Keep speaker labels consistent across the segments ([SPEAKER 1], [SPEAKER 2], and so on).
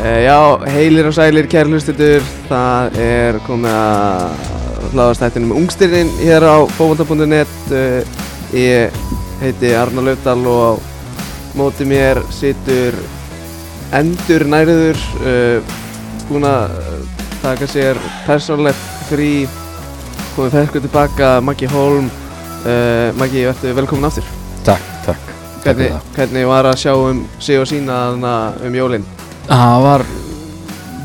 [SPEAKER 1] Uh, já, heilir og sælir kæri hlustendur, það er komið að hlaðastættinu með ungstyrnin hér á fókvölda.net uh, Ég heiti Arnar Laufdal og á móti mér situr endur næriður uh, búinn að taka sér persónlegt frí komið ferkur tilbaka, Maggi Holm uh, Maggi, verður velkomin aftur
[SPEAKER 2] Takk, takk Takk fyrir
[SPEAKER 1] hvernig, hvernig var að sjá um sig og sína þarna um jólinn?
[SPEAKER 2] Það var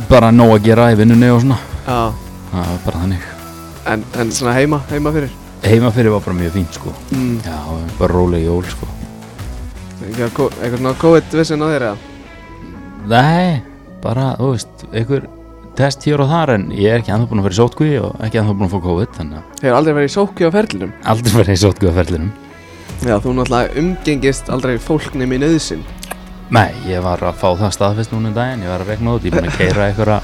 [SPEAKER 2] bara nóg að gera í vinnunni og svona
[SPEAKER 1] Já,
[SPEAKER 2] Það var bara þannig
[SPEAKER 1] en, en svona heima, heima fyrir
[SPEAKER 2] Heima fyrir var bara mjög fín sko
[SPEAKER 1] mm.
[SPEAKER 2] Já, bara róleg jól sko
[SPEAKER 1] eitthvað, ko- eitthvað svona COVID-vissin á þeirra
[SPEAKER 2] Nei, bara, þú veist, einhver test hér og þar En ég er ekki ennþá búinn að fara í sótkví og ekki ennþá búinn að fá COVID Þannig að
[SPEAKER 1] hefur aldrei verið í sókju á ferlinum
[SPEAKER 2] aldrei farið í sótkví að ferlinum
[SPEAKER 1] já, þú náttúrulega umgengist aldrei fólknum í nöðsin
[SPEAKER 2] Nei, ég var að fá það staðfest núna um daginn Ég var að regna út, ég er búinn að keira einhverja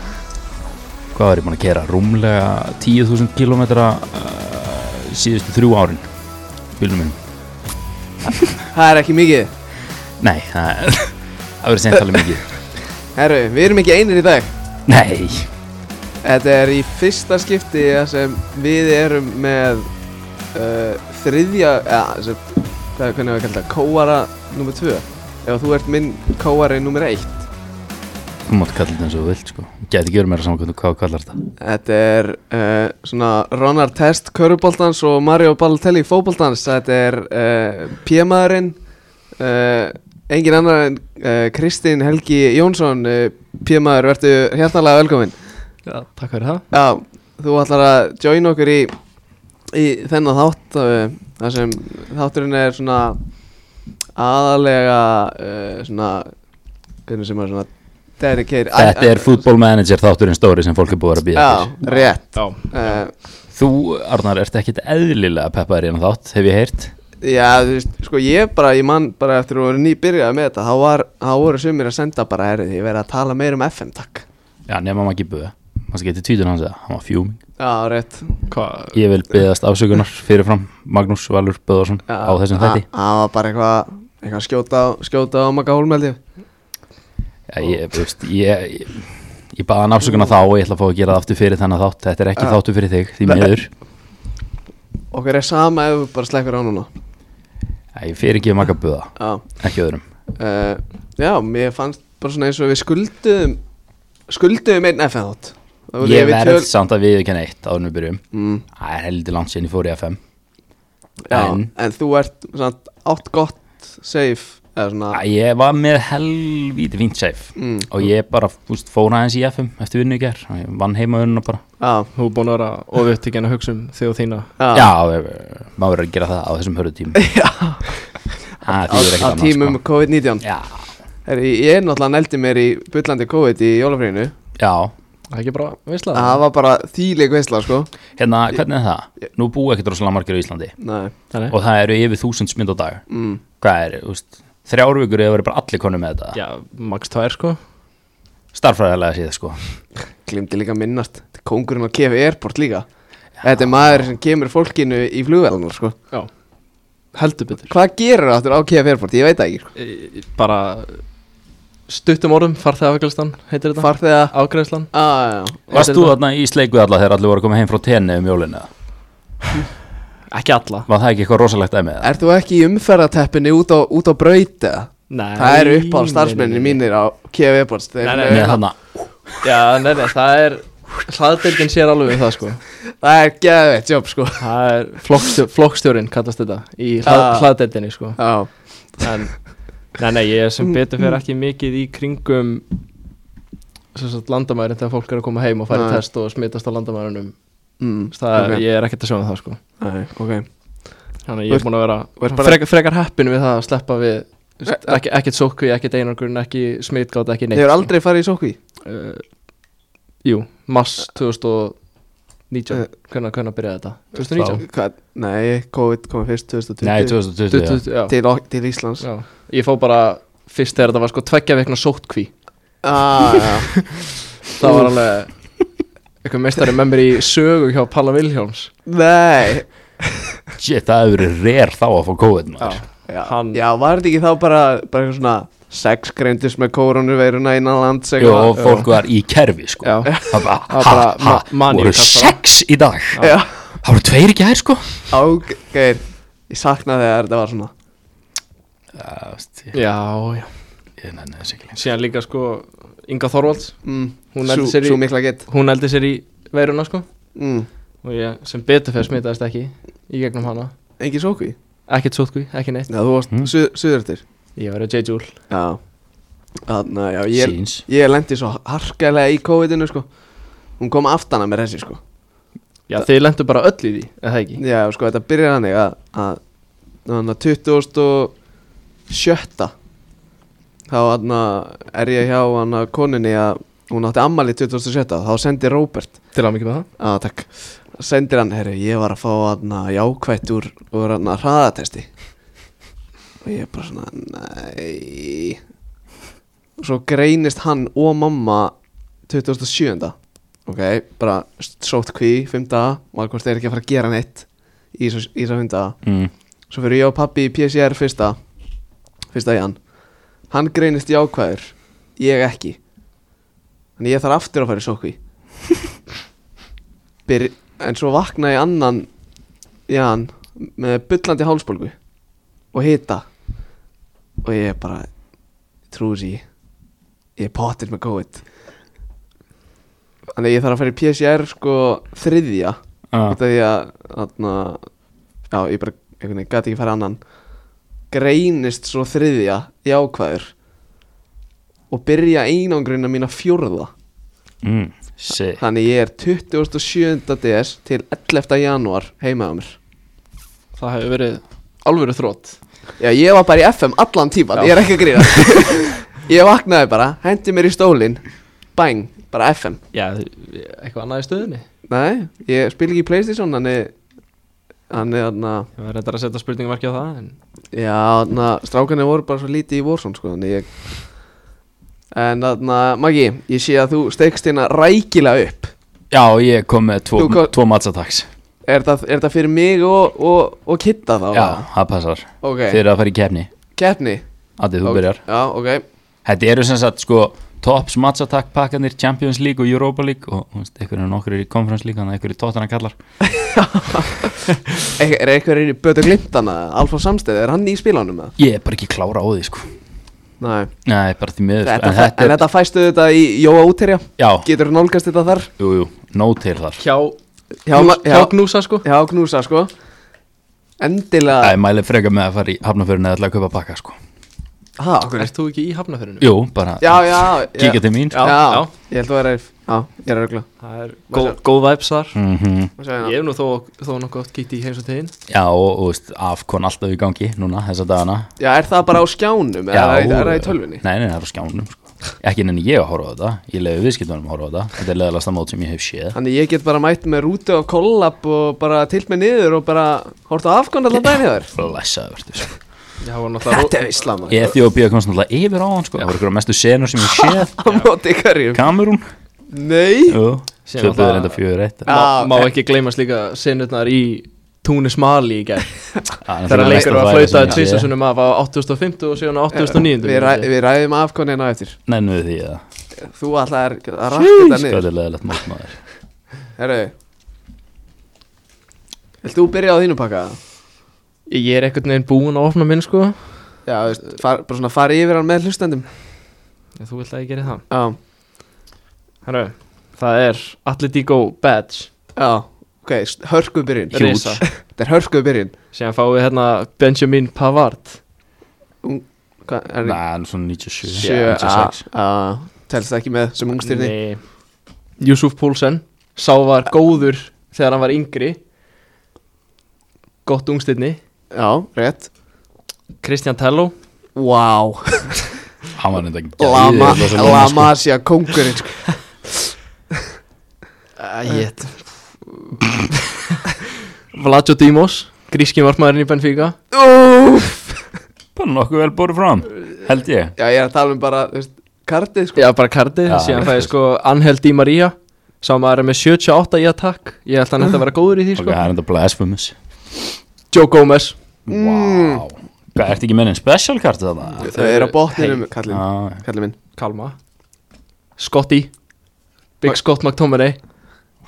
[SPEAKER 2] Hvað var ég búinn að keira? Rúmlega 10.000 km uh, síðustu þrjú árin Bílum minn
[SPEAKER 1] það er ekki mikið
[SPEAKER 2] Nei, það er Það verður seint alveg mikið
[SPEAKER 1] herru, við erum ekki einir í dag
[SPEAKER 2] Nei,
[SPEAKER 1] þetta er í fyrsta skipti þar sem við erum með uh, þriðja eða, sem, hvað, hvernig við kallum það, kóara nummer 2 ef þú ert minn kóari nummer 1
[SPEAKER 2] þú mátt kalla þetta eins og þú vilt sko Gæti ekki verið meira saman hvernig hvað þú kallar þetta
[SPEAKER 1] Þetta er uh, svona Ronar Test Köruboltans og Mario Balotelli Fóboltans Þetta er uh, P-maðurinn uh, Engin annar en uh, Kristinn Helgi Jónsson uh, P-maður, verðu hjartalega velkominn
[SPEAKER 3] Já, takk fyrir það.
[SPEAKER 1] Já, þú ætlar að join okkur í, í þennan þátt uh, þar sem þátturinn er svona aðalega uh, svona hvernig sem er svona dedicated
[SPEAKER 2] Þetta er football manager þátturinn stóri sem fólk er búið að býja
[SPEAKER 1] Já, rétt
[SPEAKER 3] Já.
[SPEAKER 1] uh,
[SPEAKER 2] eftir Þú, Arnar, ert ekkit eðlilega peppaður í hann þátt, hef ég heyrt
[SPEAKER 1] Já, þú veist, sko ég bara, ég man bara eftir að voru nýbyrjað með þetta, þá var, þá voru sumir að senda bara, herrið, ég verið að tala meir um FM, takk.
[SPEAKER 2] Já, nema maður ekki buða Maður getið tvítur hans eða, hann var fjúming
[SPEAKER 1] Já, rétt.
[SPEAKER 3] Hvað?
[SPEAKER 2] Ég vil byggðast afsökunar fyrirfram Magnús Valur Böðarsson á þessum þætti
[SPEAKER 1] Það var bara eitthvað, eitthvað að skjóta, á- skjóta á Magga Hólmeldi.
[SPEAKER 2] Já, ég, þú veist, ég, ég, ég baða hann afsökunar þá og ég ætla að fá að gera það aftur fyrir þannig þátt Þetta er ekki
[SPEAKER 1] Já.
[SPEAKER 2] þáttur fyrir þig, því miður
[SPEAKER 1] Okkur er sama ef við bara slekkur á núna.
[SPEAKER 2] Já, Ég fyrir ekki um að buða,
[SPEAKER 1] Já,
[SPEAKER 2] ekki öðrum
[SPEAKER 1] uh, já, mér fannst bara svona eins og við skulduðum, skulduðum einn FM þátt. Það voru
[SPEAKER 2] Ég
[SPEAKER 1] við
[SPEAKER 2] verð
[SPEAKER 1] töl-
[SPEAKER 2] samt að við ekki neitt áður en við byrjum
[SPEAKER 1] Mm,
[SPEAKER 2] Það er heldur langt síðan ég fór í FM
[SPEAKER 1] já, en,
[SPEAKER 2] En-
[SPEAKER 1] þú ert svona átt gott, safe, eða svona,
[SPEAKER 2] Æ, Ég var með helvíti fínt safe
[SPEAKER 1] Ah. mm,
[SPEAKER 2] Og ég bara fúst, fór aðeins í FM eftir vinnu í ger og ég vann heima unna bara
[SPEAKER 1] já,
[SPEAKER 3] Þú er búin að vera ofuttyggjana að hugsa um þig og þína.
[SPEAKER 1] já.
[SPEAKER 2] Já, ég, maður verður að gera það á þessum hörðu tímum Já Það
[SPEAKER 1] á
[SPEAKER 2] þýður ekkert annars
[SPEAKER 1] tímum COVID-19
[SPEAKER 2] Já,
[SPEAKER 1] Herri, ég er náttúrulega nældi mér í byllandi COVID í jólafrínu
[SPEAKER 2] já
[SPEAKER 3] Það er ekki bara visslað.
[SPEAKER 1] Það var bara þýleg veistla, sko
[SPEAKER 2] Hérna, hvernig er það? Nú búa ekkert rosalega margir á Íslandi
[SPEAKER 1] Nei,
[SPEAKER 3] Þannig.
[SPEAKER 2] Og það eru yfir þúsund smind á dag
[SPEAKER 1] mm,
[SPEAKER 2] Hvað er, þú veist, þrjár vikur eða verður bara allir konum með þetta
[SPEAKER 3] Já, max tvær sko.
[SPEAKER 2] Starfræðilega séð, sko
[SPEAKER 1] glimti líka að minnast Þetta er kongurinn á KF Airport líka Þetta er maður sem kemur fólkinu í flugveldunar, sko
[SPEAKER 3] Já. Heldur betur.
[SPEAKER 1] Hvað gerir áttur á KF Airport? Ég veit það ekki, sko
[SPEAKER 3] E, bara stuttum orðum, farþegafækjalistan heitir þetta.
[SPEAKER 1] Farþega
[SPEAKER 3] Ágreinslan.
[SPEAKER 1] ah, já, já.
[SPEAKER 2] Varst þú þarna í sleik við alla þegar allir voru að koma heim frá tenni um jólinu?
[SPEAKER 3] Ekki alla.
[SPEAKER 2] Var það ekki eitthvað rosalegt að með það?
[SPEAKER 1] Ert þú ekki í umferðateppinu út á, út á brauta?
[SPEAKER 3] Nei.
[SPEAKER 1] Það eru upp á starfsmennin mínir á KF Airport Þeir,
[SPEAKER 3] Nei, nei,
[SPEAKER 2] Með
[SPEAKER 3] nei.
[SPEAKER 2] þarna,
[SPEAKER 3] Já, nei, nei, það er, hlaðdeildin sér alveg við það sko.
[SPEAKER 1] Það er geðveitt jobb, sko
[SPEAKER 3] Það er flokkstjó, flokkstjórin kallast þetta í hlað,
[SPEAKER 1] Ah.
[SPEAKER 3] hlaðdeildinni sko.
[SPEAKER 1] Já,
[SPEAKER 3] en, nei, nei, ég er sem betur fyrir ekki mikið í kringum sem sagt landamærin þegar fólk er að koma heim og fara í
[SPEAKER 1] Nei.
[SPEAKER 3] test og smitast á landamærinum
[SPEAKER 1] mm,
[SPEAKER 3] það,
[SPEAKER 1] ok.
[SPEAKER 3] ég er ekkert að sjá um það sko
[SPEAKER 1] Nei, ok
[SPEAKER 3] þannig að
[SPEAKER 1] Þú
[SPEAKER 3] ég
[SPEAKER 1] ert-
[SPEAKER 3] er búin að vera
[SPEAKER 1] þú ert bara-
[SPEAKER 3] frekar, frekar heppin við það að sleppa við þú veist,
[SPEAKER 1] Eh, eh.
[SPEAKER 3] ekki, ekkert sókvi, ekkert einangrun, ekki smitgáta, ekki
[SPEAKER 1] Þið
[SPEAKER 3] neitt
[SPEAKER 1] hefur aldrei farið í sókví?
[SPEAKER 3] uh, Jú, mars 2019
[SPEAKER 1] Eh.
[SPEAKER 3] hvernig, hvernig byrjaði þetta? 2019?
[SPEAKER 2] 2019?
[SPEAKER 1] Hvað? Nei, COVID kom fyrst 2020
[SPEAKER 2] nei, 2020 já.
[SPEAKER 3] 2020, já.
[SPEAKER 1] til, ok- til Íslands
[SPEAKER 3] já Ég fó bara fyrst þegar þetta var sko tveggja vekna sótkví
[SPEAKER 1] ah, já.
[SPEAKER 3] Það var alveg eitthvað mestari með mér í sögu hjá Palla Vilhjálms
[SPEAKER 1] Nei
[SPEAKER 2] Shit, það hefur verið rare þá að fá COVID maður
[SPEAKER 3] Hann-
[SPEAKER 1] Já, var þetta ekki þá bara, bara eitthvað svona sex greindist með koronaveiruna innan lands
[SPEAKER 2] Jú, og fólk var í kerfi sko
[SPEAKER 3] Já.
[SPEAKER 2] Það bara,
[SPEAKER 3] Það var
[SPEAKER 2] ha, ha,
[SPEAKER 3] bara ma- maníu
[SPEAKER 2] voru
[SPEAKER 3] kastar.
[SPEAKER 2] sex í dag
[SPEAKER 1] Já,
[SPEAKER 2] Það voru tveir í gær sko
[SPEAKER 1] ágeir Ég saknaði þegar þetta var svona
[SPEAKER 2] Já, veist, ég,
[SPEAKER 3] Já, já
[SPEAKER 2] ég nenni þess ekki lengur
[SPEAKER 3] Síðan líka sko Inga Þorvalds
[SPEAKER 1] mm,
[SPEAKER 3] Hún
[SPEAKER 1] Sú,
[SPEAKER 3] eldi sér í-
[SPEAKER 1] svo mikla gett
[SPEAKER 3] Hún eldi sér í veiruna sko
[SPEAKER 1] mm.
[SPEAKER 3] Og ég sem betur fyrir smitaðist ekki Í gegnum hana
[SPEAKER 1] Engi sókví?
[SPEAKER 3] Ekkert sótkví, ekki neitt
[SPEAKER 1] Já, þú varst
[SPEAKER 2] Mm.
[SPEAKER 1] mm. suður eftir
[SPEAKER 3] Ég verið J. Júl
[SPEAKER 1] Já Þannig að já, ég,
[SPEAKER 2] Síns
[SPEAKER 1] ég lendi svo harkalega í COVID-inu sko Hún kom aftan að mér þessi sko
[SPEAKER 3] Já, þið lendu bara öll í því, eða það ekki
[SPEAKER 1] Já, sko, þetta byrjar hannig að, að Þannig að 2007 Þá hann er ég hjá hann að konunni að Hún átti ammali 2007 Þá sendi Róbert
[SPEAKER 3] Til að mikið með það
[SPEAKER 1] Já, takk Sendir hann, herru, ég var að fá hann jákvætt úr, úr hann að hraðatesti Og ég bara svona, nei Og Svo greinist hann og mamma 2007 Ok, bara sótt kví, fimm daga Markvort er ekki að fara að gera neitt Í þessa í þessa fimm daga
[SPEAKER 2] mm.
[SPEAKER 1] Svo fyrir ég og pappi í PCR fyrsta Fyrsta í hann Hann greinist jákvæður Ég ekki Þannig ég þarf aftur að fara í sókví Byr, En svo vakna ég annan Í hann Með bullandi hálsbólgu Og hita Og ég bara Trúi því Ég er pottir með COVID Þannig að ég þarf að fara í PCR sko Þriðja
[SPEAKER 2] ah,
[SPEAKER 1] út af því að þarna, já, ég bara einhvern veginn gæti ekki fara annan greinist svo þriðja jákvæður og byrja einangrunna mína fjórða
[SPEAKER 2] mm. sí.
[SPEAKER 1] þannig ég er 27. DS til 11. januar heimaða mér
[SPEAKER 3] Það hefur verið alvöru þrótt
[SPEAKER 1] já, ég var bara í FM allan tíman,
[SPEAKER 3] Já.
[SPEAKER 1] ég er ekki að grína ég vaknaði bara, hendi mér í stólin bang, bara FM
[SPEAKER 3] Já, eitthvað annað í stöðinni
[SPEAKER 1] nei, ég spil ekki í Playstation þannig þannig þarna
[SPEAKER 3] Ég var reyndar að setja spurningamarki á það en...
[SPEAKER 1] Já, na, strákarnir voru bara svo lítið í Warzone sko, þannig ég En þarna, Maggi, ég sé að þú stekst hérna rækilega upp
[SPEAKER 2] Já, ég kom með tvo,
[SPEAKER 1] Þú kom-
[SPEAKER 2] tvo matsataks
[SPEAKER 1] Er það, er það fyrir mig og, og, og Kitta þá?
[SPEAKER 2] Já, það passar
[SPEAKER 1] Ok,
[SPEAKER 2] Þeir eru að fara í kefni
[SPEAKER 1] keppni
[SPEAKER 2] Addi, þú
[SPEAKER 1] Ok,
[SPEAKER 2] byrjar
[SPEAKER 1] Já, ok
[SPEAKER 2] Þetta eru sem sagt sko Tops matsatak pakkanir Champions League og Europa League Og þú veist, einhverjum nokkur er í Conference League Þannig að einhverjum tóttan að kallar
[SPEAKER 1] Er, er eitthvað í Bötu Glimtana, Alfa Samsteð, er hann í spilunum það?
[SPEAKER 2] Ég er bara ekki klára á því sko
[SPEAKER 1] Nei
[SPEAKER 2] Nei, bara því miður sko.
[SPEAKER 1] Þetta,
[SPEAKER 2] En þetta
[SPEAKER 1] en
[SPEAKER 2] er,
[SPEAKER 1] þetta fæstu þetta í Jóa úterja?
[SPEAKER 2] já,
[SPEAKER 1] Getur nálgast þetta þar?
[SPEAKER 2] jú, jú, no til þar
[SPEAKER 3] Hjá,
[SPEAKER 1] Já,
[SPEAKER 3] knús,
[SPEAKER 1] ma- já.
[SPEAKER 3] hjá knúsa sko
[SPEAKER 1] Já, knúsa sko Endilega
[SPEAKER 2] Æ, mæli freka með að fara í hafnafjörun eða ætla að kaupa pakka sko
[SPEAKER 1] Ha,
[SPEAKER 3] Ert þú ekki í hafnafyrinu?
[SPEAKER 2] Jú, bara
[SPEAKER 1] Já, já, já
[SPEAKER 2] kíkja til mín
[SPEAKER 1] Já,
[SPEAKER 2] sko.
[SPEAKER 3] já.
[SPEAKER 1] ég held að vera Já, ég er að regla
[SPEAKER 3] Það er góð, góð vibes þar
[SPEAKER 2] Mhm.
[SPEAKER 3] Ég hef nú þó, þó nokkuð oft kíkt í heims og teginn
[SPEAKER 2] Já, og þú veist, afkon alltaf í gangi núna þessa dagana
[SPEAKER 1] Já, er það bara á skjánum? Já, er, það- er það í tölvunni?
[SPEAKER 2] Nei, nei, það er á skjánum sko. Ekki nenni ég að horfa á þetta Ég leiði viðskiptunum að horfa á þetta Þetta er leðalasta mót sem ég hef séð
[SPEAKER 1] Þannig ég get bara mætt með rútu og kollab og bara tilt mig niður og bara hort á afgönda allan daginn hjá þér
[SPEAKER 2] Læsaði verður sko.
[SPEAKER 3] Já, var náttúrulega
[SPEAKER 1] er islam
[SPEAKER 2] Ethiopia komst náttúrulega yfir á hann sko. Það voru ykkur mestu senur sem ég séð
[SPEAKER 1] Á móti hverjum
[SPEAKER 2] Kamerún
[SPEAKER 1] Nei
[SPEAKER 3] Síðan
[SPEAKER 2] Töpuður
[SPEAKER 3] náttúrulega-
[SPEAKER 2] enda fjögur eitt Ah,
[SPEAKER 1] Já,
[SPEAKER 3] ró- Má ekki gleymas líka sinurnar í Túnis Mali í gær Þegar
[SPEAKER 2] náttúrulega mesta
[SPEAKER 3] leikur var að flauta
[SPEAKER 2] færi sem ég sé.
[SPEAKER 3] tvisasunum af á 8050 og síðan á 8009
[SPEAKER 1] Við, ræ, við ræðum afgöndina eftir
[SPEAKER 2] Nennuðu því að
[SPEAKER 1] Þú alltaf er að rakka þetta niður
[SPEAKER 2] Skalið leðalegt mót maður
[SPEAKER 1] Herru Vilt þú byrja á þínu pakka?
[SPEAKER 3] Ég er einhvern veginn búinn að opna minn sko
[SPEAKER 1] Já, þú veist, far, bara svona fara yfir hann með hlustendum
[SPEAKER 3] Ef Þú vilt að ég geri það
[SPEAKER 1] Já,
[SPEAKER 3] Herru, það er Atletico Badge
[SPEAKER 1] já, ok, hörku byrjun
[SPEAKER 2] Huge.
[SPEAKER 3] Risa
[SPEAKER 1] Þetta er hörku byrjun
[SPEAKER 3] Síðan fáum við hérna Benjamin Pavard
[SPEAKER 1] Hvað, er
[SPEAKER 2] Nei, hann er svona 97
[SPEAKER 1] sjö
[SPEAKER 3] ah.
[SPEAKER 2] 96.
[SPEAKER 1] að telst ekki með sem ungstyrni
[SPEAKER 3] Nei. Yusuf Poulsen Sá var góður þegar hann var yngri Gott ungstirni
[SPEAKER 1] já, rétt
[SPEAKER 3] Christian Tello
[SPEAKER 1] wow.
[SPEAKER 2] Hann var enda gæðið
[SPEAKER 1] Lama, Lamasja kongurinn sko.
[SPEAKER 3] Jett Vladio Dimos Gríski markmaðurinn í Benfica
[SPEAKER 1] Úff.
[SPEAKER 2] sko. Bara nokkuð vel borðið fram Held ég
[SPEAKER 1] já, ég er að tala um bara þú veist, kartið sko.
[SPEAKER 3] Já, bara kardið
[SPEAKER 2] Já,
[SPEAKER 3] Síðan
[SPEAKER 2] já.
[SPEAKER 3] fæði sko Angel Di Maria Sá maður er með 78 í attack Ég held að Sko. hann ætti að vera góður í því
[SPEAKER 2] Ok,
[SPEAKER 3] sko
[SPEAKER 2] það er enda blasphemous
[SPEAKER 3] Joe Gomez
[SPEAKER 2] Vá Hvað, ertu ekki með enn special card þarna? Ah,
[SPEAKER 1] Þau eru á botninum, kallinn
[SPEAKER 2] Já,
[SPEAKER 1] kallinn minn
[SPEAKER 3] Kalma Scotty Big Scott McTominay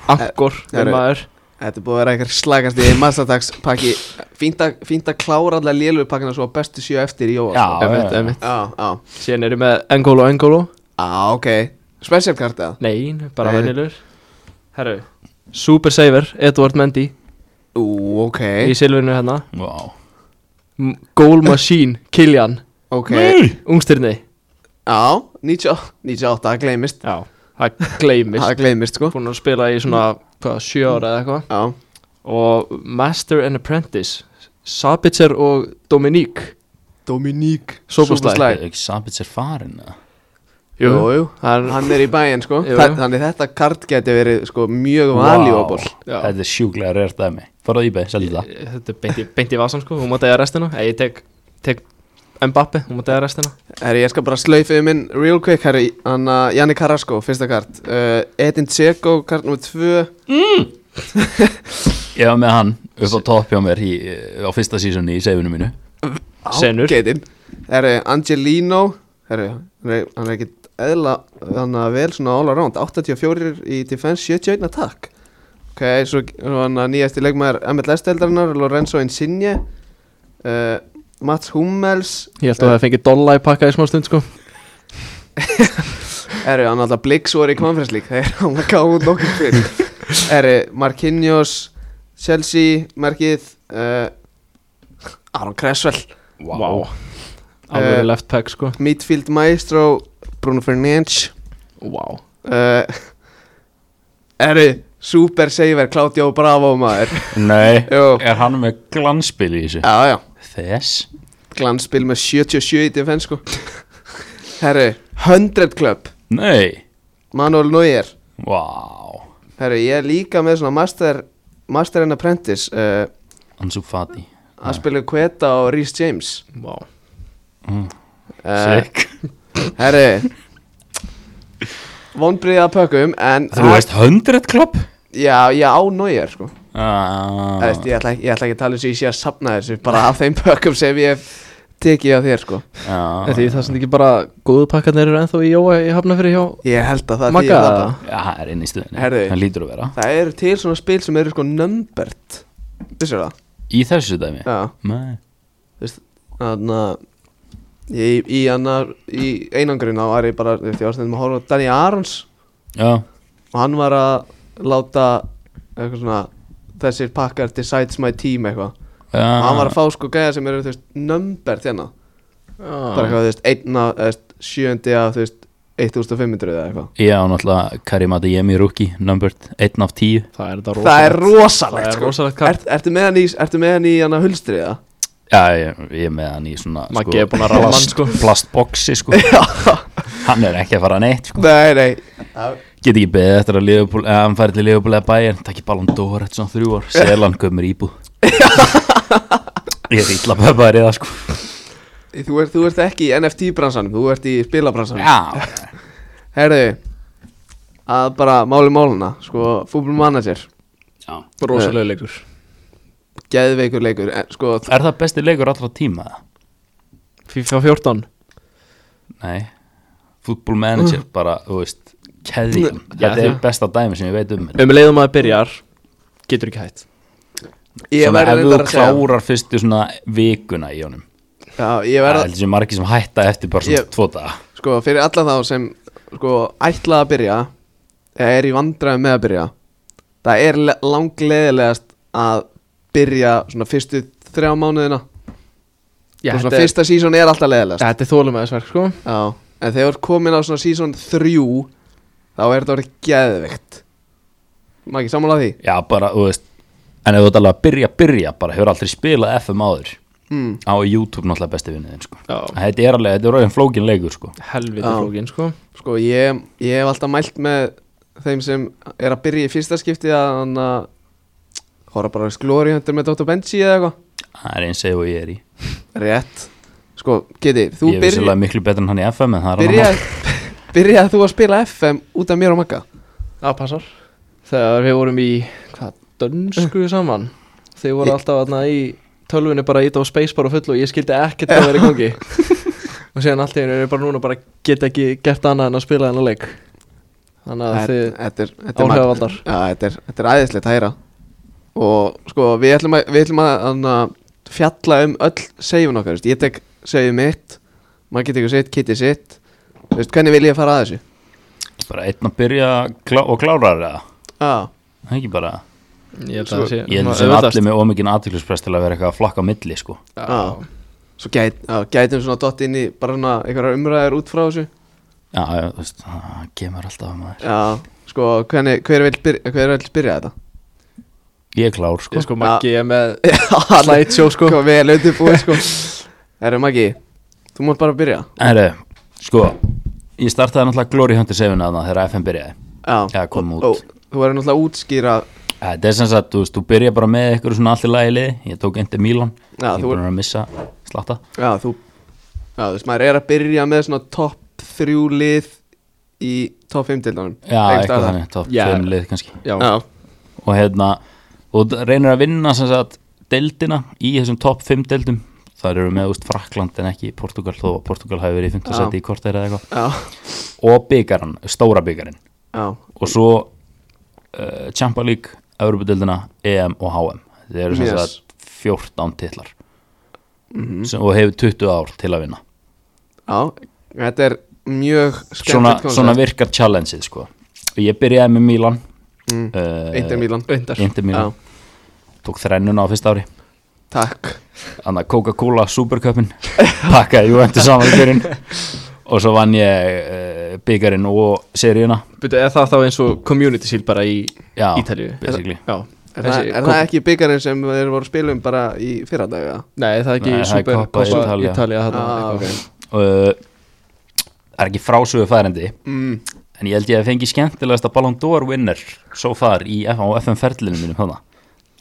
[SPEAKER 3] Angkor
[SPEAKER 1] Eh,
[SPEAKER 3] minn
[SPEAKER 1] eru-
[SPEAKER 3] maður
[SPEAKER 1] Þetta er búið að vera einhver slagast í massatagspakki Fínt að- fínt að klára allar lélupakkina svo að bestu sjö eftir í jóa
[SPEAKER 2] Já, já,
[SPEAKER 3] Emitt,
[SPEAKER 2] já.
[SPEAKER 3] emitt
[SPEAKER 1] á, á,
[SPEAKER 3] Síðan erum við Engolo Engolo
[SPEAKER 1] á, ok Special card eða?
[SPEAKER 3] Nei, bara
[SPEAKER 1] Nei.
[SPEAKER 3] venilur Herru Super Saver Edward Mendy
[SPEAKER 1] Ú, ok
[SPEAKER 3] Í silfinu hérna
[SPEAKER 2] Vá
[SPEAKER 3] M- Goal Machine Kiljan
[SPEAKER 1] Ok,
[SPEAKER 3] Ungstirni
[SPEAKER 1] á, 98, 98 gleymist
[SPEAKER 3] Já Það gleymist
[SPEAKER 1] Það gleymist sko
[SPEAKER 3] Búin að spila í svona Hvað, sjö ára eða eitthvað
[SPEAKER 1] Á,
[SPEAKER 3] Og Master and Apprentice Sabitzer og Dominique
[SPEAKER 1] Dominique
[SPEAKER 3] Sóboslæg.
[SPEAKER 1] Sóboslæg.
[SPEAKER 2] Ekki Sabits er farin eða?
[SPEAKER 1] Jú, jú
[SPEAKER 3] Hann,
[SPEAKER 1] Hann er í bæinn sko
[SPEAKER 3] Jú, jú.
[SPEAKER 1] Þa- Þannig þetta kart geti verið sko mjög valjúaból
[SPEAKER 3] já.
[SPEAKER 2] Þetta er sjúklega reyrt dæmi Farðu í beig, seldu það
[SPEAKER 3] Þetta er beint í- beint í vasan sko, hún má dæja restina Eða ég tek, tek Mbappe, hún má dæja restina
[SPEAKER 1] Herri, ég skal bara slaufa um minn real quick Herri, hann að Janni Carrasco, fyrsta kart uh, Edin Tseko, kart nr. 2
[SPEAKER 2] Ég var með hann upp á topp hjá mér í, á fyrsta sísoni í seifinu mínu
[SPEAKER 3] Senur.
[SPEAKER 1] Ágætinn. Herri, Angelino Herri, hann er, hann er ekki eðla Hann að vel svona all around 84 í defense, 71 attack Ok, svo svo hann að nýjasti leikmaður MLS-deildarinnar Lorenzo Insigne uh, Mats Hummels
[SPEAKER 3] Ég held að það fengið dolla í pakka í smá stund sko
[SPEAKER 1] Herru, hann alltaf Blix voru í Conference League Það er hann að gáða út nokkur fyrir Herru, Marquinhos Chelsea, Merkið uh, Aron Cresswell
[SPEAKER 3] Alveg
[SPEAKER 1] Eh.
[SPEAKER 3] left pack sko
[SPEAKER 1] Midfield Maestro Bruno Fernandes
[SPEAKER 3] Vá
[SPEAKER 1] uh, Herru, Super Saver Claudio Bravo maður
[SPEAKER 2] Nei
[SPEAKER 1] Jú.
[SPEAKER 2] Er hann með glanspil í þessu?
[SPEAKER 1] Já, já,
[SPEAKER 2] Þess
[SPEAKER 1] glanspil með 77 í defense sko Herru, 100 Club
[SPEAKER 2] Nei
[SPEAKER 1] Manuel Neuer
[SPEAKER 2] Vá
[SPEAKER 1] Herru, ég er líka með svona Master, master and Apprentice uh,
[SPEAKER 2] Ansu Fati
[SPEAKER 1] Aspilu Kveta og Rhys James
[SPEAKER 3] Vá
[SPEAKER 2] Mm.
[SPEAKER 1] Eh,
[SPEAKER 2] Sick
[SPEAKER 1] Herri Vonbrið að pökkum En
[SPEAKER 2] Þú veist 100 klubb?
[SPEAKER 1] Já, ég á nógir sko ah.
[SPEAKER 2] Ah,
[SPEAKER 1] veist, ég, ætla, ekki- ég ætla ekki að tala um þessu Ég sé að sapna þessu Bara af þeim pökkum sem ég hef tekið af þér sko
[SPEAKER 2] já.
[SPEAKER 3] Þetta er það sem ekki bara góðu pakkarnir eru ennþá í jóa í hafnafyrir hjá
[SPEAKER 1] Ég held að það
[SPEAKER 3] Magga
[SPEAKER 1] þýðir það bara.
[SPEAKER 2] Já, það er inn í stuðinni
[SPEAKER 1] Herðu.
[SPEAKER 2] Það lítur að vera
[SPEAKER 1] Það eru til svona spil sem eru sko numbered Vissir það?
[SPEAKER 2] Í þessu dæmi
[SPEAKER 1] Já
[SPEAKER 2] Nei
[SPEAKER 1] Þannig að Í, í, hana, í einangrun á var ég bara Þú veist, ég var stundum að horfa á Danny Arons
[SPEAKER 2] Já,
[SPEAKER 1] og hann var að láta eitthvað svona þessir pakkar decides my team eitthvað
[SPEAKER 2] já
[SPEAKER 1] og hann var að fá sko gæða sem eru þú veist nömbert hérna
[SPEAKER 3] Ah.
[SPEAKER 1] bara eitthvað þú veist einna þú veist, sjöndi af þú veist 1500 eða eitthvað
[SPEAKER 2] Ég á náttúrulega Karim Adeyemi rúki Numbered 1 af 10
[SPEAKER 3] Það er þetta rosalegt
[SPEAKER 1] það er rosalegt
[SPEAKER 3] Það er
[SPEAKER 1] sko.
[SPEAKER 3] rosalegt kart.
[SPEAKER 1] Ert- ertu með hann í ertu með hann í hann að hulstri eða
[SPEAKER 2] Já, ég, ég er með hann í svona
[SPEAKER 3] Maggi er búinn að ramma hann, sko.
[SPEAKER 2] Plastboxi sko Hann er ekki að fara neitt sko.
[SPEAKER 1] nei nei
[SPEAKER 2] Get ekki beðið eftir að Liverpool eða hann færi til Liverpool eða Bayern Takk í Ballon d'Or eftir svona þrjú ár Selan gömur íbúð Ég er illa pöpaður í það sko
[SPEAKER 1] þú ert, þú ert ekki í NFT bransanum þú ert í spilabransanum
[SPEAKER 2] Já,
[SPEAKER 1] herðu að bara máli máluna sko fútbolmanager
[SPEAKER 2] já.
[SPEAKER 1] Eh.
[SPEAKER 3] rosalega leikur
[SPEAKER 1] geðveikur leikur en, sko
[SPEAKER 2] Er það besti leikur allra tíma? eða?
[SPEAKER 3] FIFA 14
[SPEAKER 2] Nei Football manager
[SPEAKER 1] Mm.
[SPEAKER 2] bara, þú veist Keðjan,
[SPEAKER 3] Já,
[SPEAKER 2] þetta er
[SPEAKER 3] já.
[SPEAKER 2] besta dæmi sem ég veit um
[SPEAKER 3] Um leiðum að byrjar Getur ekki hætt
[SPEAKER 1] ég
[SPEAKER 2] Svona
[SPEAKER 1] verður
[SPEAKER 2] ef þú
[SPEAKER 1] reyndar að segja
[SPEAKER 2] klárar fyrstu svona vikuna í honum
[SPEAKER 1] já ég
[SPEAKER 2] Það
[SPEAKER 1] verður
[SPEAKER 2] er þessi margir sem hætta eftir bara svona
[SPEAKER 1] Ég-
[SPEAKER 2] tvo daga
[SPEAKER 1] Sko, fyrir alla þá sem sko, ætla að byrja eða er í vandræðum með að byrja það er le- langleðilegast að byrja svona fyrstu þrjá mánuðina
[SPEAKER 3] Já,
[SPEAKER 1] og svona
[SPEAKER 3] þetta er-
[SPEAKER 1] fyrsta sísón er alltaf leðilegast
[SPEAKER 3] Þetta er þólum aðeins verk sko
[SPEAKER 1] Já, en þegar þú ert komin á svona sísón þrjú þá er þetta orðið geðveikt Maki, sammála því?
[SPEAKER 2] Já, bara, þú veist En ef þú ert alveg að byrja, byrja, bara hefur aldrei spilað FM áður
[SPEAKER 1] Mm.
[SPEAKER 2] Á YouTube náttúrulega besti vinniðin, sko
[SPEAKER 3] Já.
[SPEAKER 2] Þetta er alveg, þetta er orðin flókin leikur, sko
[SPEAKER 3] Helviti
[SPEAKER 1] Já.
[SPEAKER 3] flókin sko
[SPEAKER 1] Sko, ég, ég hef alltaf mælt með þeim sem er að byrja í fyrsta skipti að hann að horfa bara að glóri hundur með Dr. Benji eða eitthvað
[SPEAKER 2] Það er eins eða ég er í
[SPEAKER 1] Rétt Sko, geti, þú
[SPEAKER 2] Ég er
[SPEAKER 1] byrja,
[SPEAKER 2] vissilega miklu betur en hann í FM en það er
[SPEAKER 1] byrja,
[SPEAKER 2] hann
[SPEAKER 1] byrjaði þú að spila FM út af mér og Magga
[SPEAKER 3] Það passar
[SPEAKER 1] Eh.
[SPEAKER 3] Þegar við vorum í Hvað, dönsku saman Þeir voru alltaf aðna í tölvun er bara að íta á spacebar og full og ég skildi ekkert að það verið gangi og síðan allt í einu er ég bara núna bara get ekki gert annað en að spila þennan leik þannig að þið
[SPEAKER 1] Þetta er- þetta er mag-
[SPEAKER 3] áhrifavaldar
[SPEAKER 1] Já, þetta er, þetta er æðislegt að heyra Og sko, við ætlum að, við ætlum að anna, fjalla um öll seifin okkar veist. Ég tek seifin mitt Maður getur sitt, kitið sitt Þú veist, Hvernig vil ég fara að þessu?
[SPEAKER 2] bara einn að byrja klá og klára það
[SPEAKER 1] Já,
[SPEAKER 2] það er ekki bara
[SPEAKER 3] ég held
[SPEAKER 1] Sko,
[SPEAKER 3] að það sé
[SPEAKER 2] ég held
[SPEAKER 3] svona
[SPEAKER 2] að sem
[SPEAKER 3] auðveldast.
[SPEAKER 2] allir með ómikinn aðtöklusprest til að vera eitthvað að flakka á milli sko
[SPEAKER 1] Já. svo gæt, á, gætum svona dott inn í bara svona einhverjar umræðar út frá þessu
[SPEAKER 2] já, já, þú veist, það kemur alltaf að maður
[SPEAKER 1] Já, sko, hvernig, hver vil byrja, hver vil byrja þetta?
[SPEAKER 2] ég er klár
[SPEAKER 3] ég
[SPEAKER 2] sko
[SPEAKER 3] sko Maggi er með
[SPEAKER 1] Já,
[SPEAKER 3] slideshow sko
[SPEAKER 1] sko, vel undirbúið sko Herru Maggi, þú mátt bara byrja
[SPEAKER 2] Herru, sko ég startaði náttúrulega Glory Hunter 7 að það þegar FM byrjaði
[SPEAKER 1] Já,
[SPEAKER 2] Já, kom út.
[SPEAKER 1] Ó, Þú verður náttúrulega að útskýra
[SPEAKER 2] þetta er sem sagt, þú veist, þú byrja bara með eitthvað svona allir lagi liði, ég tók Inter Milan
[SPEAKER 1] Já,
[SPEAKER 2] ég
[SPEAKER 1] þú-
[SPEAKER 2] búin að missa slatta
[SPEAKER 1] Já, þú Já, þú veist, maður er að byrja með svona topp þrjú lið í topp 5 dildanum
[SPEAKER 2] já, eitthvað þannig, top
[SPEAKER 3] Já.
[SPEAKER 2] 5 lið kannski
[SPEAKER 3] já,
[SPEAKER 1] Já,
[SPEAKER 2] og hérna og d- reynir að vinna sem sagt deildina í þessum topp 5 deildum þar eru með úst Frakland en ekki Portugal þó að Portugal hafi verið í 5.
[SPEAKER 1] Já.
[SPEAKER 2] seti í kortir eða eitthvað
[SPEAKER 1] já,
[SPEAKER 2] og byggaran, stóra byggarin
[SPEAKER 1] já,
[SPEAKER 2] og svo uh, Champa League, Európa-deildina EM og HM, þeir eru sem
[SPEAKER 1] Yes. Mm.
[SPEAKER 2] sagt 14 titlar sem, og hefur 20 ár til að vinna
[SPEAKER 1] mhm, já Þetta er mjög
[SPEAKER 2] svona,
[SPEAKER 1] skemmtilegt
[SPEAKER 2] svona virkar challengeið sko og ég byrjaði með Milan
[SPEAKER 1] Mm.
[SPEAKER 2] uh,
[SPEAKER 1] Eindir Mílan
[SPEAKER 3] reyndar
[SPEAKER 2] Inter Milan, tók þrennuna á fyrsta ári
[SPEAKER 1] Takk
[SPEAKER 2] Þannig að Coca-Cola Supercupin pakkaði Juventus saman í byrjun og svo vann ég uh, byggarinn og seríuna
[SPEAKER 3] Byrju, er það þá eins og community seal bara í
[SPEAKER 2] Já,
[SPEAKER 3] Ítalíu?
[SPEAKER 2] basically.
[SPEAKER 3] Já,
[SPEAKER 1] Er, það, er það ekki byggarinn sem þeir voru að spila um bara í fyrradaga?
[SPEAKER 3] Nei, það er ekki
[SPEAKER 2] Nei, það er
[SPEAKER 3] Super
[SPEAKER 2] Coppa
[SPEAKER 3] Coppa
[SPEAKER 2] Italia.
[SPEAKER 3] Ítalía
[SPEAKER 1] Já, ah, ok
[SPEAKER 2] uh, er ekki frásögu færendi
[SPEAKER 1] mm,
[SPEAKER 2] en ég held ég að fengi skemmtilegasta Ballon d'Or winner svo far í F á FM ferlinu mínum hana.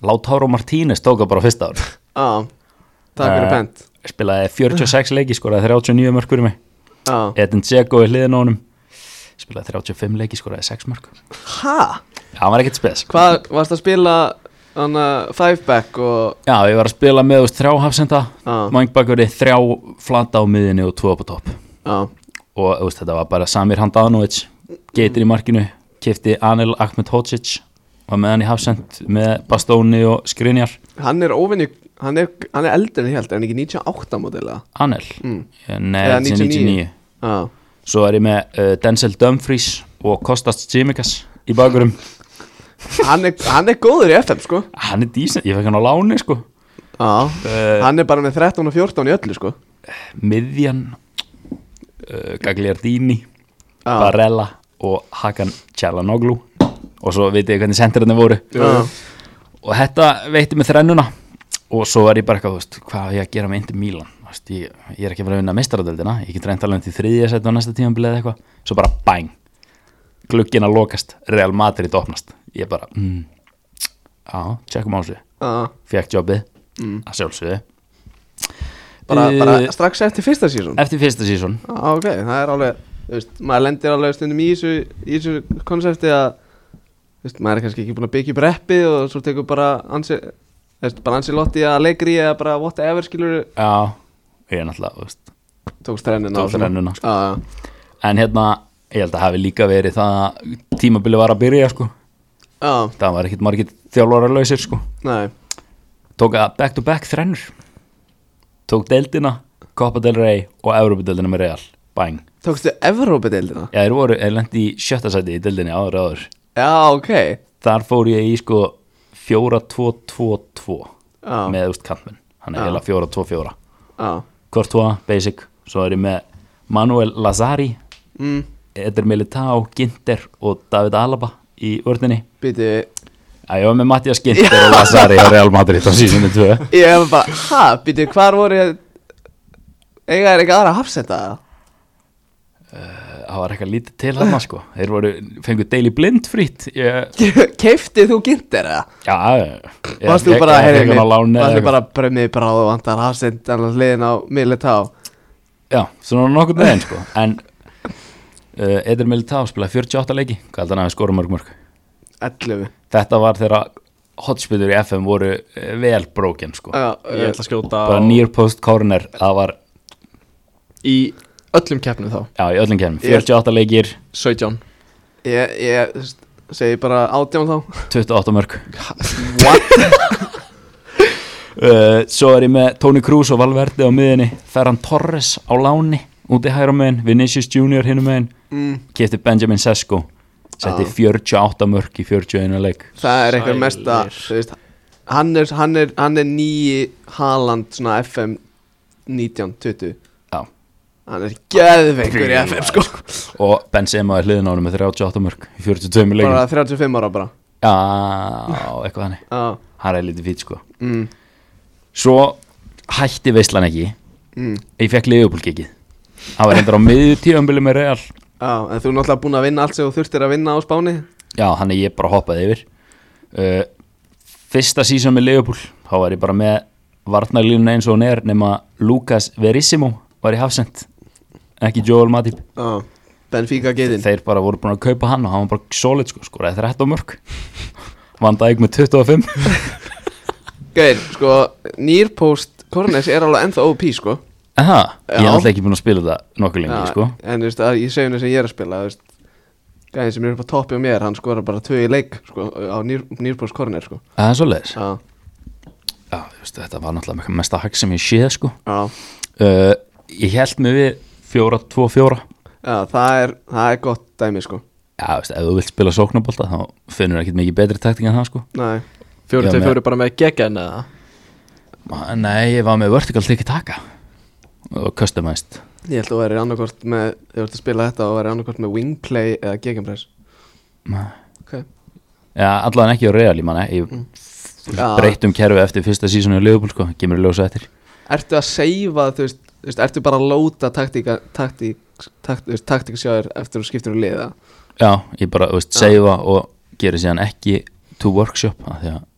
[SPEAKER 2] Lautaro Martínez tóka bara á fyrsta ár
[SPEAKER 1] á, Takk fyrir
[SPEAKER 2] Eh.
[SPEAKER 1] pent
[SPEAKER 2] spilaði 46 leiki skoraði 39 mörg fyrir mig
[SPEAKER 1] á,
[SPEAKER 2] Edin Dzeko er hliðin á honum spilaði 35 leiki skoraði 6 mörg
[SPEAKER 1] Hæ?
[SPEAKER 2] Já, hann var ekkert spes
[SPEAKER 1] Hvað varst að spila hana, Five back og
[SPEAKER 2] Já, ég var að spila með úr þrjá hafsenda
[SPEAKER 1] á,
[SPEAKER 2] Mangbakari þrjá flata á miðinni og tvo upp á topp
[SPEAKER 1] á,
[SPEAKER 2] og þú veist, þetta var bara Samir Handanovic geitir í markinu, kefti Anil Ahmed Hodzic var með hann í hafsend með Bastóni og Skrinjar
[SPEAKER 1] Hann er óvinni Hann er, hann er eldri en ég held Er hann ekki 98 mótilega?
[SPEAKER 2] Anil,
[SPEAKER 1] Mm.
[SPEAKER 2] nei,
[SPEAKER 1] Eða
[SPEAKER 2] 99.
[SPEAKER 1] 99. Á,
[SPEAKER 2] svo er ég með uh, Denzel Dumfries og Kostas Tsimikas í bakurum,
[SPEAKER 1] hann, er, hann er góður í FM sko
[SPEAKER 2] hann er dísent ég fekk hann á láni sko
[SPEAKER 1] á,
[SPEAKER 2] uh,
[SPEAKER 1] Hann er bara með 13 og 14 í öllu sko
[SPEAKER 2] miðjan uh, Gagliardini
[SPEAKER 1] á,
[SPEAKER 2] Barella og Hakan Cialanoglu og svo vitið ég hvernig sendirarnir voru
[SPEAKER 1] Já.
[SPEAKER 2] og þetta veitti mig þrennuna og svo er ég bara eitthvað, þú veist, hvað á ég að gera með Inter Milan Þú veist, ég, ég er ekki að vera að vinna mestaradöldina ég get reynd að landa í þriðja seti á næsta tímanbili eða eitthvað svo bara bæn glugginn að lokast, Real Madrid opnast ég bara, mm, á, tjekkum á þessu
[SPEAKER 1] á,
[SPEAKER 2] fekk jobbið, að sjálfsögðu
[SPEAKER 1] bara, bara
[SPEAKER 2] Eh,
[SPEAKER 1] strax eftir fyrsta sísón
[SPEAKER 2] eftir fyrsta sísón
[SPEAKER 1] ah, ok, það er alveg þú veist, maður lendir alveg stundum í þessu, í þessu konsepti að þú veist, maður er kannski ekki búin að byggja upp reppið og svo tekur bara ansi, þú veist, bara ansi lotti að leikri eða bara whatever skilur
[SPEAKER 2] já, ég er náttúrulega, þú veist
[SPEAKER 1] tókst trennina
[SPEAKER 2] Tók strennuna,
[SPEAKER 1] sko. ah,
[SPEAKER 2] En hérna, ég held að hafi líka verið það að tímabili var að byrja sko
[SPEAKER 1] ah,
[SPEAKER 2] Það var ekkit margir þjálfara lausir sko
[SPEAKER 1] nei,
[SPEAKER 2] Tók að back to back þrennur Tók deildina, Copa del Rey og Európa-deildina með Real Bang
[SPEAKER 1] tókstu Evrópa-deildina
[SPEAKER 2] Já, þeir voru, þeir lendi í sjötta sæti í deildinni áður áður
[SPEAKER 1] já, ok
[SPEAKER 2] Þar fór ég í sko 4-2-2-2
[SPEAKER 1] Já.
[SPEAKER 2] Með úst kantmenn Hann
[SPEAKER 1] Já.
[SPEAKER 2] er heila 4-2-4
[SPEAKER 1] ah,
[SPEAKER 2] Courtois, Basic, svo er ég með Manuel Lazari
[SPEAKER 1] mm,
[SPEAKER 2] Eder Militao, Ginter og David Alaba í vörðinni
[SPEAKER 1] býtu
[SPEAKER 2] Já, ég var með Mattias Ginter og Lazari á Real Madrid á sísunni 2
[SPEAKER 1] ég hef bara, ha, býtu, hvar voru ég eiga er ekki aðra hafsenda
[SPEAKER 2] Það var eitthvað lítið til hann sko Þeir voru, fengu Daily Blind frýtt ég,
[SPEAKER 1] keifti þú gindir eða?
[SPEAKER 2] Já, ég
[SPEAKER 1] Varst þú
[SPEAKER 2] ég-
[SPEAKER 1] bara,
[SPEAKER 2] ég- ég-
[SPEAKER 1] heyrðu
[SPEAKER 2] ég-
[SPEAKER 1] mig,
[SPEAKER 2] ég- láni
[SPEAKER 1] varst
[SPEAKER 2] eða
[SPEAKER 1] þú
[SPEAKER 2] eitthvað.
[SPEAKER 1] bara bremið bráðu vantar hafsendan að hliðin á Militá
[SPEAKER 2] Já, svona nokkur með sko En uh, Eder Militao spilaði 48 leiki Hvað held hann að við skorum mörg mörg
[SPEAKER 1] 11
[SPEAKER 2] Þetta var þegar hotspillur í FM voru eh, vel brókin sko
[SPEAKER 1] Já, eh,
[SPEAKER 3] Ég ætla að skjóta
[SPEAKER 2] bara
[SPEAKER 3] á-
[SPEAKER 2] near post corner það var,
[SPEAKER 3] Í öllum keppnum þá
[SPEAKER 2] já, í öllum kemum
[SPEAKER 1] Ég-
[SPEAKER 2] 48 leikir,
[SPEAKER 3] 17
[SPEAKER 1] Ég, ég þú veist, segi bara átján þá
[SPEAKER 2] 28 mörg
[SPEAKER 1] What?
[SPEAKER 2] uh, Svo er ég með Tony Cruz og Valverdi á miðinni Ferran Torres á láni úti hægra megin, Vinicius Junior hinu megin
[SPEAKER 1] Mm,
[SPEAKER 2] kefti Benjamin Sesko setti
[SPEAKER 1] Já.
[SPEAKER 2] 48 mörg í 41 leik
[SPEAKER 1] það er eitthvað
[SPEAKER 3] Sælir.
[SPEAKER 1] mesta þú veist, hann, er, hann, er, hann er nýji Haaland svona FM 19-20
[SPEAKER 2] Já.
[SPEAKER 1] Hann er geðveikur í FM sko
[SPEAKER 2] og Benzema er hliðin á hann með 38 mörg í 42 leikum
[SPEAKER 1] Bara 35 ára bara
[SPEAKER 2] Já, eitthvað þannig
[SPEAKER 1] Já,
[SPEAKER 2] Það er lítið fýt sko
[SPEAKER 1] mm,
[SPEAKER 2] Svo hætti veislan ekki
[SPEAKER 1] mm.
[SPEAKER 2] Ég fekk liðupólkikið Það var hendur á miðju tíðanbili með Real
[SPEAKER 1] Já, en þú er náttúrulega búin að vinna allt sem þú þurftir að vinna á Spáni
[SPEAKER 2] Já, þannig ég bara hoppaði yfir uh, Fyrsta sísón með liðupól Þá var ég bara með Varnarlínuna eins og hún er Nefna Lucas Verissimo var í hafsend Ekki Joel Matip
[SPEAKER 1] Já, Benfica geitin
[SPEAKER 2] Þeir bara voru búin að kaupa hann og hann var bara solid sko Sko, það er 13 mörg Vandaði ekki með 25
[SPEAKER 1] Gauðir, sko, nýrpost Kornes er alveg ennþá OP sko
[SPEAKER 2] Aha, Ég er
[SPEAKER 1] Já.
[SPEAKER 2] alltaf ekki búin að spila þetta nokkuð lengi
[SPEAKER 1] Já,
[SPEAKER 2] sko
[SPEAKER 1] En þú veist, að ég segjum þess að ég er að spila þú veist, Gæðin sem er upp á toppi á mér Hann skora bara tvö í leik sko, Á nýr, nýrbóðs korner sko.
[SPEAKER 2] Það er svoleiðis
[SPEAKER 1] Já,
[SPEAKER 2] Já, þú veist, þetta var náttúrulega mesta hagg sem ég séð sko.
[SPEAKER 1] já,
[SPEAKER 2] uh, Ég held mig við 4-2-4
[SPEAKER 1] já það, er, það er gott dæmi sko.
[SPEAKER 2] Já, þú veist, ef þú vilt spila sóknabólta þá finnur ekkert mikið betri takting en það sko.
[SPEAKER 1] Nei,
[SPEAKER 3] 4
[SPEAKER 2] Já,
[SPEAKER 3] til
[SPEAKER 2] með-
[SPEAKER 3] 4 bara með geggan eða
[SPEAKER 2] Ma- Nei, ég var með vertikal tiki taka og customized
[SPEAKER 1] ég held að þú væri annarkort með Þú ert að spila þetta og væri annarkort með wingplay eða gegenpress
[SPEAKER 2] Ma-
[SPEAKER 1] okay.
[SPEAKER 2] Já, allan ekki á real, ég manna Ég
[SPEAKER 1] Já.
[SPEAKER 2] breytum kerfi eftir fyrsta sísonu í Liverpool, sko, kemur í ljósa eftir
[SPEAKER 1] Ertu að seifa, þú veist, þú veist Ertu bara að lóta taktíka taktík, takt, þú veist, taktíksjáður eftir að þú skiptir um liða
[SPEAKER 2] Já, ég bara, þú veist, seifa og gera síðan ekki to workshop af því að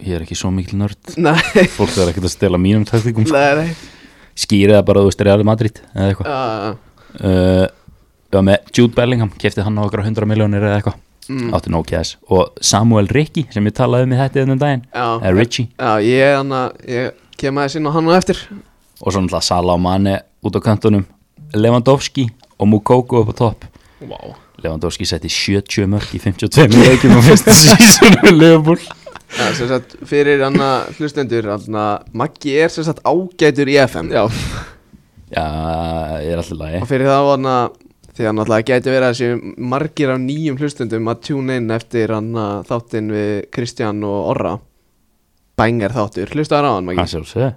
[SPEAKER 2] ég er ekki svo mikil nörd
[SPEAKER 1] Nei,
[SPEAKER 2] fólk þarf ekkert að stela mínum taktikum sko.
[SPEAKER 1] nei, nei
[SPEAKER 2] skýri það bara, þú veist, Real Madrid eða eitthvað
[SPEAKER 1] Já,
[SPEAKER 2] uh, Já, með Jude Bellingham kefti hann á okkur 100 miljónir eða eitthvað átti nóg kæðis og Samuel Ricci sem ég talaði um í þetta þennan daginn Eh,
[SPEAKER 1] Já.
[SPEAKER 2] eða Ricci
[SPEAKER 1] já, ég er hann að Ég kem aðeins inn á hann og eftir
[SPEAKER 2] og svo náttúrulega Salah og Mane út á kantunum Lewandowski og Mukoko upp á topp
[SPEAKER 3] Wow
[SPEAKER 2] Lewandowski setti 70 mörg í 52 leikum á fyrsta sísunum með Liverpool
[SPEAKER 1] Já, sem sagt, fyrir hann að hlustendur, hann að Maggi er sem sagt ágætur í FM
[SPEAKER 3] Já,
[SPEAKER 2] Já, ég er alltaf lagi
[SPEAKER 1] Og fyrir það var hann að, því hann alltaf gæti verið að séu margir af nýjum hlustendum að tune inn eftir hann að þáttinn við Kristján og Orra Bængar þáttur, hlustaður á hann Maggi?
[SPEAKER 2] Hann sjálfsögðu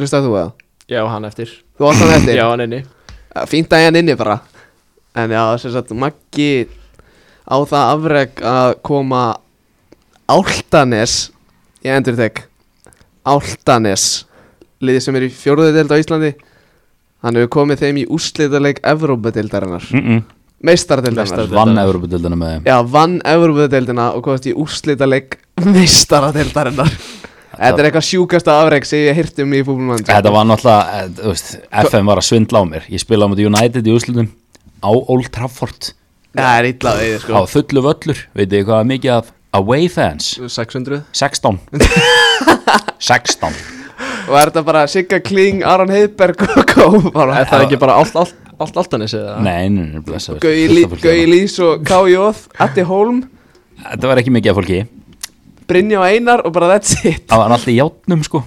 [SPEAKER 1] Hlustaður þú eða?
[SPEAKER 3] já, hann eftir
[SPEAKER 1] Þú átt hann eftir?
[SPEAKER 3] Já, hann inni
[SPEAKER 1] Já Fínt að ég hann inni bara En já, sem sagt, Maggi á það afreg að koma Áltanes Ég endur þeg Áltanes Liðið sem er í fjóruðu deild á Íslandi Hann hefur komið þeim í úrslitaðleik Evrópadeildarinnar
[SPEAKER 2] mm -mm.
[SPEAKER 1] Meistaradeildarinnar
[SPEAKER 2] Vann Európa-dildina með þeim
[SPEAKER 1] Já, vann Evrópadeildina og komast í úrslitaðleik Meistaradeildarinnar Þetta er eitthvað sjúkasta afreg sem ég hirti um í fútbolmann
[SPEAKER 2] Þetta var náttúrulega, eh, þú veist, FM var að svindla á mér Ég spilaði á móti United í úrslutum á Old Trafford
[SPEAKER 1] Það er illa við,
[SPEAKER 2] Það
[SPEAKER 1] sko
[SPEAKER 2] var fullu völlur, veitu ég hvað var mikið af away fans
[SPEAKER 3] 600
[SPEAKER 2] 16 16
[SPEAKER 1] Og er þetta bara Sigga Kling, Aron Heiðberg og Kó bara
[SPEAKER 3] Er það ekki bara allt, allt, allt, allt hann eða?
[SPEAKER 2] Nei, nei, nei, blessa
[SPEAKER 1] Gauji Lí- Gauji Lís og K.J. Atti Holm,
[SPEAKER 2] Þetta var ekki mikið af fólki
[SPEAKER 1] Brynja og Einar og bara that's it
[SPEAKER 2] Það var alltaf í játnum sko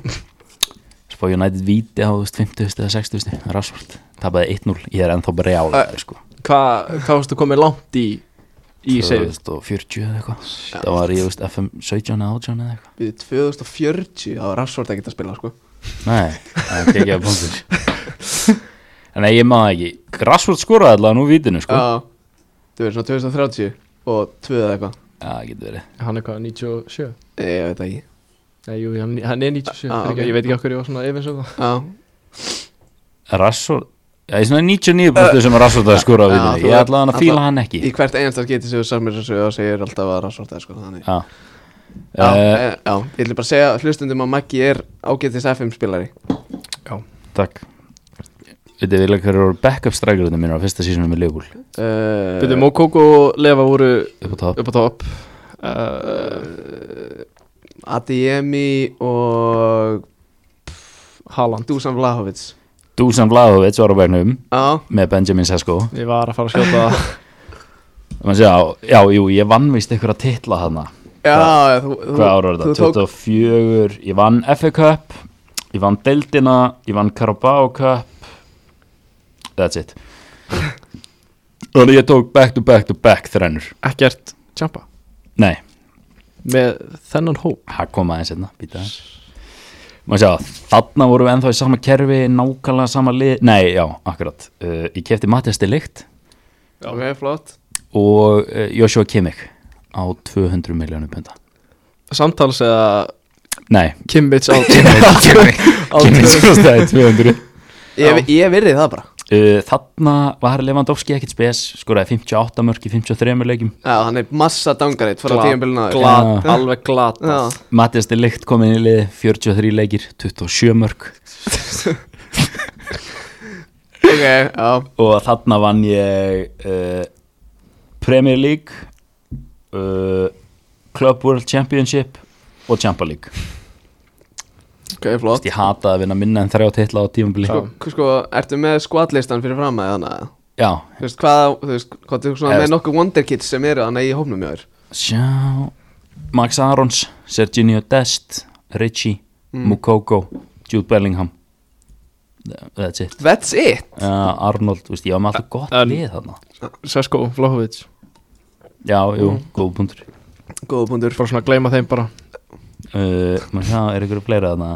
[SPEAKER 2] Spá United víti á þú veist, 50 eða 60 Rassvart, tapaði 1-0 Ég er ennþá bara reálega sko
[SPEAKER 3] Hvað, hvað varstu komið langt í, í seifið?
[SPEAKER 2] 2040 eða eitthvað Það var í þú veist, FM 17 eða 18 eða eitthvað
[SPEAKER 1] Við 2040, það var rafsvort ekkert að spila sko
[SPEAKER 2] Nei, það er ekki að punktur En nei, ég maður ekki Rassvart skoraði allavega nú vítinu sko
[SPEAKER 1] Já, þú veist svona 2030 og 2 eða eitthvað
[SPEAKER 2] Já, það getur verið
[SPEAKER 3] Hann er hvað, 97?
[SPEAKER 1] Ég veit það ekki
[SPEAKER 3] Nei, jú, hann, hann er 97
[SPEAKER 1] Ah,
[SPEAKER 3] ah,
[SPEAKER 1] ok.
[SPEAKER 3] Ég veit ekki okkur ég var svona efins um það
[SPEAKER 1] Já,
[SPEAKER 2] Rassvart Það er svona 99% sem Rassvart að skora á
[SPEAKER 1] Já,
[SPEAKER 2] vítinu
[SPEAKER 1] þú-
[SPEAKER 2] Ég ætlaði hann að fíla
[SPEAKER 1] alla-
[SPEAKER 2] hann ekki
[SPEAKER 1] í hvert einasta geti sem við samir sem sögðu og segir alltaf að rafsvort eða sko þannig
[SPEAKER 2] Já
[SPEAKER 1] Já,
[SPEAKER 2] Eh,
[SPEAKER 1] eh, já, ég ætla bara að segja hlustundum að Maggi er ágætis FM spilari
[SPEAKER 2] Takk Veitir við leikar eru backup strækjurinn minn á fyrsta sísunum með Leopold
[SPEAKER 1] uh,
[SPEAKER 3] Eh. Byrðu, Mókók og Lefa voru
[SPEAKER 2] upp á top
[SPEAKER 3] Eh, upp á topp uh,
[SPEAKER 1] Adiemi og
[SPEAKER 3] Haaland
[SPEAKER 1] Dusan Vlahovic
[SPEAKER 2] Dusan Vlahovic var á vegnum
[SPEAKER 1] Já,
[SPEAKER 2] með Benjamin Sesko
[SPEAKER 3] Ég var að fara að skjóta það.
[SPEAKER 2] já, já, jú, ég vann vist einhverja titla þarna
[SPEAKER 1] já, þú, þú,
[SPEAKER 2] hvað ára var
[SPEAKER 1] þú
[SPEAKER 2] þetta?
[SPEAKER 1] tók
[SPEAKER 2] 24, ég vann FA Cup ég vann Deildina, ég vann Carabao Cup that's it og ég tók back to back to back þrennur,
[SPEAKER 3] Ekkert Champa
[SPEAKER 2] nei
[SPEAKER 3] Með þennan hóp
[SPEAKER 2] það kom aðeins hérna, býta aðeins maður sjá, þarna vorum við ennþá í sama kerfi nákvæmlega sama lið, nei, já, akkurat uh, ég kefti Mattias Delikt
[SPEAKER 1] Ok, flott
[SPEAKER 2] og uh, Joshua Kimmich á 200 miljónum punda
[SPEAKER 3] Samtals eða
[SPEAKER 2] nei,
[SPEAKER 3] Kimmich á
[SPEAKER 2] Kimmich Kimmich Kimmich kostaði 200
[SPEAKER 1] Ég, ég virði það bara
[SPEAKER 2] Uh, þarna var Lewandowski ekkert spes skoraði 58 mörg í 53 leikjum
[SPEAKER 1] Já, hann er massa dangarit frá tíðanbylun aður
[SPEAKER 3] Glat,
[SPEAKER 2] Já.
[SPEAKER 3] alveg glat
[SPEAKER 1] Já,
[SPEAKER 2] Mattias de Ligt kom inn í liði 43 leikir, 27 mörg
[SPEAKER 1] ok, já
[SPEAKER 2] og þarna vann ég uh, Premier League uh, Club World Championship og Champa League
[SPEAKER 1] Ok, flott
[SPEAKER 2] ég hataði að vinna minna en þrjá titla á tímabili
[SPEAKER 1] Sko, sko, ertu með skvatlistan fyrir fram að þannig að
[SPEAKER 2] já,
[SPEAKER 1] Þú veist, hvað, þú veist, hvað þú svona
[SPEAKER 2] Eða-
[SPEAKER 1] með nokkuð Wonder Kids sem eru þannig í hófnum hjá þér
[SPEAKER 2] sjá Max Arons, Serginio Dest Richie, Mukoko Jude Bellingham that's it
[SPEAKER 1] That's it
[SPEAKER 2] Já, Arnold, þú veist, ég var með alltaf gott
[SPEAKER 3] En-
[SPEAKER 2] lið þarna
[SPEAKER 3] Sesko, Vlahovic
[SPEAKER 2] Já, jú, góð punktur
[SPEAKER 1] Góða punktur
[SPEAKER 3] Bara svona að gleyma þeim bara
[SPEAKER 2] uh, Man sjá, er ykkur að fleira þarna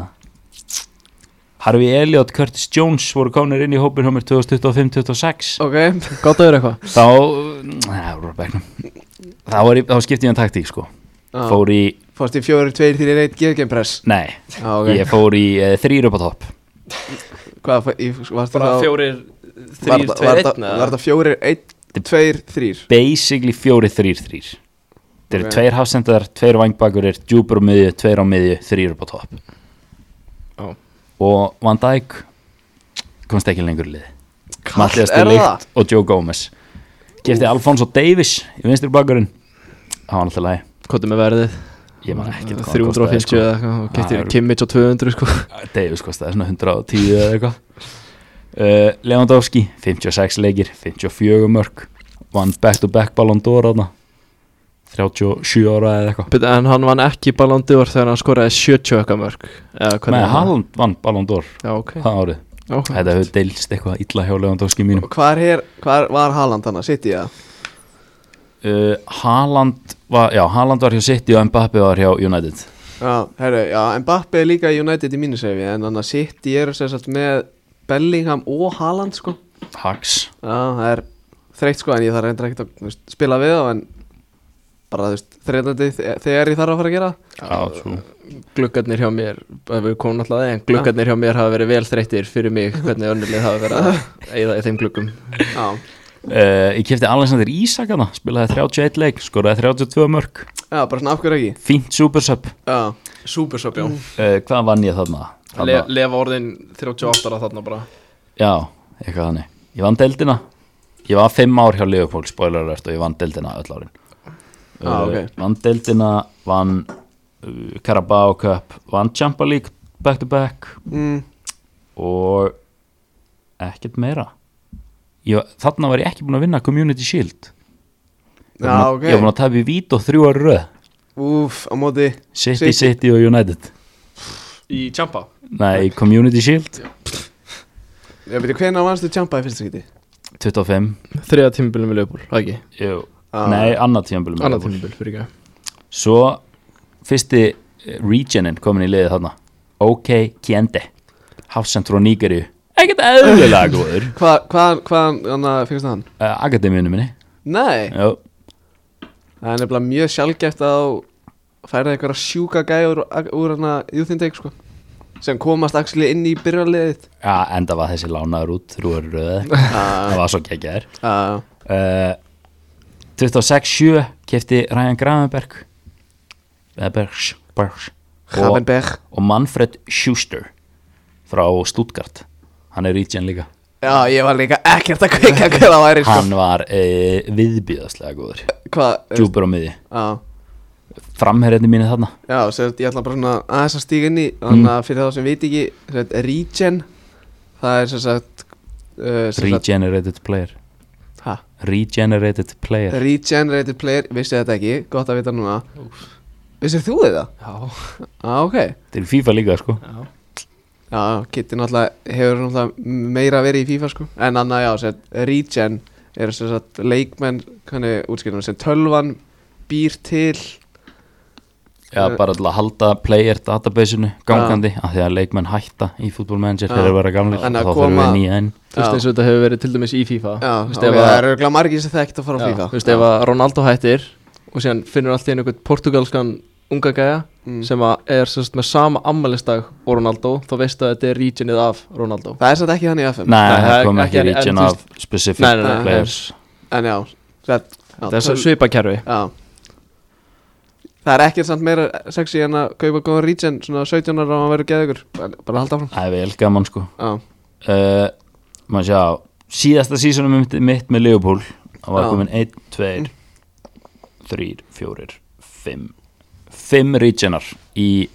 [SPEAKER 2] Harfi Elliot, Curtis Jones voru komnir inn í hópin hjá mér 2025-26
[SPEAKER 1] Ok,
[SPEAKER 3] Gátt að vera eitthvað
[SPEAKER 2] Þá, mm, neða, voru á bekknum Þá, var ég, þá skipti ég en taktík, sko
[SPEAKER 1] Já.
[SPEAKER 2] Fór í,
[SPEAKER 1] fórst í fjóri, tveir, þýri, reitt, geðgeimpress
[SPEAKER 2] nei,
[SPEAKER 1] Já, ok
[SPEAKER 2] ég fór í uh, þrýr upp á topp
[SPEAKER 1] Hvað, fó- í- varstu þá
[SPEAKER 3] fjórir,
[SPEAKER 1] Var það- var það- Var það fjórir, einn, tveir, þrýr
[SPEAKER 2] Basically fjóri þrýr þrýr Þeir eru
[SPEAKER 1] Ok.
[SPEAKER 2] tveir hafsendar, tveir vangbakurir, djúpur á miðju, tveir á miðju, þrýr upp á topp
[SPEAKER 3] Já.
[SPEAKER 2] Og Van Dijk komst ekki lengur í liði Mattias
[SPEAKER 1] Er
[SPEAKER 2] Delikt og Joe Gomez Kefti Alfonso Davis í vinstri bakkurinn Það var alltaf læg
[SPEAKER 3] Kvotum með verðið
[SPEAKER 2] Ég man ekki sko.
[SPEAKER 3] 350 eða eitthvað og
[SPEAKER 2] Það
[SPEAKER 3] Keftir
[SPEAKER 2] er-
[SPEAKER 3] Kimmich á 200 sko
[SPEAKER 2] Davis kostaði svona 110 eða eitthvað uh, Lewandowski 56 leikir, 54 mörg Vann back to back Ballon d'Or þarna 37 ára eða eitthvað
[SPEAKER 3] Byrja, En hann vann ekki Ballon d'Or þegar hann skoraði 70 eitthvað mörg Eða hvernig
[SPEAKER 2] Nei,
[SPEAKER 3] var það?
[SPEAKER 2] Haaland vann Ballon d'Or
[SPEAKER 3] Já, ok
[SPEAKER 2] það árið
[SPEAKER 3] Áhugavert.
[SPEAKER 2] Þetta hefur deilst eitthvað illa hjá Lewandowski mínum
[SPEAKER 1] Hvar, er, hvar var Haaland hann að sitja?
[SPEAKER 2] uh, Haaland var, já, Haaland var hjá City og Mbappe var hjá United
[SPEAKER 1] Já, herru, já, Mbappe er líka í United í mínusefi En hann að sitja er sem sagt með Bellingham og Haaland sko
[SPEAKER 2] Hags
[SPEAKER 1] Já, það er þreytt sko En ég þarf reyndar ekkert að þú veist, spila við þá En bara þú veist, þreytandi þe- þegar ég þarf að fara að gera það.
[SPEAKER 2] Já, trú
[SPEAKER 3] gluggarnir hjá mér ef við komum alltaf aðeins, gluggarnir hjá mér hafa verið vel þreyttir fyrir mig, hvernig önnurlið hafa verið að eigða í þeim gluggum
[SPEAKER 1] Já,
[SPEAKER 2] Uh, ég kefti Alexander Isak hana, spilaði 31 leik, skoraði 32 mörg
[SPEAKER 1] já, bara svona af hverju ekki
[SPEAKER 2] Fínt supersub
[SPEAKER 1] Já,
[SPEAKER 3] Súpersöp,
[SPEAKER 1] Mm.
[SPEAKER 3] já
[SPEAKER 2] uh, Hvað vann ég þarna?
[SPEAKER 3] Le,
[SPEAKER 2] þarna?
[SPEAKER 3] Lefa orðin 38 ára þarna bara
[SPEAKER 2] Já, eitthvað þannig Ég vann deildina Ég var 5 ár hjá Leopold, spoiler alert og ég vann deildina öll árin Eh,
[SPEAKER 1] Ah, ok.
[SPEAKER 2] Vann deildina, vann uh, Carabao Cup, vann Champa League back to back
[SPEAKER 1] mm,
[SPEAKER 2] og ekkert meira ég, Þarna var ég ekki búin að vinna Community Shield
[SPEAKER 1] já
[SPEAKER 2] Ég var búinn að-
[SPEAKER 1] ok
[SPEAKER 2] Ég var búin að tafi vít og þrjú ári röð
[SPEAKER 1] Úf, á móti
[SPEAKER 2] City, City og United
[SPEAKER 3] Í Champa?
[SPEAKER 2] Nei, Community Shield
[SPEAKER 1] Ég veit, hvenær vannstu Champa í fyrsta skiti?
[SPEAKER 2] 25
[SPEAKER 3] Þriða tímubilum við Leopold, það ekki?
[SPEAKER 2] Jú.
[SPEAKER 1] Ah.
[SPEAKER 2] Nei, annað tímanbílum
[SPEAKER 3] Annað tímubil, fyrir ekki
[SPEAKER 2] Svo fyrsti eh, regioninn komin í liðið þarna OK Kiende Hafsendur og Nígeri Ekkert eðlilega góður uh,
[SPEAKER 1] Hvað, hvað, hvað, hann finnst hann?
[SPEAKER 2] Akademíunum minni
[SPEAKER 1] Nei,
[SPEAKER 2] Jú.
[SPEAKER 1] það er nefnilega mjög sjálfgæft að færa einhverja sjúka gæður úr hann að júþindeik sko sem komast axli inn í byrjarliðið
[SPEAKER 2] Já, enda var þessi lánaður út þrjúar röð Það var svo geggjaður
[SPEAKER 1] uh,
[SPEAKER 2] uh, 26-7 kefti Ryan Gravenberg eða Bergs, Bergs. Og,
[SPEAKER 1] Hafenberg
[SPEAKER 2] og Manfred Schuster frá Stuttgart Hann er region líka
[SPEAKER 1] Já, ég var líka ekkert að kveika hver það væri sko
[SPEAKER 2] Hann var uh, viðbíðaslega eh, góður
[SPEAKER 1] Hvað,
[SPEAKER 2] Djúpur á miði
[SPEAKER 1] já,
[SPEAKER 2] framherjarnir mínir þarna
[SPEAKER 1] Já, sem sagt, ég ætla bara svona aðeins að stíga inn í Þannig að fyrir þá sem veit ekki sem sagt, Regen Það er sem sagt, uh, sem sagt
[SPEAKER 2] Regenerated player
[SPEAKER 1] ha,
[SPEAKER 2] Regenerated player
[SPEAKER 1] Regenerated player, vissið þetta ekki Gott að vita núna Vissið þú þetta?
[SPEAKER 3] Já,
[SPEAKER 1] Já, ok
[SPEAKER 2] Þetta er í FIFA líka sko
[SPEAKER 3] já
[SPEAKER 1] Já, Kitty náttúrulega hefur náttúrulega meira verið í FIFA sko En annað, já, sem sagt, Regen er sem sagt leikmenn, hvernig útskýrðum sem tölvan býr til
[SPEAKER 2] Já,
[SPEAKER 1] Eh,
[SPEAKER 2] bara til að halda player database-inu gangandi af því að leikmenn hætta í fútbolmanager
[SPEAKER 1] Já.
[SPEAKER 2] þegar þeir vera gamlir
[SPEAKER 1] Þannig að
[SPEAKER 2] og þá þurfum
[SPEAKER 1] koma-
[SPEAKER 2] við nýja inn
[SPEAKER 3] Þú veist
[SPEAKER 1] Já.
[SPEAKER 3] eins og þetta hefur verið til dæmis í FIFA
[SPEAKER 1] Já,
[SPEAKER 3] Þú
[SPEAKER 1] ok,
[SPEAKER 3] veist, ef
[SPEAKER 1] það
[SPEAKER 3] að-
[SPEAKER 1] eru örugglega margir sem þekkt að fara á
[SPEAKER 3] Já,
[SPEAKER 1] FIFA
[SPEAKER 3] Þú veist, ef að Ronaldo hættir og síðan finnur allt í einu einhvern portugalskan unga gæja
[SPEAKER 1] Mm.
[SPEAKER 3] sem að er sem sagt, með sama ammælistag og Ronaldo þá veistu að þetta er regionið af Ronaldo
[SPEAKER 1] Það er satt ekki þannig í FM
[SPEAKER 2] Nei,
[SPEAKER 3] það er
[SPEAKER 2] það kom
[SPEAKER 3] ekki-
[SPEAKER 2] ekki
[SPEAKER 3] en- en
[SPEAKER 2] region
[SPEAKER 3] þú
[SPEAKER 2] af specific
[SPEAKER 3] Nei, nei, nei, nei.
[SPEAKER 2] players
[SPEAKER 1] En já, það, já,
[SPEAKER 3] Þetta er
[SPEAKER 1] töl-
[SPEAKER 3] svo svipakerfi
[SPEAKER 1] já. Það er ekkert samt meira sexy en að kaupa góðan regen Svona 17 ára og hann verður geðugur Bara bara halda áfram
[SPEAKER 2] Það er vel gaman sko
[SPEAKER 1] Já,
[SPEAKER 2] uh, Maður sjá, síðasta sísunum mitt, mitt með Leopold það
[SPEAKER 1] Já.
[SPEAKER 2] var komin 1, 2, 3, 4, 5 5 regionar í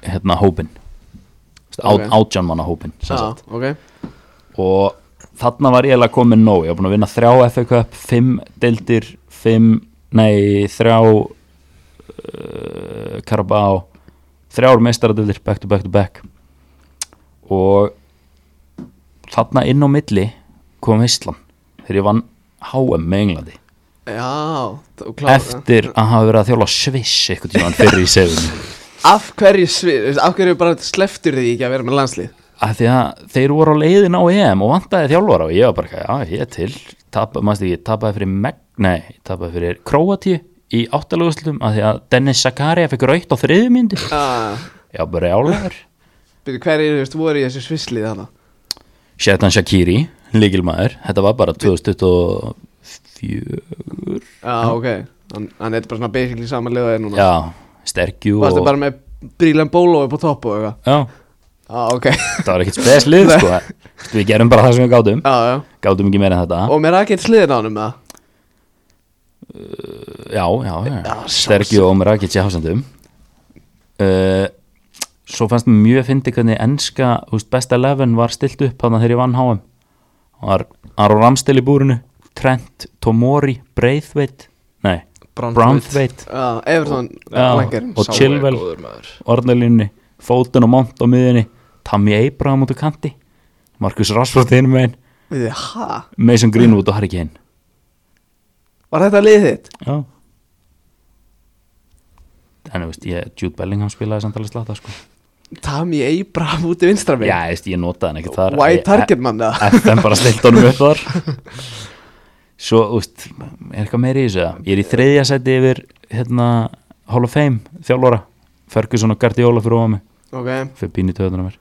[SPEAKER 2] hérna hópin
[SPEAKER 1] Ok.
[SPEAKER 2] okay. átján manna hópin
[SPEAKER 1] já,
[SPEAKER 2] sem sagt.
[SPEAKER 1] ok
[SPEAKER 2] og þarna var ég alveg komin nóg ég var búin að vinna þrjá FA Cup, fimm deildir fimm, nei þrjá uh, Karabá þrjár meistaradeildir back to back to back og þarna inn á milli kom Ísland þegar ég vann HM með Englandi
[SPEAKER 1] Já, þú klárar það.
[SPEAKER 2] eftir að hafa verið að þjóla sviss eitthvað tíma fyrir í sefunni
[SPEAKER 1] Af hverju svið, veist, af hverju bara sleftur því ekki að vera með landslið
[SPEAKER 2] að því að þeir voru á leiðin á EM og vantaði þjálfara og ég var bara, já, ég er til Tapa, maður ekki, ég tapaði fyrir Meg, nei, ég tapaði fyrir Króatíu í áttalöguslutum að því að Dennis Zakaria fekk raukt á þriðum myndi
[SPEAKER 1] ah,
[SPEAKER 2] já, bara jálegar
[SPEAKER 1] Byrju, hverju, þú veist, voru í þessu svislið þarna
[SPEAKER 2] Shetan Shakiri, líkilmaður þetta var bara 2024
[SPEAKER 1] Já, ok Hann, hann er bara svona basically samanlið og er núna
[SPEAKER 2] já, sterkju
[SPEAKER 1] Varstu
[SPEAKER 2] og,
[SPEAKER 1] bara með brílan bólói upp á topp og eitthvað
[SPEAKER 2] já,
[SPEAKER 1] Já, ok Já,
[SPEAKER 2] það var ekkert speslið sko, við gerum bara það sem við gátum
[SPEAKER 1] já
[SPEAKER 2] gátum ekki meira en þetta
[SPEAKER 1] Og mér er ekkert sliðin á hann um það
[SPEAKER 2] já, já, já. Sterkju og Omrakic í hafsendum uh, Svo fannst mér mjög fyndi hvernig enska úst, besta 11 var stilt upp þannig þegar ég vann HM var Aron Ramstil í búrinu Trent, Tomori, Braithwaite Nei, Brownthwaite
[SPEAKER 1] Já, Everton
[SPEAKER 2] Já,
[SPEAKER 1] Langer
[SPEAKER 2] og Chilwell. Ornalínni, Fóten og Mont á miðinni Tammy Abraham út á kanti Marcus Rashford hinn megin
[SPEAKER 1] Við þið, hæ?
[SPEAKER 2] Mason Greenwood og Harry Kane
[SPEAKER 1] Var þetta lið þitt?
[SPEAKER 2] Já En þú veist, ég, Jude Bellingham spilaði samt alveg slata sko
[SPEAKER 1] Tammy Abraham út í vinstra mig
[SPEAKER 2] Já, ég, veist, ég notaði hann ekkert þar
[SPEAKER 1] White
[SPEAKER 2] Ég-
[SPEAKER 1] target mann það
[SPEAKER 2] FM bara stilt honum upp þar Svo, úst, er eitthvað meira í þessu eða? Ég er í þriðja seti yfir hérna, Hall of Fame, þjálfóra Ferguson og Guardiola fyrir ofan mig
[SPEAKER 1] Ok,
[SPEAKER 2] fyrir pínu töðunar mér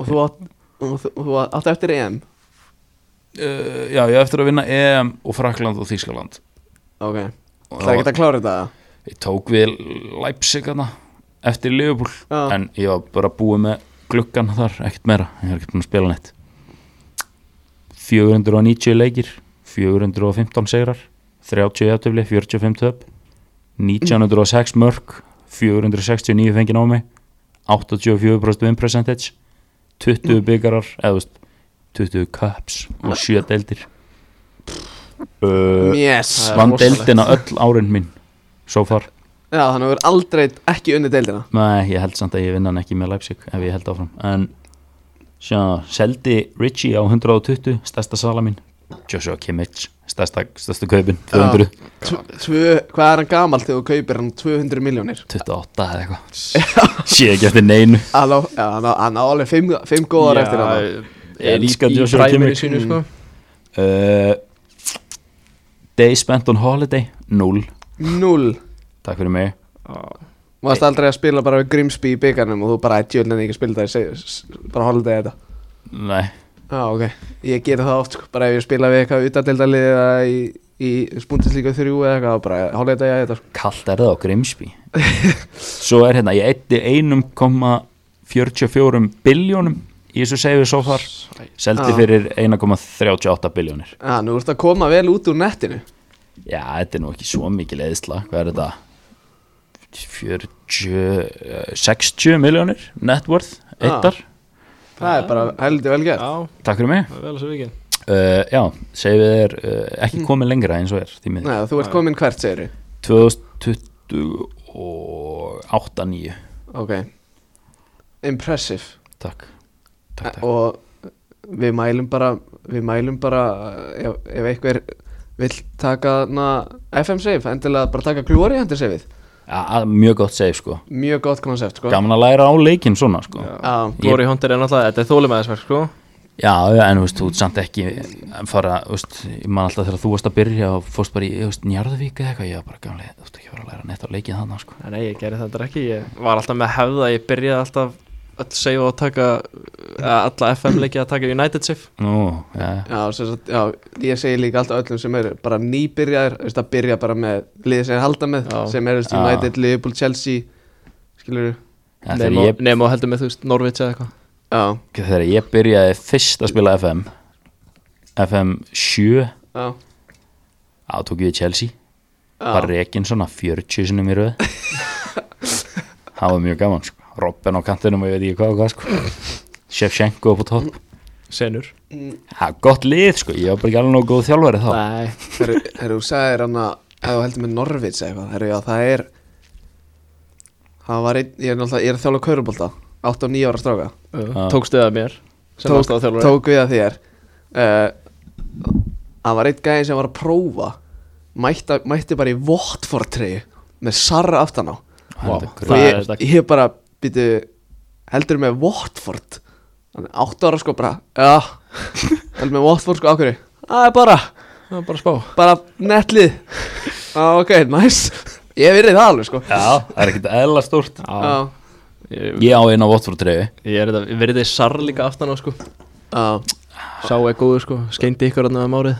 [SPEAKER 1] og þú átt Og þú, og þú átt átt eftir EM
[SPEAKER 2] uh, Já, ég á eftir að vinna EM og Frakland og Þískaland
[SPEAKER 1] Ok, það er ekki að klára þetta
[SPEAKER 2] Ég tók við Leipzig hana, eftir Liverpool
[SPEAKER 1] Já.
[SPEAKER 2] en ég var bara búið með gluggan þar, ekkert meira, ég er ekkert búin að spila neitt 490 leikir 415 segrar 30 eftirfli, 45 töp 1906 mörg 469 fengið á mig 84% win percentage 20 byggarar eða þú veist, 20 cups og 7 deildir uh,
[SPEAKER 1] Yes
[SPEAKER 3] Það er
[SPEAKER 2] vann
[SPEAKER 3] rosalegt.
[SPEAKER 2] deildina öll árin mín so far
[SPEAKER 1] Já, þannig að þú er aldrei ekki unni deildina
[SPEAKER 2] Nei, ég held samt að ég vinna hann ekki með Leipzig ef ég held áfram en sjá, seldi Ritchie á 120 stærsta sala mín Joshua Kimmich, stærsta, stærsta kaupin 200,
[SPEAKER 1] Tv- tvö, Hvað er hann gamalt þegar þú kaupir hann 200 miljónir?
[SPEAKER 2] 28 eða eitthvað sé ekki eftir neinu
[SPEAKER 1] Hann á, já, hann á, hann á alveg fimm, fimm góðar eftir hann
[SPEAKER 2] Ég elska Joshua Kimmich.
[SPEAKER 3] sínu, sko.
[SPEAKER 2] uh, Day spent on holiday 0,
[SPEAKER 1] Null
[SPEAKER 2] takk fyrir mig
[SPEAKER 1] Varst aldrei að spila bara við Grimsby í byggarnum og þú bara að djölninni ekki að spila það í seg- s- bara holda þetta
[SPEAKER 2] Nei,
[SPEAKER 1] Já, ok, ég gera það oft sko, bara ef ég spila við eitthvað utandildalið eða í, í spúndislíka þrjú eða eitthvað bara holda þetta í þetta sko.
[SPEAKER 2] kallt er það á Grimsby Svo er hérna, ég eitti 1,44 biljónum í þessu seifu so far seldi
[SPEAKER 1] Ah.
[SPEAKER 2] fyrir 1,38 biljónir
[SPEAKER 1] Já, nú ertu að koma vel út úr nettinu
[SPEAKER 2] Já, þetta er nú ekki svo mikið leiðisla Hvað er þetta? 40 eh, 60 miljónir net worth
[SPEAKER 1] Ah.
[SPEAKER 2] eittar,
[SPEAKER 1] Það er bara heldur vel gert
[SPEAKER 3] Já,
[SPEAKER 2] takk fyrir mig
[SPEAKER 3] það er vel þessu vikið
[SPEAKER 2] uh, já, segir við þér uh, ekki komið lengra eins og er því miður
[SPEAKER 1] Hmm. Nei, þú ert komin hvert, segirðu
[SPEAKER 2] 2028 9
[SPEAKER 1] Ok Impressive
[SPEAKER 2] takk, takk, takk.
[SPEAKER 1] og við mælum bara við mælum bara eh, ef, ef einhver vill taka na, FM save, endilega bara taka glóri hendur saveið,
[SPEAKER 2] Ja, að- mjög gott segir sko
[SPEAKER 1] mjög gott koncept sko.
[SPEAKER 2] gaman að læra á leikinn svona sko já,
[SPEAKER 1] Já,
[SPEAKER 3] Glory Hunter er náttúrulega, þetta er þólimaðisverk sko
[SPEAKER 2] já en þú veist, þú ert samt ekki að fara, þú veist, ég man alltaf þegar þú varst að byrja og fórst bara í, þú veist, Njarðvík eða eitthvað, ég var bara gamlega, þú veist ekki að fara að læra neitt á leikinn þannig sko
[SPEAKER 3] Nei, ég gerði þetta ekki, ég var alltaf með hefða Ég byrjaði alltaf öll save og taka eða alla FM leikið að taka United save
[SPEAKER 2] nú, já, já,
[SPEAKER 1] já, sem sagt, já, ég segi líka alltaf öllum sem eru bara nýbyrjar, veist, að byrja bara með liðið sem er halda með,
[SPEAKER 3] Já.
[SPEAKER 1] sem er veist,
[SPEAKER 2] Já.
[SPEAKER 1] United, Liverpool, Chelsea skilur
[SPEAKER 2] Já, þegar ég
[SPEAKER 3] Nefn og heldur með þú veist Norvits eða eitthvað
[SPEAKER 1] já,
[SPEAKER 2] þegar ég byrjaði fyrst að spila FM FM 7
[SPEAKER 1] já,
[SPEAKER 2] þá tók ég Chelsea var
[SPEAKER 1] já.
[SPEAKER 2] rekin svona 40 sinum í röð það var mjög gaman sko. Robben á kantinum og ég veit ekki hvað og hvað sko. Shevchenko upp á topp
[SPEAKER 3] Senur
[SPEAKER 2] það er gott lið sko, ég var bara ekki alveg nógu góð þjálfari þá
[SPEAKER 3] Nei,
[SPEAKER 1] Herru, herru, þú sagðir hann að ef þú heldur með Norvits eða eitthvað, herru, já, það er það var einn, ég er náttúrulega ég er að þjála kaurubólta, 8 og 9 ára stráka
[SPEAKER 2] Já.
[SPEAKER 3] tókstu það mér sem
[SPEAKER 1] tók,
[SPEAKER 3] aðstoðarþjálfari.
[SPEAKER 1] tók við að þér Eh, Það var einn gæðin sem var að prófa mætta, mætti bara í Votford treyju með Sarra aftan á
[SPEAKER 3] Vá,
[SPEAKER 2] Heldur
[SPEAKER 1] og
[SPEAKER 3] það
[SPEAKER 2] grá-
[SPEAKER 3] er
[SPEAKER 1] ég,
[SPEAKER 3] þetta-
[SPEAKER 1] ég bara býtu, heldur með Votford Þannig átta ára sko bara já, heldur með Votford sko ákveður það er bara,
[SPEAKER 3] Það er bara að spá
[SPEAKER 1] bara netlið ah, ok, nice ég hef verið það alveg sko
[SPEAKER 2] já, það er ekkert eðla stórt
[SPEAKER 1] Já,
[SPEAKER 3] Ég,
[SPEAKER 2] ég á eina Watford treyju
[SPEAKER 3] ég er þetta, verið þið sar líka aftan á sko
[SPEAKER 1] já,
[SPEAKER 3] Sá er góður sko, skeindi ykkur hann um árið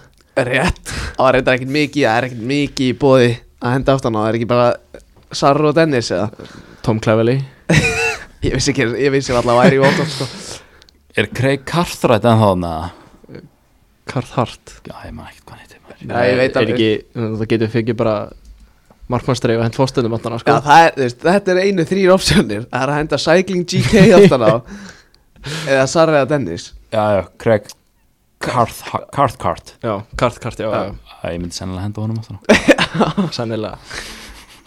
[SPEAKER 1] rétt það er ekkert mikið, það er ekkert mikið í bóði að henda aftan á, það er ekki bara Sarra og Dennis eða
[SPEAKER 3] Tom Cleverley
[SPEAKER 1] Ég vissi ekki, ég vissi alltaf að væri í Votford sko
[SPEAKER 2] er Craig Cartwright en þá með
[SPEAKER 3] Karl Hart
[SPEAKER 2] já, ég maður ekkert hvað neitt maður.
[SPEAKER 1] Nei, ég veit
[SPEAKER 3] er
[SPEAKER 1] alveg.
[SPEAKER 3] ekki, Það getur fyrir bara markmannstreif og hent fórstundum aftan
[SPEAKER 1] Já,
[SPEAKER 3] á sko
[SPEAKER 1] það er, þú veist, þetta er einu þrýr opsjónir Það er að henda Cycling GK aftan á Eða Sarra eða Dennis
[SPEAKER 2] já, já, Craig Carth- Carthcart
[SPEAKER 3] Já, Karl Hart, já, já,
[SPEAKER 2] Æ, ég myndi sennilega henda honum aftur á.
[SPEAKER 3] já. sannilega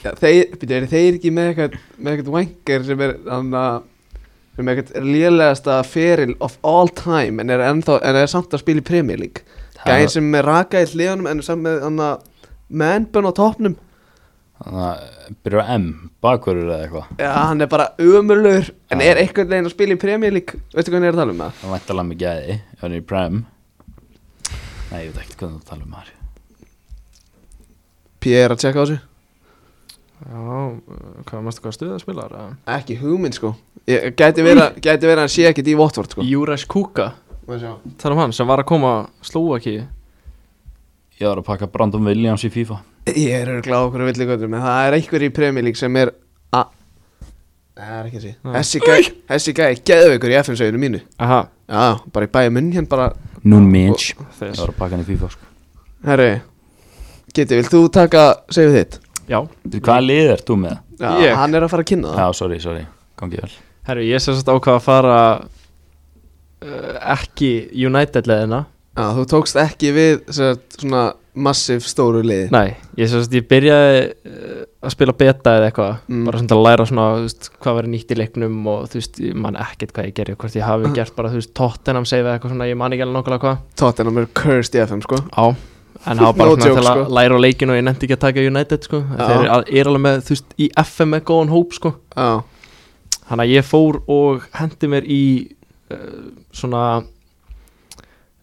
[SPEAKER 1] Já, Þeir, byrju, eru þeir ekki með eitthvað Með eitthvað wanker sem er Þannig að Sem er eitthvað lélegasta feril of all time En er, ennþá, en er samt að spila í Premier League
[SPEAKER 2] Það-
[SPEAKER 1] Gæðin sem er raka í hliðanum En er samt með hann að Með ennbönn á topnum
[SPEAKER 2] Þannig að byrja á M, bakverður eða eitthvað
[SPEAKER 1] Já, hann er bara ömurlegur En
[SPEAKER 2] Já.
[SPEAKER 1] er einhvern veginn að spila í Premier League Veistu hvað hann er að tala um það?
[SPEAKER 2] Það vænt alveg með gæði, ef hann er í Prem Nei, ég veit ekkert hvað það tala um maður
[SPEAKER 1] P.E. er að tjekka á þessu
[SPEAKER 3] Já, hvað mástu hvað stuða spilar?
[SPEAKER 1] Ekki hugmynd sko Ég- Gæti verið að- gæti verið að hann sé ekkit í Votvort sko
[SPEAKER 3] Júræs Kúka,
[SPEAKER 1] Má sjá.
[SPEAKER 3] þar um hann sem var að koma Slóaki
[SPEAKER 2] Ég var að pakka Brandon Williams í FIFA
[SPEAKER 1] Ég er örglað okkur villi göttum En það er einhver í Premier League sem er a Nei, Það er ekki þessi Þessi gæ- Þessi gæ Geðu ykkur í FN-söginu mínu
[SPEAKER 3] Aha,
[SPEAKER 1] Já, bara í bæja munn hérna bara
[SPEAKER 2] Nún Minch Ég
[SPEAKER 3] þess
[SPEAKER 2] var að pakka hann í FIFA sko.
[SPEAKER 1] Herri Geti, vilt þú taka Segðu þitt
[SPEAKER 3] Já,
[SPEAKER 2] Hvaða lið er þú með?
[SPEAKER 1] Já,
[SPEAKER 3] Ég?
[SPEAKER 1] hann er að fara að
[SPEAKER 3] Ah.
[SPEAKER 1] kynna
[SPEAKER 2] Já,
[SPEAKER 1] það
[SPEAKER 2] sorry, sorry, gangi vel
[SPEAKER 3] herru, ég sem sagt ákvað að fara uh, ekki United leðina
[SPEAKER 1] Já, þú tókst ekki við sagt, svona massíf stóru liði
[SPEAKER 3] Nei, ég sem sagt, ég byrjaði uh, að spila beta eða eitthvað
[SPEAKER 1] Mm.
[SPEAKER 3] bara svona til að læra svona, þú veist, hvað verið nýtt í leiknum og þú veist, ég man ekkert hvað ég gerði hvort ég
[SPEAKER 1] Mm.
[SPEAKER 3] hafi gert bara, þú veist, Tottenham save eða eitthvað svona, ég man ekki alveg nokkulega hvað
[SPEAKER 1] Tottenham er cursed í FM sko
[SPEAKER 3] Já, en það var bara
[SPEAKER 1] No
[SPEAKER 3] svona
[SPEAKER 1] joke,
[SPEAKER 3] til að
[SPEAKER 1] sko.
[SPEAKER 3] læra á leikinu og ég nefndi ekki að taka United sko
[SPEAKER 1] Já.
[SPEAKER 3] Þeir eru al- eru alveg með, þú veist, í FM með góðan hóp sko
[SPEAKER 1] Já,
[SPEAKER 3] Þannig að ég fór og hendi mér í uh, svona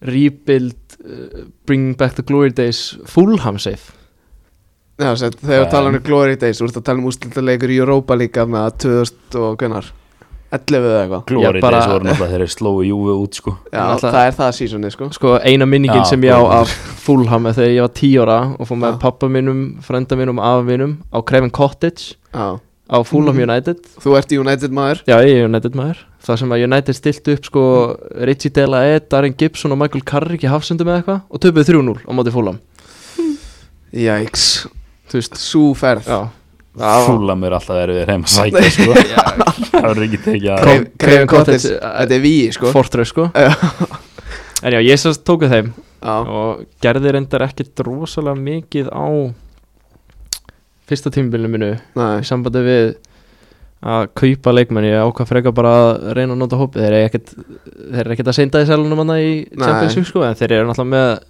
[SPEAKER 3] rebuild uh, Bring Back the Glory Days Fulham safe
[SPEAKER 1] Já sagt, þegar
[SPEAKER 2] Já.
[SPEAKER 1] við tala um Glory Days Þú ert að tala um úrslitaleikur í Europa líka með 2000 og hvernar 11 eða eitthvað
[SPEAKER 2] Glóri bara...
[SPEAKER 3] bara-
[SPEAKER 2] þessi voru náttúrulega þeirri slói Júve út sko.
[SPEAKER 1] Já,
[SPEAKER 3] En alltaf-
[SPEAKER 1] það er það seasonið sko
[SPEAKER 3] Sko eina minningin
[SPEAKER 2] Já,
[SPEAKER 3] sem ég á
[SPEAKER 2] Fulham.
[SPEAKER 3] af Fulham er þegar ég var 10 ára og fór með
[SPEAKER 1] Já.
[SPEAKER 3] pappa mínum, frenda mínum, afa mínum á Craven Cottage
[SPEAKER 1] Já.
[SPEAKER 3] á Fulham United
[SPEAKER 1] Þú ert United maður
[SPEAKER 3] Já, ég er United maður Það sem að United stilt upp sko Richie De La E, Darren Gibson og Michael Carrick í hafsendum eða eitthvað og töpuðu 3-0 á móti fólam
[SPEAKER 1] Jæks,
[SPEAKER 3] Þú veist,
[SPEAKER 1] sú ferð
[SPEAKER 3] já
[SPEAKER 2] fúla mér alltaf verið við heim að sækja sko. það verður ekki tekið að
[SPEAKER 3] Kom-
[SPEAKER 1] Krefin
[SPEAKER 3] Craven
[SPEAKER 1] Cottage,
[SPEAKER 3] Cottage,
[SPEAKER 1] þetta er víi sko
[SPEAKER 3] Fortress sko
[SPEAKER 1] Já.
[SPEAKER 3] En já, ég sérst tóku þeim
[SPEAKER 1] Já,
[SPEAKER 3] og gerði reyndar ekkert rosalega mikið á fyrsta tímbilinu minu
[SPEAKER 1] næ,
[SPEAKER 3] í sambandi við að kaupa leikmenn ég ákvað frekar bara að reyna að nota hópið þeir eru ekkert, þeir eru ekkert að seinda í selunum hann í
[SPEAKER 1] Nei.
[SPEAKER 3] Championship sko en þeir eru náttúrulega með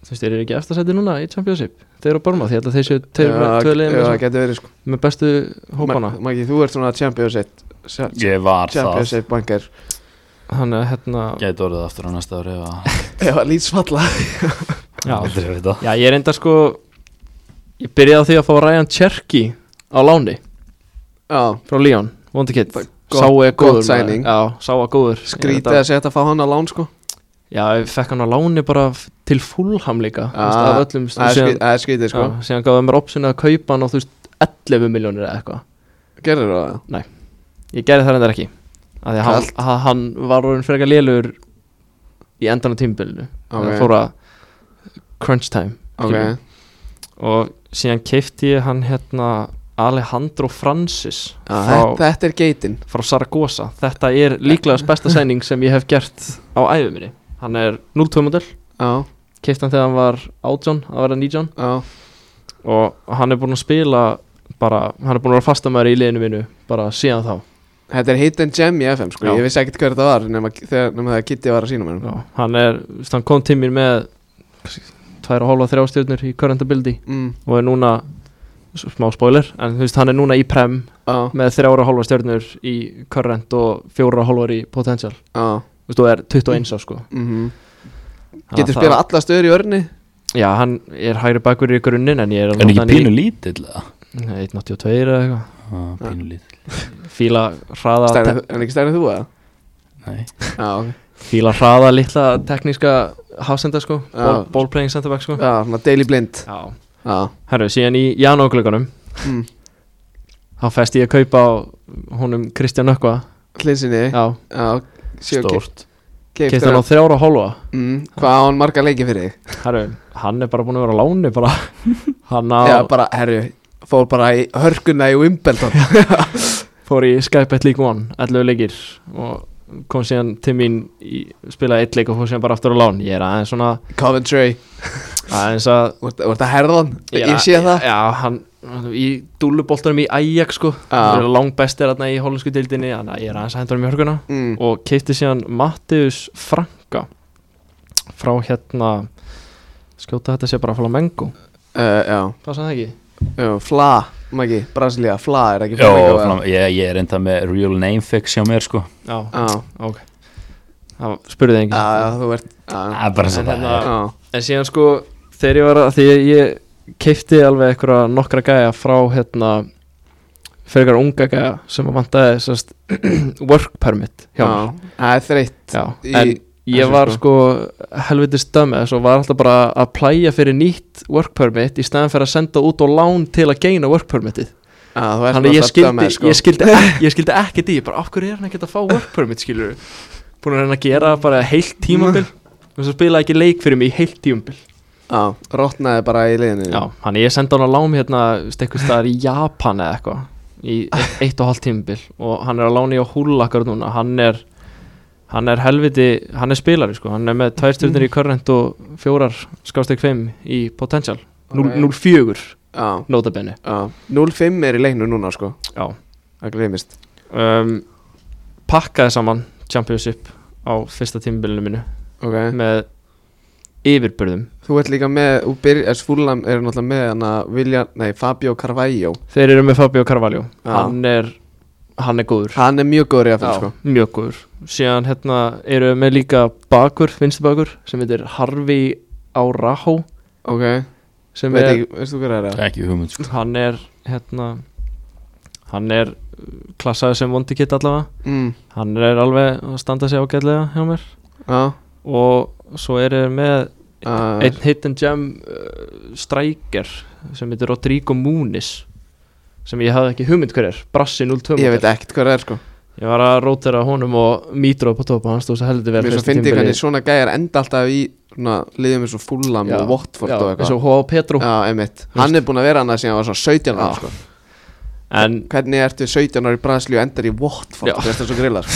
[SPEAKER 3] þú veist, þeir eru ekki eftirsæti núna í Championship þeir eru bara maður, ég held að þeir séu tveir með
[SPEAKER 1] Já,
[SPEAKER 3] tvö liðin
[SPEAKER 1] já,
[SPEAKER 3] með,
[SPEAKER 1] það getur verið sko
[SPEAKER 3] svona- með bestu hópana
[SPEAKER 1] Ma- Maggi, þú ert svona championship
[SPEAKER 2] ég var það
[SPEAKER 1] Championship banker
[SPEAKER 3] þannig að hérna
[SPEAKER 2] gæti orðið aftur á næsta ári eða-
[SPEAKER 1] Já, lýtsfalla
[SPEAKER 3] já,
[SPEAKER 2] aldrei veit það
[SPEAKER 3] já, ég reynda sko ég byrjaði á því að fá Ryan Cherky á láni
[SPEAKER 1] Já,
[SPEAKER 3] frá Leon, vondi kitt
[SPEAKER 1] Það er
[SPEAKER 3] sá er
[SPEAKER 1] gott
[SPEAKER 3] góður maður.
[SPEAKER 1] signing.
[SPEAKER 3] já, sá er góður
[SPEAKER 1] skrítið að segja þetta að fá hann á lán sko
[SPEAKER 3] Já, ég fekk hann á láni bara f- til fullham líka þú veist,
[SPEAKER 1] Ah,
[SPEAKER 3] af öllum stu-
[SPEAKER 1] Það er skri-
[SPEAKER 3] síðan,
[SPEAKER 1] það er skrítið sko
[SPEAKER 3] já, síðan gafði mér opsinu að kaupa hann á þú veist 11 miljónir eða eitthvað
[SPEAKER 1] Gerður það?
[SPEAKER 3] Ég gerði það reyndar ekki af því að hann, að hann var orðin frekar lélur í endan á tímbilinu
[SPEAKER 1] Ok.
[SPEAKER 3] okay. fór að crunch time
[SPEAKER 1] Ok,
[SPEAKER 3] skilurðu. og síðan keipti ég hann hérna Alejandro Francis
[SPEAKER 1] Já, Ah, þetta- þetta er geitin
[SPEAKER 3] frá Saragossa þetta er líklega besta sæning sem ég hef gert á æfið minni hann er 0-2 model,
[SPEAKER 1] Já,
[SPEAKER 3] keipti hann þegar hann var 18 að vera 19
[SPEAKER 1] já,
[SPEAKER 3] og hann er búinn að spila bara, hann er búinn að vera fastamæður í liðinu mínu bara síðan þá
[SPEAKER 1] þetta er hidden gem í FM sko
[SPEAKER 3] Já.
[SPEAKER 1] Ég vissi ekkert hver þetta var nema, þegar, nema þegar Kitty var að sína mér
[SPEAKER 3] Já, hann er, þú veist, hann kom til mér með kannski tvær og hálfa þrjá stjórnir í current ability
[SPEAKER 1] mm,
[SPEAKER 3] og er núna s- smá spoiler, en þú veist, hann er núna í prem
[SPEAKER 1] Já,
[SPEAKER 3] með þrjára og hálfa stjórnir í current og fjóra og hálfar í potential
[SPEAKER 1] já,
[SPEAKER 3] þú veist, og er 21 á sko
[SPEAKER 1] mhm
[SPEAKER 3] Þannig
[SPEAKER 1] Getur
[SPEAKER 3] að
[SPEAKER 1] spilað
[SPEAKER 3] það-
[SPEAKER 1] alla stöður í örni
[SPEAKER 3] Já, hann er hægri bakur í grunninn en ég er að
[SPEAKER 2] en
[SPEAKER 3] nota
[SPEAKER 2] ekki
[SPEAKER 3] hann í-
[SPEAKER 2] pínu lítill eða?
[SPEAKER 3] 1.82 eða eitthvað
[SPEAKER 2] Ah, pínu lítill
[SPEAKER 3] fíla hraða
[SPEAKER 1] Stærri- En ekki stærnið þú eða?
[SPEAKER 2] Nei.
[SPEAKER 1] Já, ok
[SPEAKER 3] Fíla hraða litla tekníska hafsenda sko
[SPEAKER 1] Já.
[SPEAKER 3] Ball, ball playing center back sko
[SPEAKER 1] Já, svona daily blind
[SPEAKER 3] Já
[SPEAKER 1] Já,
[SPEAKER 3] Herru, síðan í janúarglöggunum
[SPEAKER 1] Mm.
[SPEAKER 3] Þá festi ég kaupa á honum Kristján Ökva
[SPEAKER 1] hlinsinni
[SPEAKER 3] Já,
[SPEAKER 1] Já,
[SPEAKER 2] stórt
[SPEAKER 3] kefti hann
[SPEAKER 1] Keiftur
[SPEAKER 3] á þrjára og hálfa
[SPEAKER 1] Mm, hvað á hann marga leiki fyrir þig?
[SPEAKER 3] Herru, hann er bara búin að vera á láni bara Hann á,
[SPEAKER 1] Já, bara, herru, fór bara í hörkuna í Wimbledon
[SPEAKER 3] fór í Skype 1 League One 11 leikir og kom síðan til mín í, spilaði eitt leik og fór síðan bara aftur á lán Ég er aðeins svona
[SPEAKER 1] Coventry,
[SPEAKER 3] aðeins að
[SPEAKER 1] þú ert þú ert að herðan
[SPEAKER 3] er
[SPEAKER 1] Ég
[SPEAKER 3] að-
[SPEAKER 1] sé það
[SPEAKER 3] Já, hann hann- í dúluboltanum í Ajax sko
[SPEAKER 1] Já.
[SPEAKER 3] Það er langbestir þarna í hollensku dildinni Þannig að ég er aðeins að hendur um í hörguna
[SPEAKER 1] mm,
[SPEAKER 3] og keipti síðan Mattius Franka frá hérna skjóta þetta sé bara að fara mengu
[SPEAKER 1] uh, Já,
[SPEAKER 3] passa það ekki?
[SPEAKER 1] já, Fla, magi, Brasilia, Fla er ekki
[SPEAKER 2] Jó,
[SPEAKER 1] Flamengo, eða?
[SPEAKER 2] flam- ég, ég er enda með real name fix hjá mér sko
[SPEAKER 3] Já,
[SPEAKER 1] Já,
[SPEAKER 3] ok það spurði enginn
[SPEAKER 1] já, já, þú ert Já,
[SPEAKER 2] það er bara eins og
[SPEAKER 3] En
[SPEAKER 2] það
[SPEAKER 3] hérna-
[SPEAKER 2] er
[SPEAKER 1] já,
[SPEAKER 3] en síðan sko þegar ég var að því ég, ég keipti alveg einhverja nokkra gæja frá hérna fyrir einhverja unga gæja sem að vantaði sest, work permit hjá mér
[SPEAKER 1] já, það er þreytt
[SPEAKER 3] Já,
[SPEAKER 1] Ah. Í-
[SPEAKER 3] en ég
[SPEAKER 1] þessu,
[SPEAKER 3] var
[SPEAKER 1] sko.
[SPEAKER 3] sko helviti stömmið svo var alltaf bara að plæja fyrir nýtt work permit í staðan fyrir að senda út á lán til að geina work permitið
[SPEAKER 1] Já, þú ert
[SPEAKER 3] þannig að
[SPEAKER 1] náttúrulega
[SPEAKER 3] ég skildi,
[SPEAKER 1] dömmer, sko.
[SPEAKER 3] ég skildi ek- ég skildi ekki því, bara af hverju er hann ekkert að fá work permit skilur búin að reyna að gera bara heilt tímabil og svo spilaði ekki leik fyrir mig í heilt tímabil
[SPEAKER 1] Já, rotnaði bara í liðinu
[SPEAKER 3] já, hann ég sendi hann á lán hérna stekkur staðar í Japan eða eitthvað í eitt- eitt og hálft tímabil og hann er á láni á húlakar núna hann er, hann er helviti hann er spilari sko, hann er með tvær stjórnir í current og fjórar skásteg 5 í potential, 0
[SPEAKER 1] Ok.
[SPEAKER 3] 0-4
[SPEAKER 1] já,
[SPEAKER 3] notabene
[SPEAKER 1] já 0-5 er í leiknu núna, sko
[SPEAKER 3] já
[SPEAKER 1] Það gleymist
[SPEAKER 3] um, pakkaði saman Championship á fyrsta tímabilinu mínu
[SPEAKER 1] Ok
[SPEAKER 3] með yfirbörðum
[SPEAKER 1] Þú ert líka með, þú byrjar, Fúlam er náttúrulega með hann að vilja, nei, Fabio Carvalho
[SPEAKER 3] þeir eru með Fabio Carvalho
[SPEAKER 1] Já.
[SPEAKER 3] hann er, hann er góður
[SPEAKER 1] Hann er mjög góður í aðfell, sko
[SPEAKER 3] mjög góður síðan hérna eru við með líka bakur, vinstu bakur sem heitir Harvey Áraho
[SPEAKER 1] Ok,
[SPEAKER 3] sem
[SPEAKER 1] veit
[SPEAKER 3] er,
[SPEAKER 1] ekki, veist þú hver er það?
[SPEAKER 2] ekki hugmynd sko
[SPEAKER 3] hann er hérna hann er klassaði sem vondi kitt allavega
[SPEAKER 1] Mm,
[SPEAKER 3] hann er alveg að standa sig ágætlega hjá mér
[SPEAKER 1] já,
[SPEAKER 3] og svo eru við með
[SPEAKER 1] Ah.
[SPEAKER 3] einn hidden gem uh, striker sem heitir Rodrigo Muniz sem ég hafði ekki hugmynd hver er Brassi 02
[SPEAKER 1] ég veit
[SPEAKER 3] módel.
[SPEAKER 1] ekkert hver það er, sko
[SPEAKER 3] ég var að rótera honum og Mitro upp á topa hann stóð svo heldur vel
[SPEAKER 1] Mér svo
[SPEAKER 3] fyrsta
[SPEAKER 1] fyndi ég
[SPEAKER 3] tímabilið.
[SPEAKER 1] hvernig svona gæjar enda alltaf í, svona, liðum eins og Fúlam
[SPEAKER 3] Já,
[SPEAKER 1] og Watford
[SPEAKER 3] já,
[SPEAKER 1] og
[SPEAKER 3] eins
[SPEAKER 1] eitthvað
[SPEAKER 3] og H.A. Petru
[SPEAKER 1] Já, einmitt Hann er búin að vera hann að síðan hann var svona 17 ára,
[SPEAKER 3] Já.
[SPEAKER 1] sko
[SPEAKER 3] en,
[SPEAKER 1] Hvernig ertu 17 ári í Bransli og endar í Watford
[SPEAKER 3] Já.
[SPEAKER 1] Þú veist það svo grillar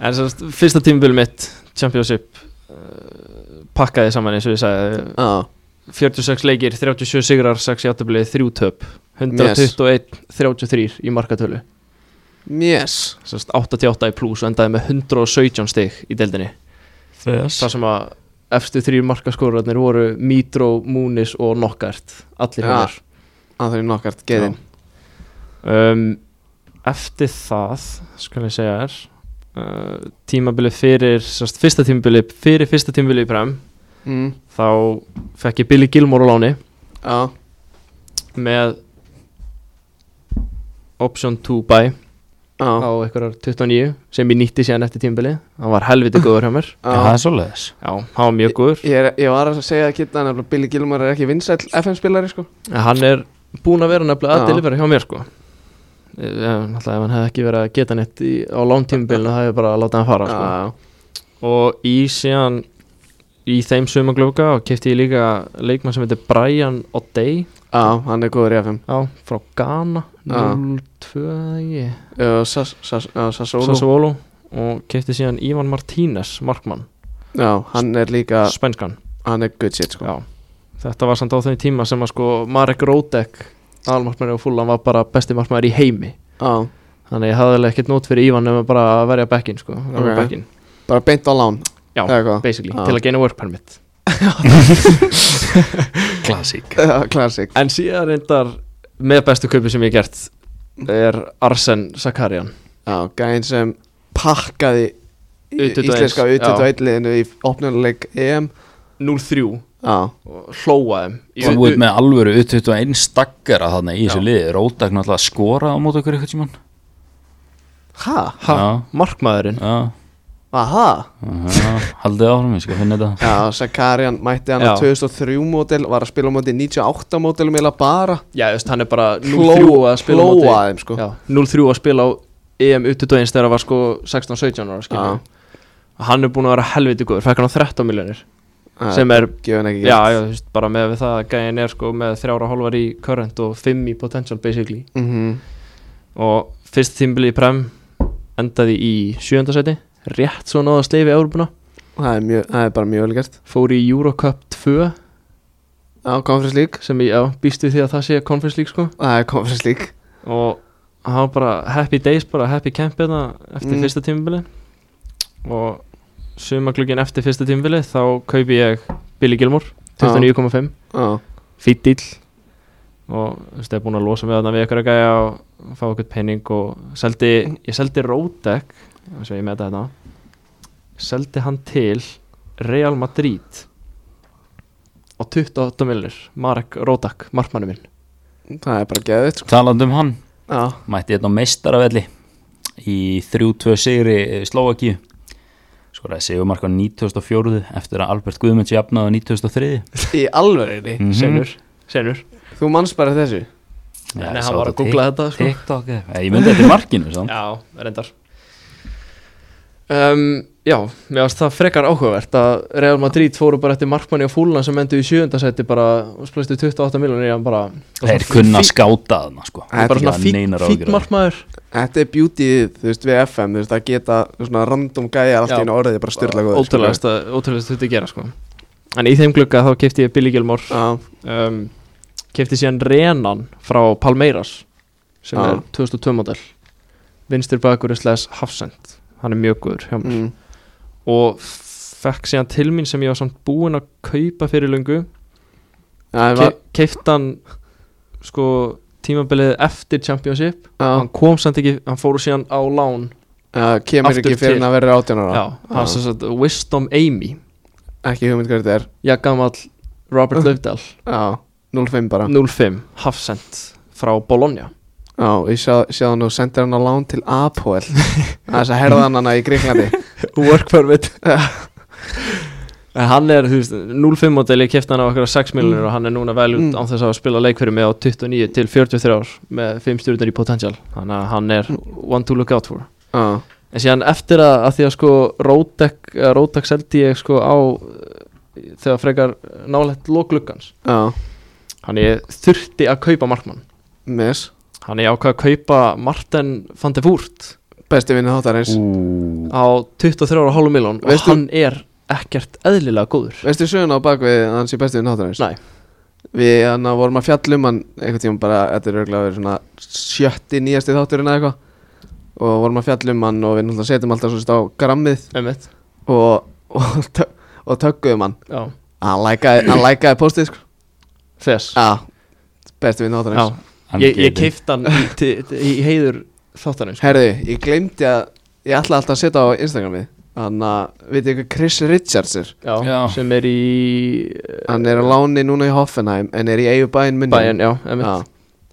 [SPEAKER 3] en semst, fyrsta tímabil mitt Championship uh, pakkaði saman eins og ég sagði
[SPEAKER 1] Já,
[SPEAKER 3] 46 leikir, 37 sigrar, 6 játtablið, 3 töp 121, 33 í markatölu
[SPEAKER 1] mjess
[SPEAKER 3] semst, 88 í pluss og endaði með 117 stig í deildinni
[SPEAKER 2] Þess
[SPEAKER 3] þar sem að efstu þrjir markaskorarnir voru Mitro, Múnis og Nokkart allir
[SPEAKER 1] Já.
[SPEAKER 3] ja.
[SPEAKER 1] Anthony Knockart, geðin
[SPEAKER 3] um, eftir það skal ég segja þér uh, tímabilið fyrir sérst, fyrsta tímabilið fyrir fyrsta tímabilið í prem
[SPEAKER 1] mm.
[SPEAKER 3] þá fekk ég Billy Gilmore á láni
[SPEAKER 1] Já,
[SPEAKER 3] með option to buy
[SPEAKER 1] já,
[SPEAKER 3] á einhverjar 29 sem ég nýtti síðan eftir tímabilið hann var helviti góður hjá mér
[SPEAKER 2] Það
[SPEAKER 1] já
[SPEAKER 2] er svoleiðis
[SPEAKER 3] já, hann var mjög góður
[SPEAKER 1] Ég, er, ég var að segja að kitta nefnilega Billy Gilmar er ekki vinsæll FM-spilari sko
[SPEAKER 3] En hann er búin að vera nefnilega
[SPEAKER 1] Já.
[SPEAKER 3] að delivera hjá mér sko Eh, Náttúrulega ef hann hefði ekki verið að geta neitt í, á lántímubilinu það hefði bara að láta hann fara sko.
[SPEAKER 1] Já,
[SPEAKER 3] Og í síðan í þeim sumaglöfka og kefti ég líka leikmann sem heitir Brian O'Day
[SPEAKER 1] já, hann er góður í FM
[SPEAKER 3] á, frá Ghana
[SPEAKER 1] Já.
[SPEAKER 3] 02 eða ekki,
[SPEAKER 1] Já, Sas- Sas- já, Sassuolo
[SPEAKER 3] Sassuolo og kefti síðan Ivan Martínez Markmann,
[SPEAKER 1] Já, hann er líka,
[SPEAKER 3] spænskan
[SPEAKER 1] hann er good shit sko
[SPEAKER 3] Já, þetta var samt á þeim tíma sem að sko Marek Ródek almarkmæri og fullan var bara besti markmæri í heimi
[SPEAKER 1] Já,
[SPEAKER 3] þannig ég hafði alveg ekkert nót fyrir Ívan nema bara að verja bekkin sko, okay.
[SPEAKER 1] Ok.
[SPEAKER 3] bekkin.
[SPEAKER 1] bara beint á lán
[SPEAKER 3] Já,
[SPEAKER 1] eða hvað?
[SPEAKER 3] basically,
[SPEAKER 1] Já.
[SPEAKER 3] til að geina work permit
[SPEAKER 2] Klassík
[SPEAKER 1] Já, Classic
[SPEAKER 3] en síðan reyndar með bestu kaupi sem ég hef gert er Arsen Sakarian
[SPEAKER 1] Já, gæðin sem pakkaði í-
[SPEAKER 3] U21,
[SPEAKER 1] íslenska
[SPEAKER 3] já.
[SPEAKER 1] U21 liðinu í opnuleik EM
[SPEAKER 3] 0-3
[SPEAKER 1] Já,
[SPEAKER 3] og hlóaðum
[SPEAKER 2] Þú ert með alvöru utut og einn stakkara þarna í þessu
[SPEAKER 3] Já.
[SPEAKER 2] liði Rótak náttúrulega að skora á mót okkur eitthvað tímann
[SPEAKER 1] hæ?
[SPEAKER 3] ha,
[SPEAKER 2] Já.
[SPEAKER 3] markmaðurinn
[SPEAKER 2] Já,
[SPEAKER 1] Aha
[SPEAKER 2] já, haldið áfram, ég skal finna þetta
[SPEAKER 1] Já, Sakarian mætti hann á
[SPEAKER 3] Já.
[SPEAKER 1] 2003 mótil Var að spila á móti 98 mótilum eða bara
[SPEAKER 3] já, þú veist, hann er bara 0-3
[SPEAKER 1] Hlóa
[SPEAKER 3] að spila á móti-
[SPEAKER 1] Hlóa þeim sko
[SPEAKER 3] Já, 0-3 að spila á E EM U21 þegar það var sko 16-17 ára skilur hann er búin að vera helviti góður, fekk hann á 13 miljonir
[SPEAKER 1] Já,
[SPEAKER 3] sem er,
[SPEAKER 1] Gjöfum ekki
[SPEAKER 3] já, já, þú veist, bara með við það að gæðin er sko með þrjára hálfar í current og 5 í potential basically
[SPEAKER 1] mm
[SPEAKER 3] og fyrst tímbili í prem endaði í sjöndasæti rétt svo náða sleifi Európuna
[SPEAKER 1] það, er mjög, það er bara mjög velgert
[SPEAKER 3] fór í Eurocup 2
[SPEAKER 1] Já, Conference League
[SPEAKER 3] sem ég, já, býst við því að það sé Conference League sko
[SPEAKER 1] Það er Conference League
[SPEAKER 3] og hann var bara happy days bara happy camp hérna eftir
[SPEAKER 1] Mm.
[SPEAKER 3] fyrsta tímabili og sumaglugin eftir fyrsta tímabili þá kaupi ég Billy Gilmore 29,5
[SPEAKER 1] Já,
[SPEAKER 3] fýtt dýl og þú veist, ég er búin að losa mig þarna við ykkur að gæja og fá okkur penning og seldi, ég seldi Ródek þess að ég meta þetta hérna, seldi hann til Real Madrid á 28 millir Marek Ródek, markmannu minn
[SPEAKER 1] það er bara geðið sko
[SPEAKER 2] Talandi um hann,
[SPEAKER 1] Já,
[SPEAKER 2] mætti hérna á meistaravelli í 3-2 sigri Slovaki skoraði sigumark á 94 eftir að Albert Guðmunds jafnaði á 93
[SPEAKER 1] í alvegurinni
[SPEAKER 2] Mhm.
[SPEAKER 3] senur, senur
[SPEAKER 1] Þú manns bara þessu
[SPEAKER 2] Já,
[SPEAKER 3] Nei,
[SPEAKER 2] ég
[SPEAKER 3] hann
[SPEAKER 2] sá
[SPEAKER 3] var
[SPEAKER 2] þetta
[SPEAKER 3] að
[SPEAKER 2] á
[SPEAKER 3] googla
[SPEAKER 2] Tik-
[SPEAKER 3] þetta, sko.
[SPEAKER 2] TikTok, eða- ég myndi þetta í markinu sann.
[SPEAKER 3] Já, reyndar um, Já, mér varst það frekar áhugavert að Real Madrid fóru bara eftir markmanni og fúlan sem endur í sjöundasæti bara og splistu 28 miljonir í hann bara
[SPEAKER 2] þeir kunna að skáta þarna sko.
[SPEAKER 1] Þetta er
[SPEAKER 3] bara svona
[SPEAKER 2] Ekki hafa
[SPEAKER 3] fýtt
[SPEAKER 2] neinar
[SPEAKER 3] fít
[SPEAKER 2] áhyggjur af því.
[SPEAKER 3] markmaður
[SPEAKER 1] Þetta er beauty, þú veist, við FM, þú veist, að geta svona random gæjar allt í
[SPEAKER 3] Já.
[SPEAKER 1] einu orðið er bara styrla góður. sko.
[SPEAKER 3] ótrúlegast þetta að gera sko en í þeim glugga þá kefti ég Billy Gilmore
[SPEAKER 1] Já,
[SPEAKER 3] um, kefti síðan Renan frá Palmeiras sem
[SPEAKER 1] Já.
[SPEAKER 3] er 2002 model vinstur bakur er slæðis Hafsend hann er mjög góður hjá mér
[SPEAKER 1] mm,
[SPEAKER 3] og fekk síðan til mín sem ég var samt búinn að kaupa fyrir lungu
[SPEAKER 1] já, ég var,
[SPEAKER 3] Ke keiftan sko tímabilið eftir Championship
[SPEAKER 1] já,
[SPEAKER 3] hann kom samt ekki, hann fór síðan á lán
[SPEAKER 1] já, kemur
[SPEAKER 3] aftur
[SPEAKER 1] ekki fyrir
[SPEAKER 3] til.
[SPEAKER 1] en að verður 18 ára.
[SPEAKER 3] já, hann
[SPEAKER 1] Já.
[SPEAKER 3] sem sagt Wisdom Amy
[SPEAKER 1] Ekki hugmynd hvað þetta er.
[SPEAKER 3] Jagamall Robert Löfdal
[SPEAKER 1] Já, 0-5 bara.
[SPEAKER 3] 05, Hafsend frá Bologna
[SPEAKER 1] Já, ég sjá, sjá hann og sendir hann á lán til Apoel. Það er þess að herða hann hana í Gríklandi.
[SPEAKER 3] work permit en hann er, þú veist, 05 model ég keifti hann á okkur 6 miljonir og hann er núna vel út
[SPEAKER 1] Mm.
[SPEAKER 3] án þess að spila leik fyrir mig á 29 til 43 ár með 5 stjórnir í potential þannig að hann er one to look out for
[SPEAKER 1] Já,
[SPEAKER 3] En síðan eftir að, að því að sko Rótek, eða Rótek seldi ég sko á eh, þegar frekar nálægt lókluggans
[SPEAKER 1] já,
[SPEAKER 3] Þannig ég þurfti að kaupa markmann
[SPEAKER 1] miss.
[SPEAKER 3] hann er ákvað að kaupa Martin van de Voort
[SPEAKER 1] besti vinnu þáttarins
[SPEAKER 2] Ú,
[SPEAKER 3] á 23,5 miljón og
[SPEAKER 1] Veistu-
[SPEAKER 3] hann er ekkert eðlilega góður
[SPEAKER 1] Veistu söguna á bakvið að hann sé besti vinnu þáttarins?
[SPEAKER 3] Nei.
[SPEAKER 1] Við hann vorum að fjallum hann einhvern tíma bara, þetta er örgulega verið svona sjötti nýjasti þátturinn eða eitthvað og vorum að fjallum hann og við náttúrulega setjum alltaf svo sérst á grammið
[SPEAKER 3] einmitt
[SPEAKER 1] og, og, tö- og tökkuðum hann
[SPEAKER 3] já,
[SPEAKER 1] Hann lækaði, hann lækaði postið sko
[SPEAKER 3] þess
[SPEAKER 1] Já, besti vinnu
[SPEAKER 3] já,
[SPEAKER 1] þáttarins
[SPEAKER 2] hann
[SPEAKER 3] ég, ég
[SPEAKER 2] getur-
[SPEAKER 3] keifti hann í, til, í heiður þáttanum sko.
[SPEAKER 1] Herðu, ég glemdi að ég ætla alltaf að setja á Instagramið Þannig að, veit ég hvað Chris Richards er
[SPEAKER 3] já,
[SPEAKER 2] Já.
[SPEAKER 3] sem er í
[SPEAKER 1] Hann er á láni núna í Hoffenheim en er í eigu bæinn munni
[SPEAKER 3] bæinn, já, einmitt
[SPEAKER 1] Já.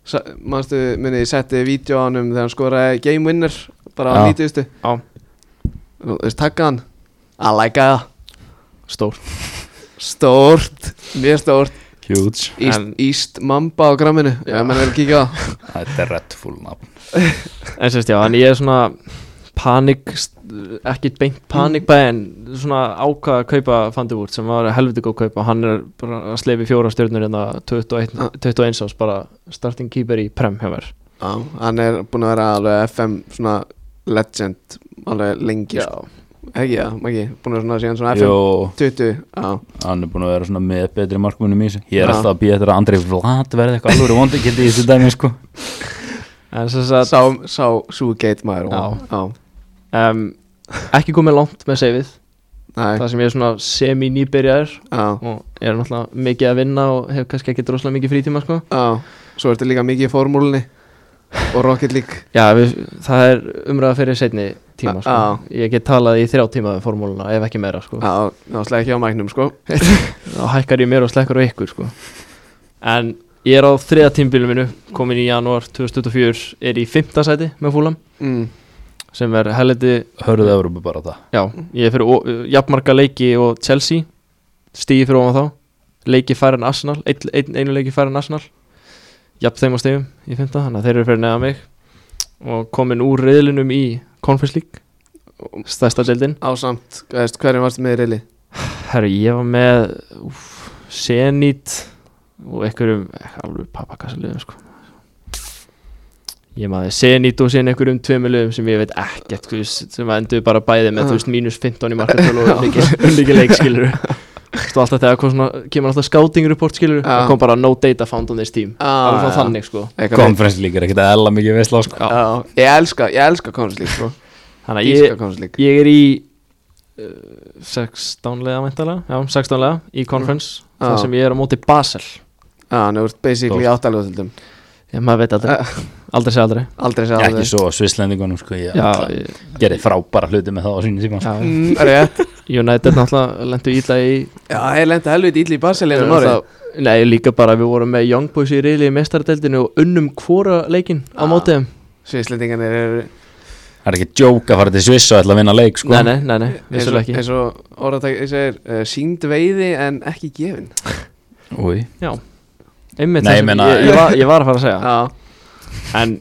[SPEAKER 1] Sa- Manstu, munni, ég setti vídeo á hann um þegar hann skoraði game winner bara á
[SPEAKER 2] Já.
[SPEAKER 1] 90.
[SPEAKER 3] Já.
[SPEAKER 1] Þú veist, takka hann að læka það
[SPEAKER 3] stór
[SPEAKER 1] Stórt, mjög stórt
[SPEAKER 2] Huge
[SPEAKER 1] Íst,
[SPEAKER 3] En-
[SPEAKER 1] Íst Mamba á gramminu
[SPEAKER 3] Já.
[SPEAKER 1] Já, menn verður að kíkja á það
[SPEAKER 2] Þetta er Redful nafn
[SPEAKER 3] en sérst já, en ég er svona panik, ekki beint
[SPEAKER 1] Mm.
[SPEAKER 3] panik en svona ákvað að kaupa Fandivúrt sem var helviti góð kaup og hann er bara að sleifi fjóra stjörnur hérna 21,
[SPEAKER 1] Ah.
[SPEAKER 3] 21 ás bara starting keeper í prem hjá mér
[SPEAKER 1] Já, hann er búin að vera alveg FM svona legend alveg lengi sko. Ekki, já, Maggi, búin að vera svona síðan svona FM
[SPEAKER 2] Jó,
[SPEAKER 1] 20, já
[SPEAKER 2] hann er búin að vera svona með betri markmunum í sig Ég er
[SPEAKER 1] Já.
[SPEAKER 2] alltaf að býja þetta að Andrei Vlad verði eitthvað alveg vondi í þessu dæmi sko
[SPEAKER 3] en sérst að
[SPEAKER 1] Sá, sá Súgeit maður
[SPEAKER 3] Já.
[SPEAKER 1] já.
[SPEAKER 3] um, ekki komið langt með seifið
[SPEAKER 1] Nei,
[SPEAKER 3] það sem ég er svona semi-nýbyrjar
[SPEAKER 1] já,
[SPEAKER 3] og er náttúrulega mikið að vinna og hef kannski ekki droslega mikið frítíma sko.
[SPEAKER 1] já Svo ertu líka mikið í formúlunni og Rocket League
[SPEAKER 3] Já, við, það er umræða fyrir setni tíma sko.
[SPEAKER 1] Já.
[SPEAKER 3] Ég get talað í þrjá tíma um formúluna ef ekki meira sko.
[SPEAKER 1] Já, þá slega ekki á mæknum, sko
[SPEAKER 3] þá hækkar ég mér og slekkar á ykkur sko. en ég er á þriða tímbilum minu komin í janúar 2024 er í fymta sæti með fúlam
[SPEAKER 1] mm.
[SPEAKER 3] sem er helviti
[SPEAKER 2] Hörðu það voru bara á það
[SPEAKER 3] já, ég er fyrir ó- jafnmarga leiki og Chelsea stíði fyrir ofan þá leiki færre en Arsenal ein, ein, einu leiki færre en Arsenal jafn þeim á stíðum í fymta þannig að þeir eru fyrir neða mig og komin úr reyðlinum í Conference League stærsta deildin
[SPEAKER 1] Ásamt, veist, hverjum varstu með í reyli?
[SPEAKER 3] Herru, ég var með úf, Zenit og einhverjum, ekki alveg pappakassalegum sko. ég maður Zenit og síðan einhverjum tveimilegum sem ég veit ekkert þú veist, sem að endur bara bæði með þú veist,
[SPEAKER 1] Ah.
[SPEAKER 3] mínus 15 í markatölu og unlíki leik skilur Þú alltaf þegar kom svona, kemur alltaf scouting report skilur
[SPEAKER 1] Já.
[SPEAKER 3] það kom bara no data found on this team
[SPEAKER 1] Ah,
[SPEAKER 3] alveg frá þannig sko Ah,
[SPEAKER 1] Eitthvað
[SPEAKER 2] Konferens líka er ekkert eðla mikið veist sko
[SPEAKER 1] Já, ég elska, ég elska Conference League, sko
[SPEAKER 3] þannig að
[SPEAKER 1] Íska
[SPEAKER 3] ég,
[SPEAKER 1] Conference League
[SPEAKER 3] ég er í uh, 16 lega meintalega, já 16 lega í conference,
[SPEAKER 1] Já.
[SPEAKER 3] þar sem ég er á móti Basel
[SPEAKER 1] Já, nú ert basically
[SPEAKER 2] Stórt.
[SPEAKER 1] áttaljóðildum
[SPEAKER 3] Já, maður veit
[SPEAKER 1] Eh.
[SPEAKER 3] aldrei Aldrei segja aldrei
[SPEAKER 1] Aldrei
[SPEAKER 2] Ég
[SPEAKER 1] sagði
[SPEAKER 2] ekki svo svislendingunum sko Ég
[SPEAKER 3] Já,
[SPEAKER 2] já,
[SPEAKER 3] ég-
[SPEAKER 2] gerði frábæra hluti með það á sínu tíma sko.
[SPEAKER 3] já.
[SPEAKER 1] mm, Rétt
[SPEAKER 3] United náttúrulega lendu ítla í
[SPEAKER 1] Já, ég lendi helviti ítli í Barcelina um árið
[SPEAKER 3] Þá- Nei, líka bara við vorum með Young Boys í reyli í mestardeldinu og unnum hvora leikinn á
[SPEAKER 1] Ah,
[SPEAKER 3] móti þeim
[SPEAKER 1] Svislendingarnir eru
[SPEAKER 2] Það er ekki djók að fara til Sviss og ætla að vinna leik sko
[SPEAKER 3] Nei, nei, nei, nei,
[SPEAKER 1] eins og-
[SPEAKER 3] vissulega ekki
[SPEAKER 1] eins og orðatæk, ég segir, uh, sínd veiði en ekki gefin
[SPEAKER 2] Úi.
[SPEAKER 3] Einmitt
[SPEAKER 2] Nei, ég
[SPEAKER 3] það sem
[SPEAKER 2] meina-
[SPEAKER 3] ég, ég, var, ég var að fara að segja
[SPEAKER 1] Já,
[SPEAKER 3] En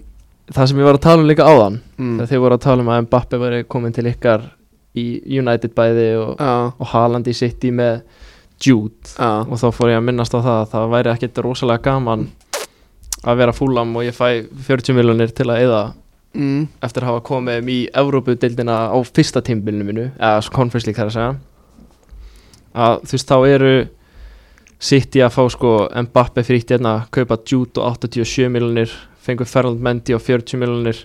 [SPEAKER 3] það sem ég var að tala um líka áðan
[SPEAKER 1] mm.
[SPEAKER 3] Þegar þið voru að tala um að Mbappe væri komin til ykkar í United bæði og,
[SPEAKER 1] já,
[SPEAKER 3] og Haaland í City með Jude
[SPEAKER 1] já
[SPEAKER 3] og þá fór ég að minnast á það að það væri ekkert rosalega gaman að vera fúlam og ég fæ 40 miljonir til að eða
[SPEAKER 1] mm.
[SPEAKER 3] eftir að hafa komið um í Evrópudeildina á fyrsta tímbilinu minu eða svo Conference League þar að segja að þú veist þá eru City að fá sko Mbappe frítt hérna, kaupa Jude og 87 miljonir, fengur Ferland Mendy á 40 miljonir,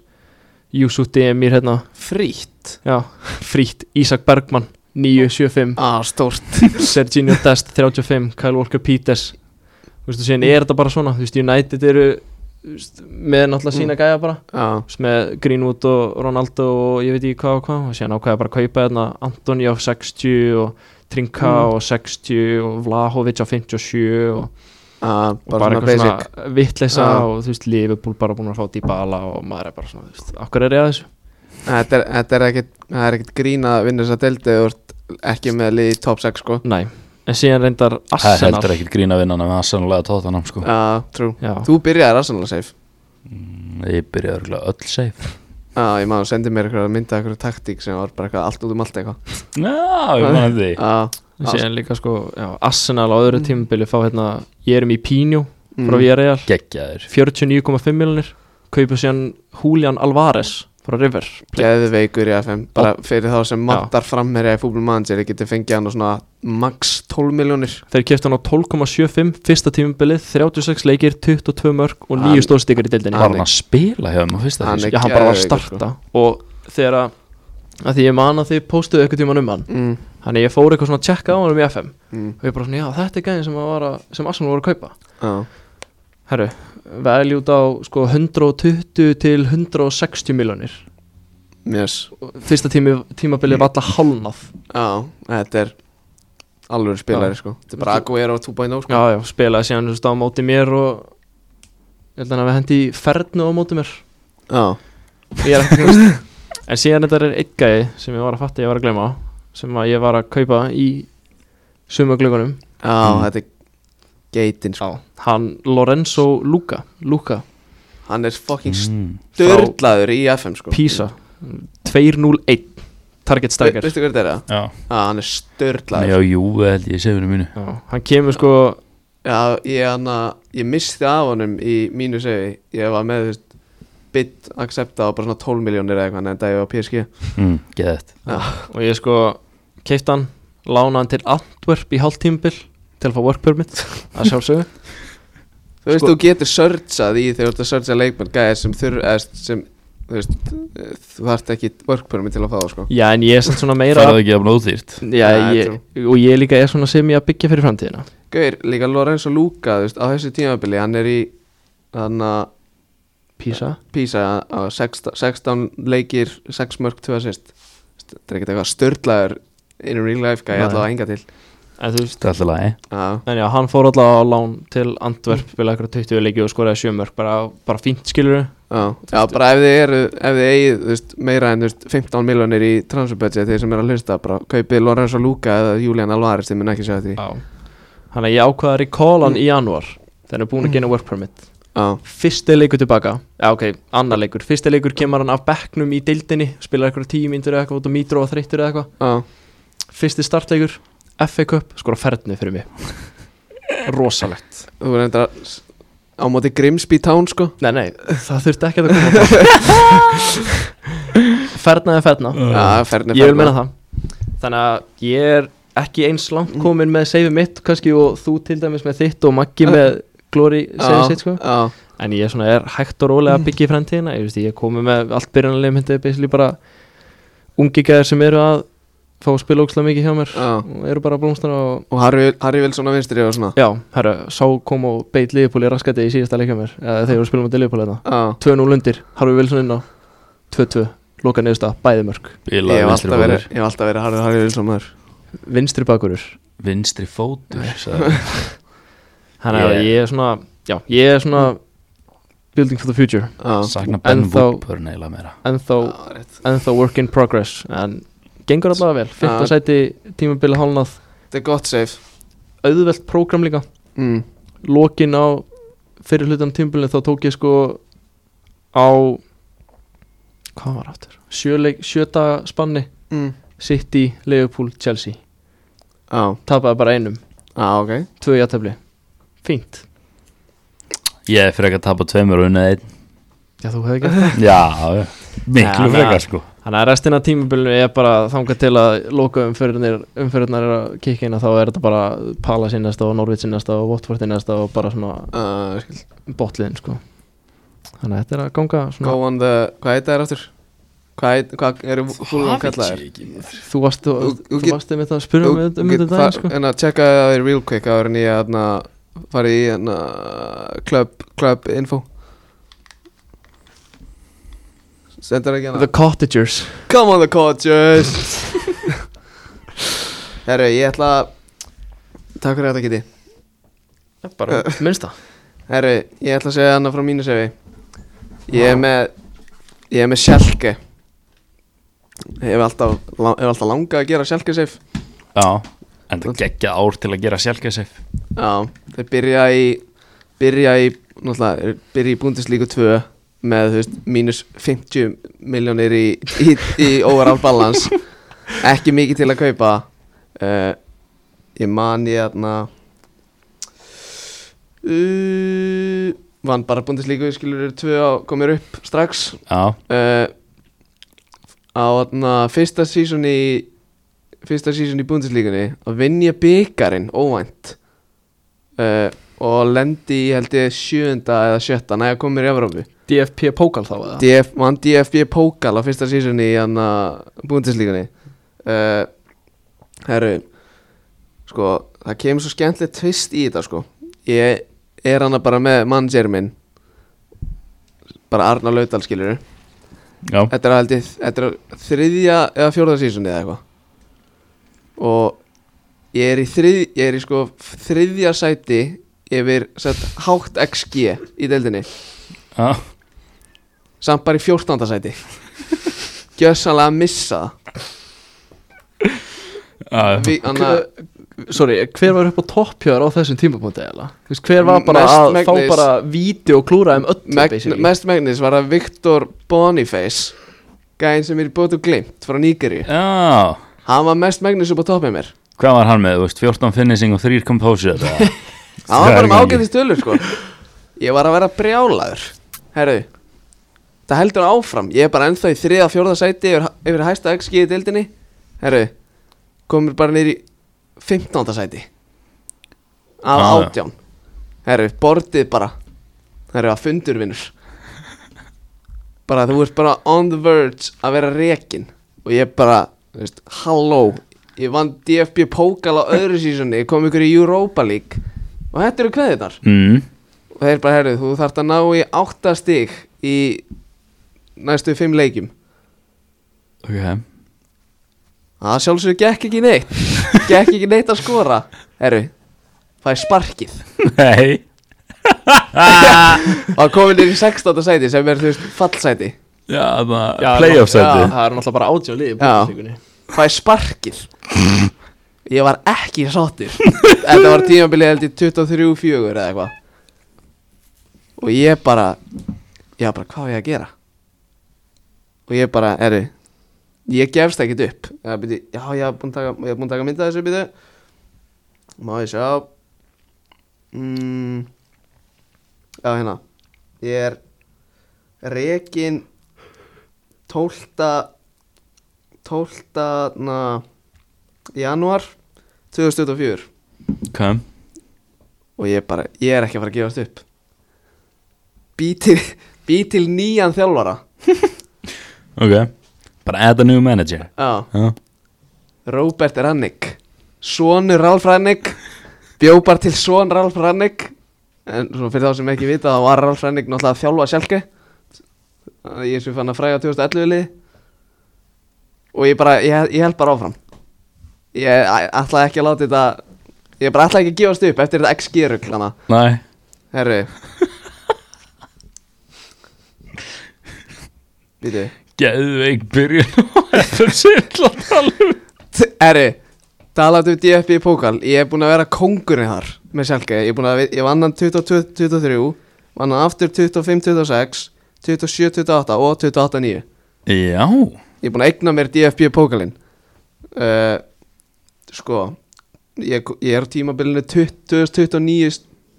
[SPEAKER 3] Yusuf Demir hérna,
[SPEAKER 1] Frýtt
[SPEAKER 3] já, frítt Ísak Bergmann 975
[SPEAKER 1] Já, stórt
[SPEAKER 3] Serginio Dest 35, Kyle Walker Peters Þú veist, og síðan er þetta bara svona Þú veist, United eru þú veist, með náttúrulega
[SPEAKER 1] Mm.
[SPEAKER 3] sína gæja bara
[SPEAKER 1] Já,
[SPEAKER 3] Þú veist, með Greenwood og Ronaldo og ég veit ekki hvað og hvað og síðan ákveða bara að kaupa þarna Antoni á 60 og Trinka
[SPEAKER 1] Mm.
[SPEAKER 3] á 60 og Vlahovic á 57 og,
[SPEAKER 1] já,
[SPEAKER 3] og bara,
[SPEAKER 1] bara svona basic
[SPEAKER 3] eitthvað svona vittleysa
[SPEAKER 1] Já.
[SPEAKER 3] og þú veist, Liverpool bara búin að fá Dybala og maður er bara svona, þú veist, okkur er ég að þessu
[SPEAKER 1] Þetta er, þetta er ekkit, það er ekkit grín að vinna þess að delta Þú ert ekki með lið í top 6, sko
[SPEAKER 3] Nei, en síðan reyndar
[SPEAKER 2] Það er heldur
[SPEAKER 3] Arsenal
[SPEAKER 2] ekkert grín að vinna með Arsenal eða Tottenham sko
[SPEAKER 1] Já, trú
[SPEAKER 3] Já,
[SPEAKER 1] Þú byrjaði Arsenal safe
[SPEAKER 2] Ég byrjaði örgulega öll safe
[SPEAKER 1] Já, ég maður sendi mér eitthvað að mynda eitthvað taktík sem var bara eitthvað allt út um allt eitthvað
[SPEAKER 2] Já, ég manna því
[SPEAKER 1] Já,
[SPEAKER 3] en síðan líka sko, já, Arsenal á öðru tímubili fá hérna, ég erum í Pínjó frá
[SPEAKER 1] mm.
[SPEAKER 3] Villarreal
[SPEAKER 2] Gekkjaður
[SPEAKER 3] 49,5 miljonir kaupa síðan Julian Alvarez frá River Plate.
[SPEAKER 1] Geðveikur í FM, bara fyrir þá sem matar framherja í fútbolmannsir, ég geti fengið hann á svona max 12 miljónir
[SPEAKER 3] Þeir keftu hann á 12,75 fyrsta tímubilið, 36 leikir, 22 mörg og
[SPEAKER 1] Hann- sko.
[SPEAKER 3] 9 stóðstikar í deildinni
[SPEAKER 2] var hann að spila hjá þeim á fyrsta
[SPEAKER 1] Hann
[SPEAKER 2] því
[SPEAKER 1] er-
[SPEAKER 3] Já, hann bara var að
[SPEAKER 1] geðveikur,
[SPEAKER 3] starta og þegar að, að því ég man að þið postuðu eitthvað tíman um hann
[SPEAKER 1] mm.
[SPEAKER 3] þannig ég fór eitthvað svona að checka á hann um í FM
[SPEAKER 1] Mm.
[SPEAKER 3] og ég bara svona, já, þetta er gæðin sem, að var að- sem Arsenal voru að kaupa
[SPEAKER 1] Já,
[SPEAKER 3] Herru, veljút á sko 120 til 160 miljonir
[SPEAKER 1] mjöss
[SPEAKER 3] fyrsta tími, tímabilið var alltaf hálnað
[SPEAKER 1] Já, þetta er alveg spilari sko Þetta er bara Aguero 2.0 sko
[SPEAKER 3] já, já, spilaði síðan þú veist á móti mér og ég held að hann hafi hendi í fernu á móti mér
[SPEAKER 1] Já,
[SPEAKER 3] ég er ekki komst en síðan þetta er einn gæði sem ég var að fatta ég var að gleyma sem að ég var að kaupa í sumaglögunum
[SPEAKER 1] já
[SPEAKER 2] Mm.
[SPEAKER 1] þetta er geitin sko
[SPEAKER 3] hann Lorenzo Luca Luca,
[SPEAKER 1] Hann er fucking
[SPEAKER 2] mm.
[SPEAKER 1] störlaður í FM sko
[SPEAKER 3] Pisa 201 target
[SPEAKER 1] Ve-
[SPEAKER 3] stacker
[SPEAKER 1] Veistu hvað þetta er það?
[SPEAKER 2] Já,
[SPEAKER 1] Já, hann er
[SPEAKER 2] hann er
[SPEAKER 1] störlaður
[SPEAKER 2] á Júve held ég í sefinu mínu
[SPEAKER 3] já, hann kemur sko
[SPEAKER 1] Já, ég, hana, ég misti af honum í mínu segi Ég var með þú veist, bid accepta á bara svona 12 miljónir eða eitthvað En þetta ég var PSG
[SPEAKER 2] mm, Geðett
[SPEAKER 3] og ég sko keipt hann lána hann til Antwerp í hálftímbil til að fá work permit að sjálfsögðu
[SPEAKER 1] Þú veist,
[SPEAKER 3] Sko-
[SPEAKER 1] þú getur searchað í þegar þú ert að searcha leikmenn Gæðir sem þurr, eða sem Þú veist, þú þarft ekki workpermi til að fá það sko
[SPEAKER 3] já en ég er samt svona meira
[SPEAKER 2] Færðu ekki af nóðýrt
[SPEAKER 3] já,
[SPEAKER 1] Já,
[SPEAKER 3] ég, og ég líka er svona sem ég að byggja fyrir framtíðina
[SPEAKER 1] Gauir, líka Lorenzo Luca, þú veist, á þessu tímabili Hann er í, hann að
[SPEAKER 3] Pisa
[SPEAKER 1] Písa á 16, 16 leikir 6 mörg 2 assist Þetta er ekkert eitthvað störlaður in real life gæði
[SPEAKER 3] Nei.
[SPEAKER 1] allavega enga til
[SPEAKER 3] en þú veist
[SPEAKER 2] Þetta er alltaf lagi
[SPEAKER 1] Já,
[SPEAKER 3] En já, hann fór alltaf á lán til Antwerp Vilja eitthvað 20 leiki og skoraði 7 mörg bara, bara fínt skilur
[SPEAKER 1] já, já bara ef þið eru ef þið eigið þú veist, meira en þú veist, 15 miljonir í transferbudget þeir sem eru að hlusta bara kaupið Lorenzo Luca eða Julian Alvarez þið mun ekki sjá því
[SPEAKER 3] Þannig að ég ákvaða að recall hann í januar Þegar hann er búin að gena work permit
[SPEAKER 1] Já,
[SPEAKER 3] Fyrsti leikur tilbaka, já ok, annar leikur Fyrsti leikur kemur hann af bekknum í deildinni Spilar eitthvað 10 myndur eða eitthvað út á mítru og þreyttur eða eitthvað
[SPEAKER 1] já,
[SPEAKER 3] Fyrsti startleikur, FA Cup, skora ferðni fyrir mig Rosalegt
[SPEAKER 1] þú verður enda á móti Grimsby Town sko
[SPEAKER 3] Nei, nei, það þurfti ekki að koma á það. Ferðna eða ferðna
[SPEAKER 1] Já, ferðin er
[SPEAKER 3] ég vil menna það þannig að ég er ekki eins langt
[SPEAKER 1] Mm.
[SPEAKER 3] komin með save mitt kannski og þú til dæmis með þitt og Maggi með Glory save sitt sko
[SPEAKER 1] Já,
[SPEAKER 3] en ég svona er hægt og rólega að byggja í framtíðina ég, veist, ég er komin með allt byrjanlegum þetta er basically bara ungi gæðir sem eru að fá að spila ógslag mikið hjá mér
[SPEAKER 1] já
[SPEAKER 3] og eru bara að blómstana og
[SPEAKER 1] Og Harry, Harry Wilson á vinstri og svona
[SPEAKER 3] já, herru, sá kom og beit liðbúli raskati í síðasta leikja mér eða þeir eru að spila hérna. mútið liðbúli þetta
[SPEAKER 1] Já,
[SPEAKER 3] 2-0 undir, harfið vel svona inn á 2-2, loka neðust að bæði mörg
[SPEAKER 1] ég hef
[SPEAKER 2] Bilaði vinstri
[SPEAKER 1] alltaf verið
[SPEAKER 2] fótur
[SPEAKER 1] Ég hef alltaf verið Harry, Harry Wilson maður
[SPEAKER 3] vinstri bakurur
[SPEAKER 2] Vinstri fótur sagði hann.
[SPEAKER 3] Þannig að
[SPEAKER 2] Ég-
[SPEAKER 3] ég er svona Já, ég er svona Building for the future
[SPEAKER 1] Já,
[SPEAKER 2] Sakna Ben
[SPEAKER 3] En þá-
[SPEAKER 2] Woodburn eiginlega meira
[SPEAKER 3] Ennþá,
[SPEAKER 1] Já, rétt.
[SPEAKER 3] ennþá work in progress En gengur allavega vel Fyrta
[SPEAKER 1] Já.
[SPEAKER 3] sæti tímabili hálnað
[SPEAKER 1] þetta er gott save
[SPEAKER 3] Auðvelt prógram líka
[SPEAKER 1] mm.
[SPEAKER 3] Lokin á fyrir hlutan tímabilin Þá tók ég sko Á Hvað var aftur? Sjöleik, sjöta spanni
[SPEAKER 1] Mm.
[SPEAKER 3] City, Liverpool, Chelsea
[SPEAKER 1] Já,
[SPEAKER 3] Tapaði bara einum
[SPEAKER 1] já, ok
[SPEAKER 3] Tvö játefli Fínt
[SPEAKER 2] Ég er frekar að tapa tveimur og unnið einn
[SPEAKER 3] Já, þú hefði gert það
[SPEAKER 2] Já, já. miklu
[SPEAKER 3] Nei,
[SPEAKER 2] frekar
[SPEAKER 3] hann-
[SPEAKER 2] sko
[SPEAKER 3] Þannig að restina af tímabilinu er bara þangað til að loka umfyrirnar, umfyrirnar er að kikka inn að þá er þetta bara Pala sinnasta og Norvits sinnasta og Watford sinnasta og bara svona
[SPEAKER 1] uh, skil.
[SPEAKER 3] botliðin sko. Þannig að þetta er að ganga svona,
[SPEAKER 1] Go on the, hvað heit það er aftur? Hvað, heit, hvað eru fúlan kallaðir?
[SPEAKER 3] þú varst, þú,
[SPEAKER 1] Þú- þú
[SPEAKER 3] þú
[SPEAKER 1] get-
[SPEAKER 3] varst með það að spyrja um, um þetta daginn sko.
[SPEAKER 1] En að hérna, checka það er real quick áður en ég aðna farið í aðna club, club info Sendur ekki hana
[SPEAKER 3] The Cottagers
[SPEAKER 1] Come on the coaches Herru, ég ætla að Takk fyrir þetta Kitty
[SPEAKER 3] bara, minnst það
[SPEAKER 1] Herru, ég ætla að segja hana frá mínu sefi Ég er með Ég er með sjálke Ég hef alltaf, la- hef alltaf langað að gera sjálke sef
[SPEAKER 2] Já, en það geggja ár til að gera sjálfgeðsif
[SPEAKER 1] Já, þeir byrja í byrja í, náttúrulega þeir byrja í búndislíku 2 með, þú veist, mínus 50 miljónir í, í, í overall balance ekki mikið til að kaupa uh, ég man ég aðna uh, vann bara búndislíku skilur tvö á komir upp strax
[SPEAKER 2] Já,
[SPEAKER 1] uh, á þarna fyrsta sísón í fyrsta sísón í búndislíkunni að vinja byggarinn óvænt uh, og lendi í, held ég sjöunda eða sjötta næja komir í Evrópu
[SPEAKER 3] DFP Pókal þá eða?
[SPEAKER 1] DF, mann DFB Pókal á fyrsta sísunni í hann að búindislíkunni uh, Herru sko, það kemur svo skemmtilegt tvist í þetta sko ég er hann bara með manager minn bara Arna Laudal skilur
[SPEAKER 2] já,
[SPEAKER 1] þetta er að held ég þetta er á þriðja eða fjórða sísunni eða eitthvað og ég er í þrið, ég er í sko þriðja sæti yfir sett hátt XG í deildinni
[SPEAKER 2] já
[SPEAKER 1] samt bara í 14. sæti gjössanlega að missa það.
[SPEAKER 2] Já,
[SPEAKER 1] Vi, anna,
[SPEAKER 3] Sorry, hver var upp á toppjöður á þessum tímapunkti eða? Þú veist, hver var
[SPEAKER 1] Mm,
[SPEAKER 3] bara
[SPEAKER 1] Mest
[SPEAKER 3] að
[SPEAKER 1] megnis-
[SPEAKER 3] fá bara víti og klúra um öllu
[SPEAKER 1] megn,
[SPEAKER 3] basically?
[SPEAKER 1] mest megnis var að Viktor Boniface gæðin sem er í bótu glimt frá Nígeri
[SPEAKER 2] já
[SPEAKER 1] hann var mest megnis upp á topp með mér
[SPEAKER 2] Hvað var hann með, þú veist, 14 finishing og 3 composure eða?
[SPEAKER 1] hann var bara
[SPEAKER 2] Það
[SPEAKER 1] með
[SPEAKER 2] er
[SPEAKER 1] ágæðist tölur sko ég var að vera brjálaður herru það heldur áfram, ég er bara ennþá í þriða, fjórða sæti yfir, yfir hæsta XG í deildinni herru, komur bara niður í 15. sæti af
[SPEAKER 2] Ah, já.
[SPEAKER 1] átján herru, bortið bara herru, að fundur vinnur bara þú ert bara on the verge að vera rekin og ég bara, þú veist, halló ég vann DFB Pókal á öðru sísoni kom ykkur í Europa League og þetta eru kveðinar
[SPEAKER 2] Mm,
[SPEAKER 1] og þeir bara herrið, þú þarft að ná í 8 stig í næstu 5 leikjum
[SPEAKER 2] ok
[SPEAKER 1] það sjálfsögur gekk ekki neitt gekk ekki neitt að skora herru, það er sparkið
[SPEAKER 2] Nei
[SPEAKER 1] og það komið niður í 16. sæti sem er þú veist fallsæti
[SPEAKER 2] Já, það
[SPEAKER 3] Já,
[SPEAKER 2] playoff
[SPEAKER 3] ná-
[SPEAKER 2] sæti
[SPEAKER 3] já, Það er náttúrulega bara átján liði í
[SPEAKER 1] Já.
[SPEAKER 3] búinslíkunni
[SPEAKER 1] það er sparkið ég var ekki sáttur þetta var tímabilið held í 23-4 eða eitthvað og ég bara ég bara hvað á ég að gera og ég bara herru ég gefst ekkert upp eða, byrju, já ég hef búin að taka, ég hef búin að taka mynda þessu byrju má ég sjá mm, já hérna ég er rekin 12 12. januar 2024
[SPEAKER 2] Ok,
[SPEAKER 1] og ég bara, ég er ekki að fara að gefast upp bý til, bý til nýjan þjálfara
[SPEAKER 2] ok Bara add a new manager
[SPEAKER 1] já,
[SPEAKER 2] Já,
[SPEAKER 1] Robert Rannick sonur Ralf Rannick bjópar til son Ralf Rannick en svona fyrir þá sem ekki vita þá var Ralf Rannick náttúrulega að þjálfa sjálfke ég er sem fann að fræga 2011 lið og ég bara, ég, ég held bara áfram ég ætla ekki að láta þetta ég bara ætla ekki að gefast upp eftir þetta XG-rugl hana
[SPEAKER 2] Nei
[SPEAKER 1] herru býtu
[SPEAKER 2] Geðveik byrjun á Þetta er sérla talum
[SPEAKER 1] T- Herri, talaðu um DFB Pókal Ég er búinn að vera kongurinn þar Með sjálfgeði, ég er búinn að vi- Ég vann hann 22-23 Vann hann aftur 25-26 27-28 og 28-9
[SPEAKER 2] Já,
[SPEAKER 1] Ég er búinn að eigna mér DFB Pókalinn uh, Sko Ég, ég er á tímabilinu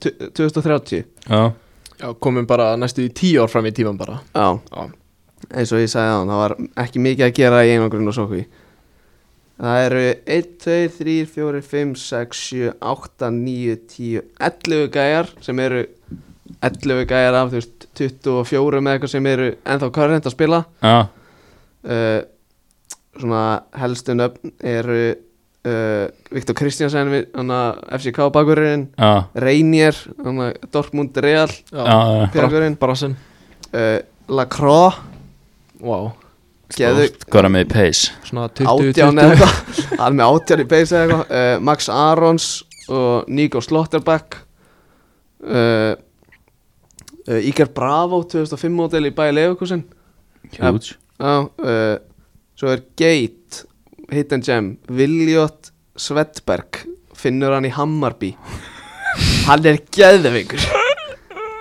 [SPEAKER 1] 2029-2030
[SPEAKER 2] já,
[SPEAKER 3] Já, komum bara næstu í tíu ár fram í tíman bara
[SPEAKER 1] Já,
[SPEAKER 3] Já,
[SPEAKER 1] eins og ég sagði á hann Það var ekki mikið að gera í einangrun og sókví Það eru 1, 2, 3, 4, 5, 6, 7, 8, 9, 10, 11 gæjar sem eru 11 gæjar af þú veist 24 með eitthvað sem eru ennþá karrent að spila
[SPEAKER 2] já
[SPEAKER 1] uh, Svona helstu nöfn eru uh, Viktor Kristjansen, FCK bakurinn
[SPEAKER 2] Já,
[SPEAKER 1] Reinier, hana, Dortmund Real
[SPEAKER 3] já,
[SPEAKER 2] já, já
[SPEAKER 1] Bjargurinn,
[SPEAKER 3] Brasin
[SPEAKER 1] uh, Lacroix
[SPEAKER 3] Wow,
[SPEAKER 1] Geðu,
[SPEAKER 2] Hvað er með í pace?
[SPEAKER 3] svona 20, 20
[SPEAKER 1] átján eða eitthvað hann er með átján í beis eða eitthvað uh, Max Arons og Nico Slotterback uh, uh, Iker Bravo 2005 mótel í bæði Leifurkusin
[SPEAKER 2] Huge
[SPEAKER 1] uh, uh, svo er Gate Hit and Gem, Viljot Svedberg, finnur hann í Hammarby hann er geðvingur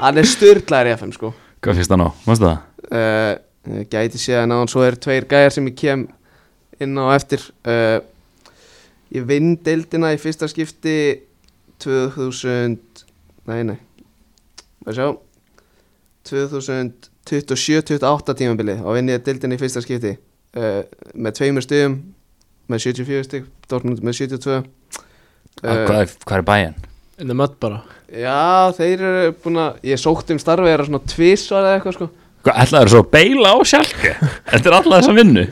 [SPEAKER 1] hann er styrlaður í FM sko
[SPEAKER 2] Hvað finnst það nú? Mástu það?
[SPEAKER 1] uh, gæti séð að náðan svo eru tveir gæjar sem ég kem inn á eftir uh, ég vinn deildina í fyrsta skipti 2000 nei nei að sjá 2027-28 tímabilið og vinnið dildin í fyrsta skipti uh, með tveimur stigum með 74 stig, Dortmund með 72
[SPEAKER 2] Hvað
[SPEAKER 1] Eh,
[SPEAKER 2] er, hvað er bæjan?
[SPEAKER 3] In the mud bara
[SPEAKER 1] Já, þeir eru búin að Ég sókt um starfi þeirra svona tvisvar eða eitthvað sko
[SPEAKER 2] Hvað ætlaður svo að beila á sjálfke? Þetta er alltaf þess að vinnu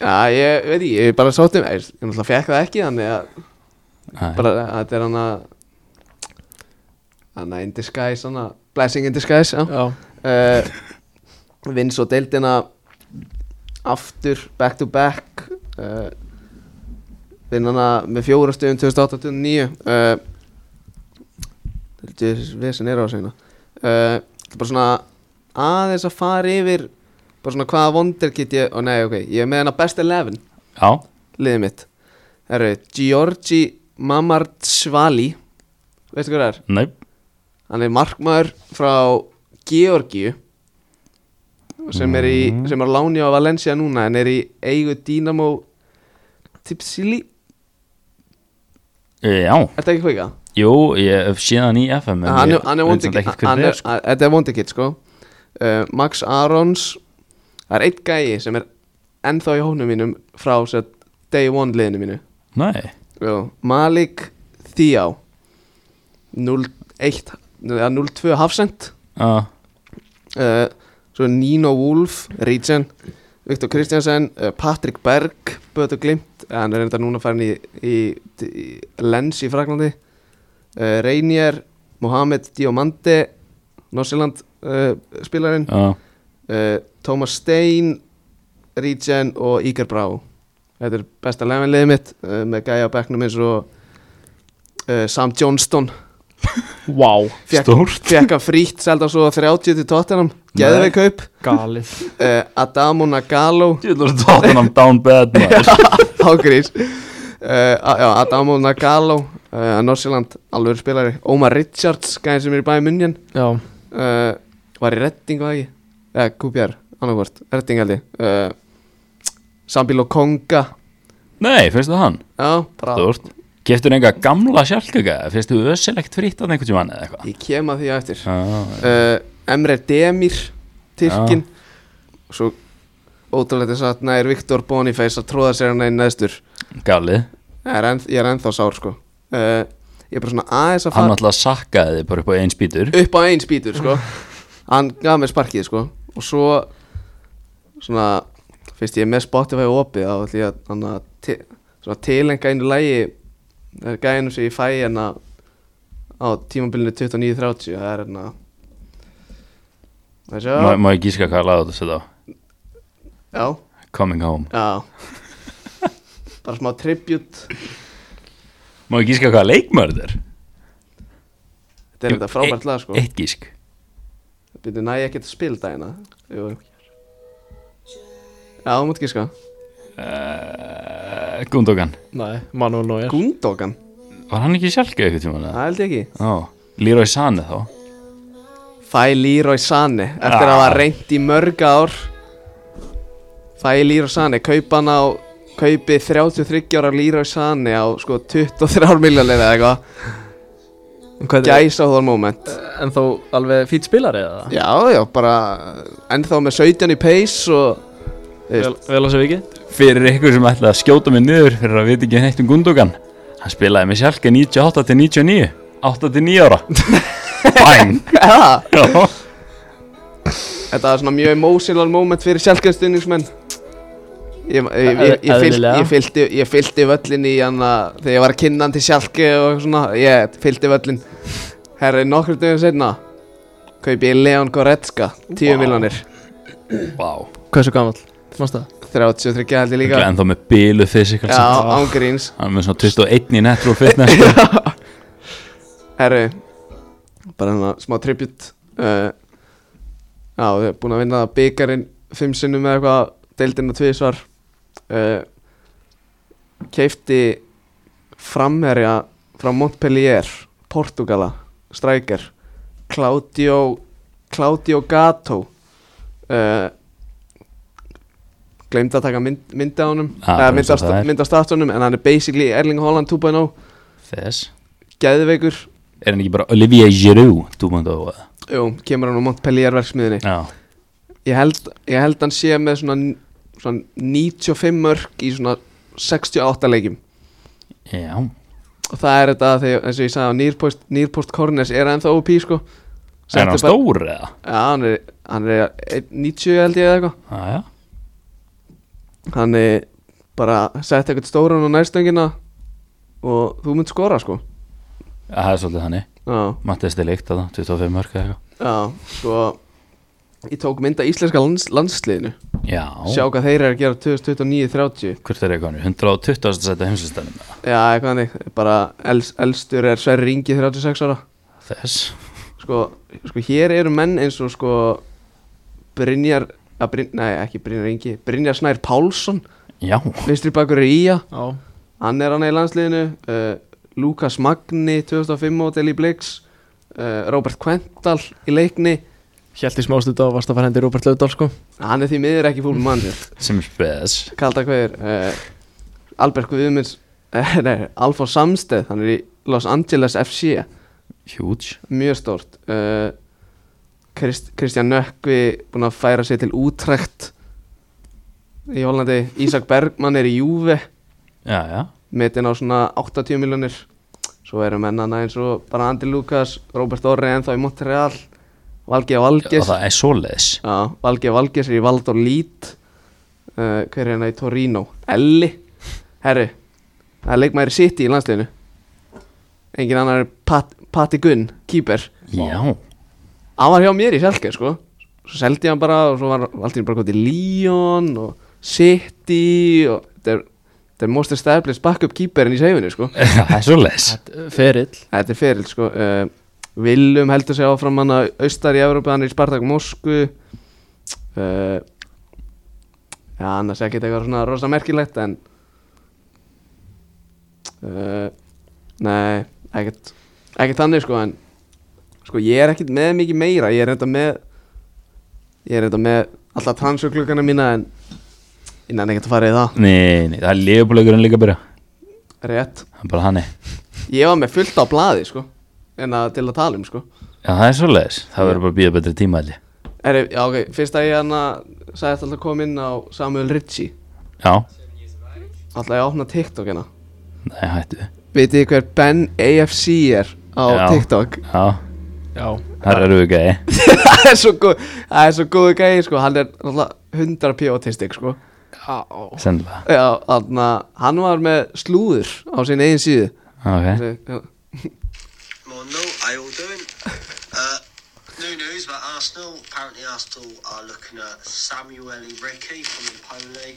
[SPEAKER 1] Já, ég veit ekki, ég bara sótt um Ég, ég náttúrulega fekk það ekki, þannig að
[SPEAKER 2] Æ,
[SPEAKER 1] bara, að Þetta er hann að Hann að in disguise, hann að Blessing in disguise, já
[SPEAKER 3] Já
[SPEAKER 1] uh, Vinn svo deildina Aftur, back to back uh, Vinn hana með fjóra stöðum 2008-2009 uh, Þetta er vesen er á segna uh, Bara svona aðeins að fara yfir Bara svona hvaða vondir get ég Ó nei, ok, ég er með hana best 11
[SPEAKER 2] Já,
[SPEAKER 1] Liðið mitt Herru, Georgi Mamardsvali Veistu hvað það er?
[SPEAKER 2] nei,
[SPEAKER 1] hann er markmaður frá Georgiu sem er í
[SPEAKER 2] Mhm.
[SPEAKER 1] sem er á láni á Valencia núna en er í eigu Dynamo Tipsili
[SPEAKER 2] já
[SPEAKER 1] er þetta ekki hvað ekki
[SPEAKER 2] Jú, ég hef séð hann í FM en
[SPEAKER 1] Ah, hann
[SPEAKER 2] ég
[SPEAKER 1] er- hann er
[SPEAKER 2] veit
[SPEAKER 1] vondikitt
[SPEAKER 2] samt ekkert hver þetta er, sko.
[SPEAKER 1] þetta er vondikitt sko uh, Max Arons það er eitt gæi sem er ennþá í hónum mínum frá sér, day one liðinu mínu
[SPEAKER 2] Nei,
[SPEAKER 1] Jó. Malik Thiá 0-1 eða 0-2 hafsend
[SPEAKER 2] já,
[SPEAKER 1] uh, svo Nino Wolf Rítsson, Viktor Kristjansen uh, Patrik Berg, Bötu Glimt eh, hann er reynda núna farin í, í, í Lens í Fraklandi uh, Reinier, Mohamed Diomande, Norsjöland uh, spilarinn
[SPEAKER 2] já
[SPEAKER 1] uh, Thomas Stein Rítsson og Ígar Brá þetta er besta lefinliðið mitt uh, með gæja á bekknum eins og uh, Sam Johnston
[SPEAKER 3] Wow
[SPEAKER 1] Fékk-
[SPEAKER 2] Stórt.
[SPEAKER 1] Fekka frítt, selda svo 30 til Tottenham
[SPEAKER 2] Nei.
[SPEAKER 1] Geðveik kaup
[SPEAKER 3] Galið
[SPEAKER 1] uh, Adamo Nagalo
[SPEAKER 2] Júlur tóttunum um down bad maður
[SPEAKER 1] Ágrís uh, já, Adamo Nagalo uh, Norsjöland, alveg spilari Ómar Richards, gæðin sem er í bæði munnin
[SPEAKER 3] Já
[SPEAKER 1] uh, Var í Redding, var það ekki? Eh, Eða, QPR, annarkvort, Redding held ég uh, Sambíl og Konga
[SPEAKER 2] Nei, finnst það hann?
[SPEAKER 1] Já, bara
[SPEAKER 2] Stort Keftur enga gamla sjálfkjöka? Finnst þú ösilegt fritt að einhvern tímann eða eitthvað? Ah,
[SPEAKER 1] Ég kem að því á eftir
[SPEAKER 2] Já,
[SPEAKER 1] uh, Emre Demir Tyrkin Svo ótrúlega þess að nær Viktor Boniface að tróða sér hann einn neðstur
[SPEAKER 2] galið
[SPEAKER 1] ég er, enn, ég er ennþá sár sko uh, Ég er bara svona aðeins að
[SPEAKER 2] Hann
[SPEAKER 1] fara
[SPEAKER 2] alltaf sakkaði þið bara upp á einn spýtur
[SPEAKER 1] upp á einn spýtur sko Hann gaf mér sparkið sko Og svo svona Fyrst ég er með Spotify opið þá ætlum ég að þannig að til- svona tilenga einu lægi Það er gæðinu sem ég fæ hérna á tímabilinu 29.30 Það er hérna Það er
[SPEAKER 2] Má,
[SPEAKER 1] sjá
[SPEAKER 2] má ég gíska hvað laga þetta setja á?
[SPEAKER 1] Já
[SPEAKER 2] Coming home
[SPEAKER 1] Já Bara smá tribut
[SPEAKER 2] Má ég gíska hvað leikmörð er?
[SPEAKER 1] Þetta er þetta frábært lag sko
[SPEAKER 2] e- Eitt gísk
[SPEAKER 1] Býttu næ ekki að spila dagina Jú Já, þú mútt gíska
[SPEAKER 2] uh, Gundogan
[SPEAKER 3] Nei Manuel Neuer
[SPEAKER 1] Gundogan,
[SPEAKER 2] Var hann ekki sjálfkjöka einhvern tímann
[SPEAKER 1] það
[SPEAKER 2] eða?
[SPEAKER 1] held ég ekki
[SPEAKER 2] Já Leroy Sané þá
[SPEAKER 1] Fæ Leroy Sane Eftir að
[SPEAKER 2] Ah.
[SPEAKER 1] hafa reynt í mörg ár Fæ Leroy Sane Kaupa hann á Kaupi 33 ára Leroy Sane Á sko 23 miljónir eða eitthvað Gæsa hóðar moment
[SPEAKER 3] En þó Eh, alveg fýtt spilari eða?
[SPEAKER 1] Já, já, bara Ennþá með 17 í pace og þú veist,
[SPEAKER 3] Vel, vel á sig vikið
[SPEAKER 2] Fyrir ykkur sem ætlaði að skjóta mig niður Fyrir að vita ekki neitt um Gundogan Hann spilaði með sjálfkjöka 98 til 99 8 til 9 ára Bæn
[SPEAKER 1] Já,
[SPEAKER 2] Já
[SPEAKER 1] Þetta var svona mjög emotional moment fyrir sjálfgjörnstunningsmenn Ég, ég, ég, ég, fylg,
[SPEAKER 3] Eðlilega.
[SPEAKER 1] ég, fylgdi, ég fylgdi völlin í hann að þegar ég var að kynna hann til sjálfke og svona, ég fylgdi völlin Herri, nokkur dögum setna kaupi ég Leon Goretzka 10 wow. miljonir,
[SPEAKER 2] Vá
[SPEAKER 3] Hversu gamall? Mást það?
[SPEAKER 1] 33 held ég líka
[SPEAKER 2] En þá með bilu fysikal
[SPEAKER 1] Já, ángríns
[SPEAKER 2] Hann er með svona 21 í natural fitness sko.
[SPEAKER 1] Herri, bara hann að smá tribut uh, Já, við erum búin að vinna byggarinn fimm sinnum eða eitthvað, deildina tvísvar uh, Keifti framherja frá Montpellier, Portugala, Stryker Claudio, Claudio Gato uh, Gleimdi að taka mynd, myndi á honum,
[SPEAKER 2] Ah,
[SPEAKER 1] eða
[SPEAKER 2] bara eins
[SPEAKER 1] myndi
[SPEAKER 2] og
[SPEAKER 1] af
[SPEAKER 2] það
[SPEAKER 1] sta-
[SPEAKER 2] er.
[SPEAKER 1] mynd af statunum En hann er basically Erling Haaland 2.0,
[SPEAKER 2] Þess
[SPEAKER 1] geðveikur
[SPEAKER 2] Er hann ekki bara Olivier Giroud 2.0 eða?
[SPEAKER 1] Jú, kemur hann á Montpellier verksmiðinni
[SPEAKER 2] Já,
[SPEAKER 1] ég held, ég held hann sé með svona, svona 95 mörg í svona 68 leikjum
[SPEAKER 2] já,
[SPEAKER 1] og það er þetta þegar, eins og ég sagði á Nýrpost, Nýrpost Corners er ennþá OP sko
[SPEAKER 2] er hann
[SPEAKER 1] Setti bara-
[SPEAKER 2] stór eða?
[SPEAKER 1] Já, hann er, hann er 90 held ég eða eitthvað
[SPEAKER 2] Já, já,
[SPEAKER 1] hann er bara sett eitthvað stóran á nærstöngina og þú mynd skora sko
[SPEAKER 2] Já, það er svolítið þannig
[SPEAKER 1] Já,
[SPEAKER 2] Mattias er líkt að það, 25 mörg eða
[SPEAKER 1] já, sko ég tók mynda íslenska lands, landsliðinu
[SPEAKER 2] eitthvað
[SPEAKER 1] sjá
[SPEAKER 2] Já,
[SPEAKER 1] hvað þeir eru að gera 2029-30
[SPEAKER 2] hvert er eitthvað hann? 120. setja heimslistanum eða?
[SPEAKER 1] Já, eitthvað hannig, bara els, elstur er Sverri Ingi 36 ára
[SPEAKER 2] Þess
[SPEAKER 1] sko, sko, hér eru menn eins og sko Brynjar, að Bryn, nei ekki Brynjar Ingi Brynjar Snær Pálsson,
[SPEAKER 2] Já,
[SPEAKER 1] vinstri bakur í Ía
[SPEAKER 3] Já,
[SPEAKER 1] hann er hann í landsliðinu uh, Lukas Magni 2005 mótel í Blix uh, Robert Quental í leikni
[SPEAKER 3] Hjælti smástund á að varst að fara hendi Róbert Laudal sko
[SPEAKER 1] hann er því miður ekki fúlum mann
[SPEAKER 2] sem er spes
[SPEAKER 1] kalda hver uh, Albert Guðmunds uh, nei, Alfons Samsteð, hann er í Los Angeles FC,
[SPEAKER 2] Huge
[SPEAKER 1] mjög stórt uh, Krist, Kristján Nökkvi búinn að færa sig til útrekt í Hollandi Ísak Bergmann er í Júve
[SPEAKER 2] Já, já,
[SPEAKER 1] metin á svona 80 miljonir svo eru mennana eins og bara Andi Lukas, Robert Orri ennþá í Montreal Valgeir
[SPEAKER 2] og
[SPEAKER 1] Valgis
[SPEAKER 2] það er svoleiðis
[SPEAKER 1] Já, Valgeir Valgis er í Valdor Lít uh, Hver er hérna í Torino? Elli Herri, það er leikmæri City í landsliðinu Engin annar er Pat, Patti Gunn, kýper
[SPEAKER 2] Já,
[SPEAKER 1] Hann var hjá mér í Selke, sko Svo seldi ég hann bara og svo var alltaf bara gott í Lyon og City og þetta er, þetta er most established backup kýperinn í seifinu, sko
[SPEAKER 2] það er svoleiðis
[SPEAKER 3] Ferill
[SPEAKER 1] Þetta er feril sko uh, Willum heldur sig áfram hann að austar í Európa hann er í Spartak Mosku uh, Já, annars ekkert eitthvað svona rosa merkilegt en uh, Nei, ekkert ekkert þannig sko en sko ég er ekkert með mikið meira ég er reynda með ég er reynda með alltaf transjöklukkana mína en innan ekkert að fara í það
[SPEAKER 2] Nei, nei, það er liðbúleikurinn líka að byrja
[SPEAKER 1] rétt
[SPEAKER 2] Það er bara hannig
[SPEAKER 1] ég var með fullt á blaði sko en að til að tala um sko
[SPEAKER 2] Já, það er svoleiðis, það verður bara að býða betri tíma held ég.
[SPEAKER 1] Herri, já, ok, fyrst að ég hann að sagði alltaf að koma inn á Samuel Ritchie
[SPEAKER 2] Já,
[SPEAKER 1] Alltaf ég að opna TikTok hérna
[SPEAKER 2] nei, hættu
[SPEAKER 1] Vitið þið hver Ben AFC er á
[SPEAKER 2] Já.
[SPEAKER 1] TikTok?
[SPEAKER 2] Já,
[SPEAKER 3] Já
[SPEAKER 2] það eru við gæði
[SPEAKER 1] það er svo góð, það er svo góðu gæði, sko Hann er alltaf 100 p autistik, sko
[SPEAKER 3] Já
[SPEAKER 2] Sennilega,
[SPEAKER 1] Já, þannig að hann var með slúður á sinni eigin síðu
[SPEAKER 2] ok
[SPEAKER 1] Þessi- já.
[SPEAKER 4] Come on, no, I all doing. Uh, new news about Arsenal. Apparently, Arsenal are looking at Samuel Ricky from Impoli,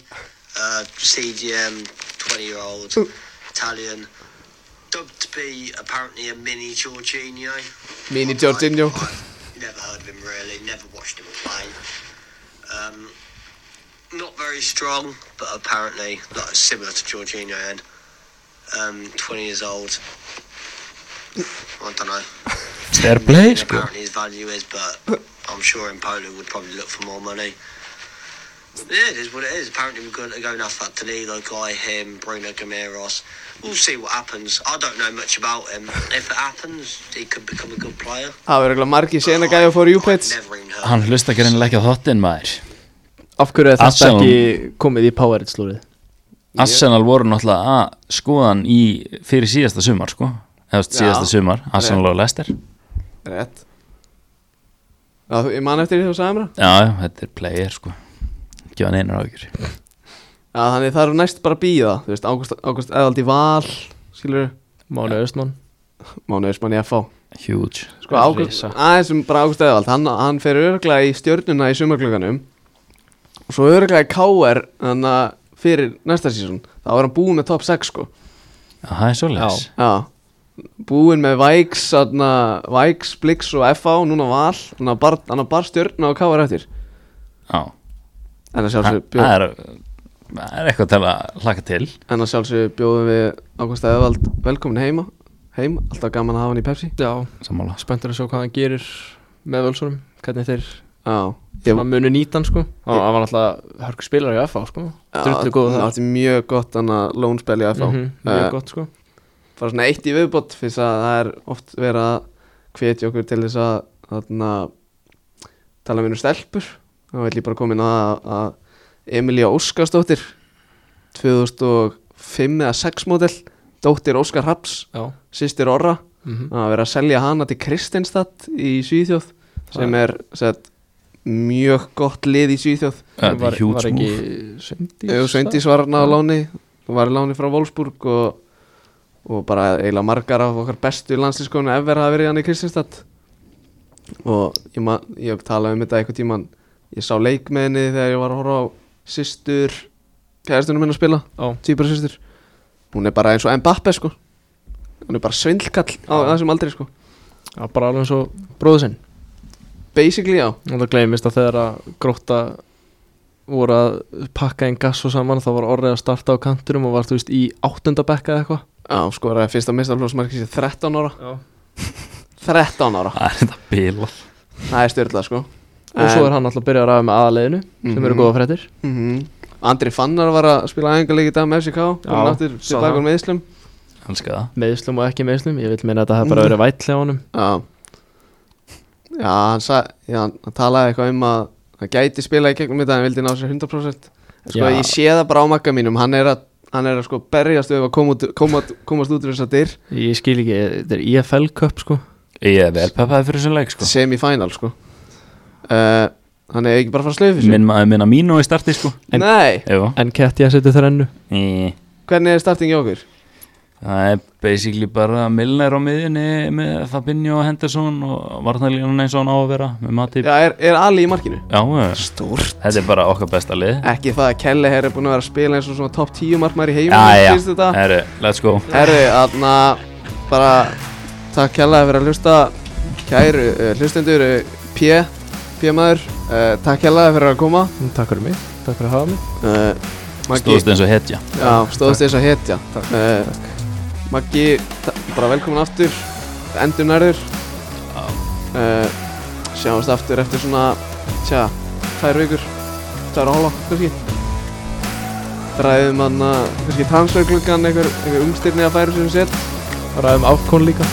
[SPEAKER 4] uh, CDM, 20 year old, Italian, dubbed to be apparently a mini Jorginho.
[SPEAKER 1] Mini Jorginho.
[SPEAKER 4] I've never heard of him really, never watched him play. Um, not very strong, but apparently like, similar to Jorginho and um, 20 years old. I don't know.
[SPEAKER 2] Fair play, sko
[SPEAKER 4] Apparently his value is, but I'm sure in Poland would probably look for more money. Yeah, it is what it is. Apparently we're going to go enough that Danilo guy, him, Bruno Gameros. We'll see what happens. I don't know much about him. If it happens, he could become a good player.
[SPEAKER 1] Það var eiginlega margi sena gæði fór í
[SPEAKER 4] I've
[SPEAKER 1] Júpets
[SPEAKER 4] never even heard
[SPEAKER 2] Hann hlusta greinilega ekki á þottinn maður
[SPEAKER 3] Af hverju er þetta
[SPEAKER 2] Arsenal.
[SPEAKER 3] ekki komið í Powered slúrið?
[SPEAKER 2] Arsenal voru náttúrulega að skoðan í fyrir síðasta sumar sko eða þú veist,
[SPEAKER 1] Já.
[SPEAKER 2] síðasta sumar, Arsenal og Leicester Já,
[SPEAKER 1] Rétt Já, þú- ég man eftir því þú sagði mér það.
[SPEAKER 2] já, þetta er player sko ekki hann einar ágjur
[SPEAKER 1] Já, þannig þarf næst bara að býða Þú veist, Ágúst, Ágúst Eðaldi Val Skilur,
[SPEAKER 3] Máni Östmann
[SPEAKER 1] mánu Ösmann í FH
[SPEAKER 2] Huge
[SPEAKER 1] Sko Ágúst,
[SPEAKER 3] Risa.
[SPEAKER 1] aðeins um bara Ágúst Eðvald hann, hann fer örglega í stjörnuna í sumarklöganum og svo örglega í KR þannig að fyrir næsta sísón þá er hann búinn með top 6 sko
[SPEAKER 2] Já, það er svoleiðis
[SPEAKER 1] Já Búinn með Væks, þarna, Væks, Blix og FA og núna Val hann á bar, hann á bar stjörnuna og KR eftir
[SPEAKER 2] Já,
[SPEAKER 1] en að
[SPEAKER 2] það
[SPEAKER 1] sjálfsögðu
[SPEAKER 2] það
[SPEAKER 1] bjó-
[SPEAKER 2] er það er eitthvað til að hlaka til
[SPEAKER 1] en að sjálfsögðu bjóðum við Ágúst Eðvald velkomin heima heim, alltaf gaman að hafa hann í Pepsi
[SPEAKER 3] Já
[SPEAKER 2] Sammála
[SPEAKER 3] Spenntur að sjá hvað hann gerir með völsunum Hvernig þeir
[SPEAKER 1] Já, ég,
[SPEAKER 3] svona munu nýtan sko Hann hann var náttúrulega hörku spilar í FA sko Drullu góð það
[SPEAKER 1] átti mjög gott hann að lónspæli FA
[SPEAKER 3] Mhm,
[SPEAKER 1] Eh,
[SPEAKER 3] Mjög gott sko
[SPEAKER 1] bara svona eitt í viðbót fyrst að það er oft verið að hvetja okkur til þess að, þarna tala með einu stelpur þá ætlum ég bara komin að, að Emilía Óskarsdóttir 2005 eða 6 módel dóttir Óskar Haps,
[SPEAKER 3] já
[SPEAKER 1] sýstir Orra
[SPEAKER 3] mm
[SPEAKER 1] að vera að selja hana til Kristinstad í Svíþjóð sem er sett, mjög gott lið í Svíþjóð
[SPEAKER 2] Þetta
[SPEAKER 3] var,
[SPEAKER 2] er huge
[SPEAKER 3] var ekki
[SPEAKER 2] move
[SPEAKER 1] Jú,
[SPEAKER 3] Sveindís
[SPEAKER 1] Sveindís var hann á láni var í láni frá Wolfsburg og, og bara eiginlega margar af okkar bestu landslískonu ever hafa verið hann í Kristinstad og ég, man, ég talaði um þetta eitthvað tíman ég sá leik með henni þegar ég var að horfa á systur kæðastunum henni að spila
[SPEAKER 3] Ó.
[SPEAKER 1] týpur systur hún er bara eins og Mbappe sko hún er bara svindlkall á þessum aldrei sko
[SPEAKER 3] Já, bara alveg eins og bróðu sinn
[SPEAKER 1] basically já
[SPEAKER 3] og það gleymist að þegar að grótta voru að pakka einn gassu saman þá var orðið að starta á kanturum og var þú veist í áttunda bekka eða eitthvað
[SPEAKER 1] Já, sko er að fyrsta mistarflóðsmarki sé 13 ára 13 ára,
[SPEAKER 2] Það er þetta bila
[SPEAKER 1] það er styrlað sko
[SPEAKER 3] og svo er hann alltaf að byrja að ræða með aðaleginu sem eru
[SPEAKER 1] Mhm.
[SPEAKER 3] góða frettir
[SPEAKER 1] mm Andri Fannar var að spila æfingarleik í dag með FCK
[SPEAKER 3] Já,
[SPEAKER 1] Hann áttir
[SPEAKER 3] sá
[SPEAKER 1] tilbaka
[SPEAKER 3] það.
[SPEAKER 1] með Íslum
[SPEAKER 2] Elskar það
[SPEAKER 3] meðslum og ekki meðslum, ég vil meina að það hefði bara verið vætli á honum
[SPEAKER 1] Já Já, hann, sa, já, hann talaði eitthvað um að hann gæti spila í gegnum þetta en vildi ná sér 100% En Sko,
[SPEAKER 3] Já.
[SPEAKER 1] ég sé það bara á makka mínum Hann er að, hann er að sko berjast við að koma út- koma- komast út úr þess að dyr
[SPEAKER 3] ég skil ekki, þetta er EFL Cup sko
[SPEAKER 2] Ég er vel peppaði fyrir þessu leik sko
[SPEAKER 1] semi-final sko uh, Hann er ekki bara að fara að slöfu sér
[SPEAKER 2] Minn maður minna mínu í starti sko
[SPEAKER 1] Nei,
[SPEAKER 2] Jú
[SPEAKER 3] en Ketja setur þrennu
[SPEAKER 2] Í-
[SPEAKER 1] hvernig er starting í okkur?
[SPEAKER 2] Það er basically bara Milner á miðjunni með Fabinho og Henderson og varnarlínan eins og hann á að vera með Matip
[SPEAKER 1] Já, er, er Ali í markinu?
[SPEAKER 2] Já, já.
[SPEAKER 1] Stórt
[SPEAKER 2] þetta er bara okkar besta lið
[SPEAKER 1] Ekki það að Kelleher er búin að vera að spila eins og svona top 10 markmaður í heiminum
[SPEAKER 2] Já, já,
[SPEAKER 1] síðustu daga.
[SPEAKER 2] herru, let's go
[SPEAKER 1] Herru, þarna bara takk kjallaði fyrir að hlusta kæru uh, hlustendur uh, P, P maður uh, takk kjallaði fyrir að koma
[SPEAKER 3] takk fyrir mig, takk fyrir að hafa mig
[SPEAKER 1] uh, Maggi,
[SPEAKER 2] Stóðst eins og hetja
[SPEAKER 1] já, stóðst eins og hetja uh, Maggi, ta- bara velkomin aftur endur nærður uh, sjáumst aftur eftir svona tja, tvær vikur tvær og hálfa, kannski ræðum hann að kannski transfergluggan einhver, einhver umstyrni að færa sem sett
[SPEAKER 3] ræðum afkon líka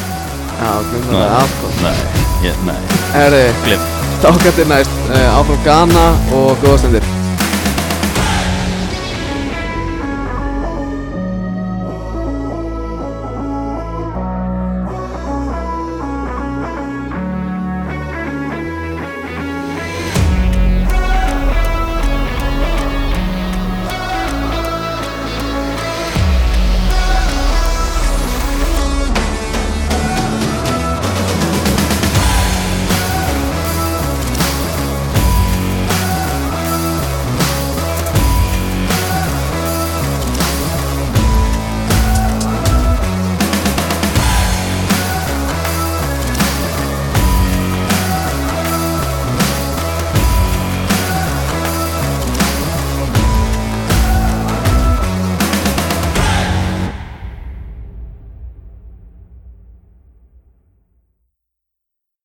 [SPEAKER 1] já, glemma það aftur
[SPEAKER 2] Nei, ég, nei,
[SPEAKER 1] Herri,
[SPEAKER 2] glimt
[SPEAKER 1] þákattir næst uh, áfram Ghana og góða stundir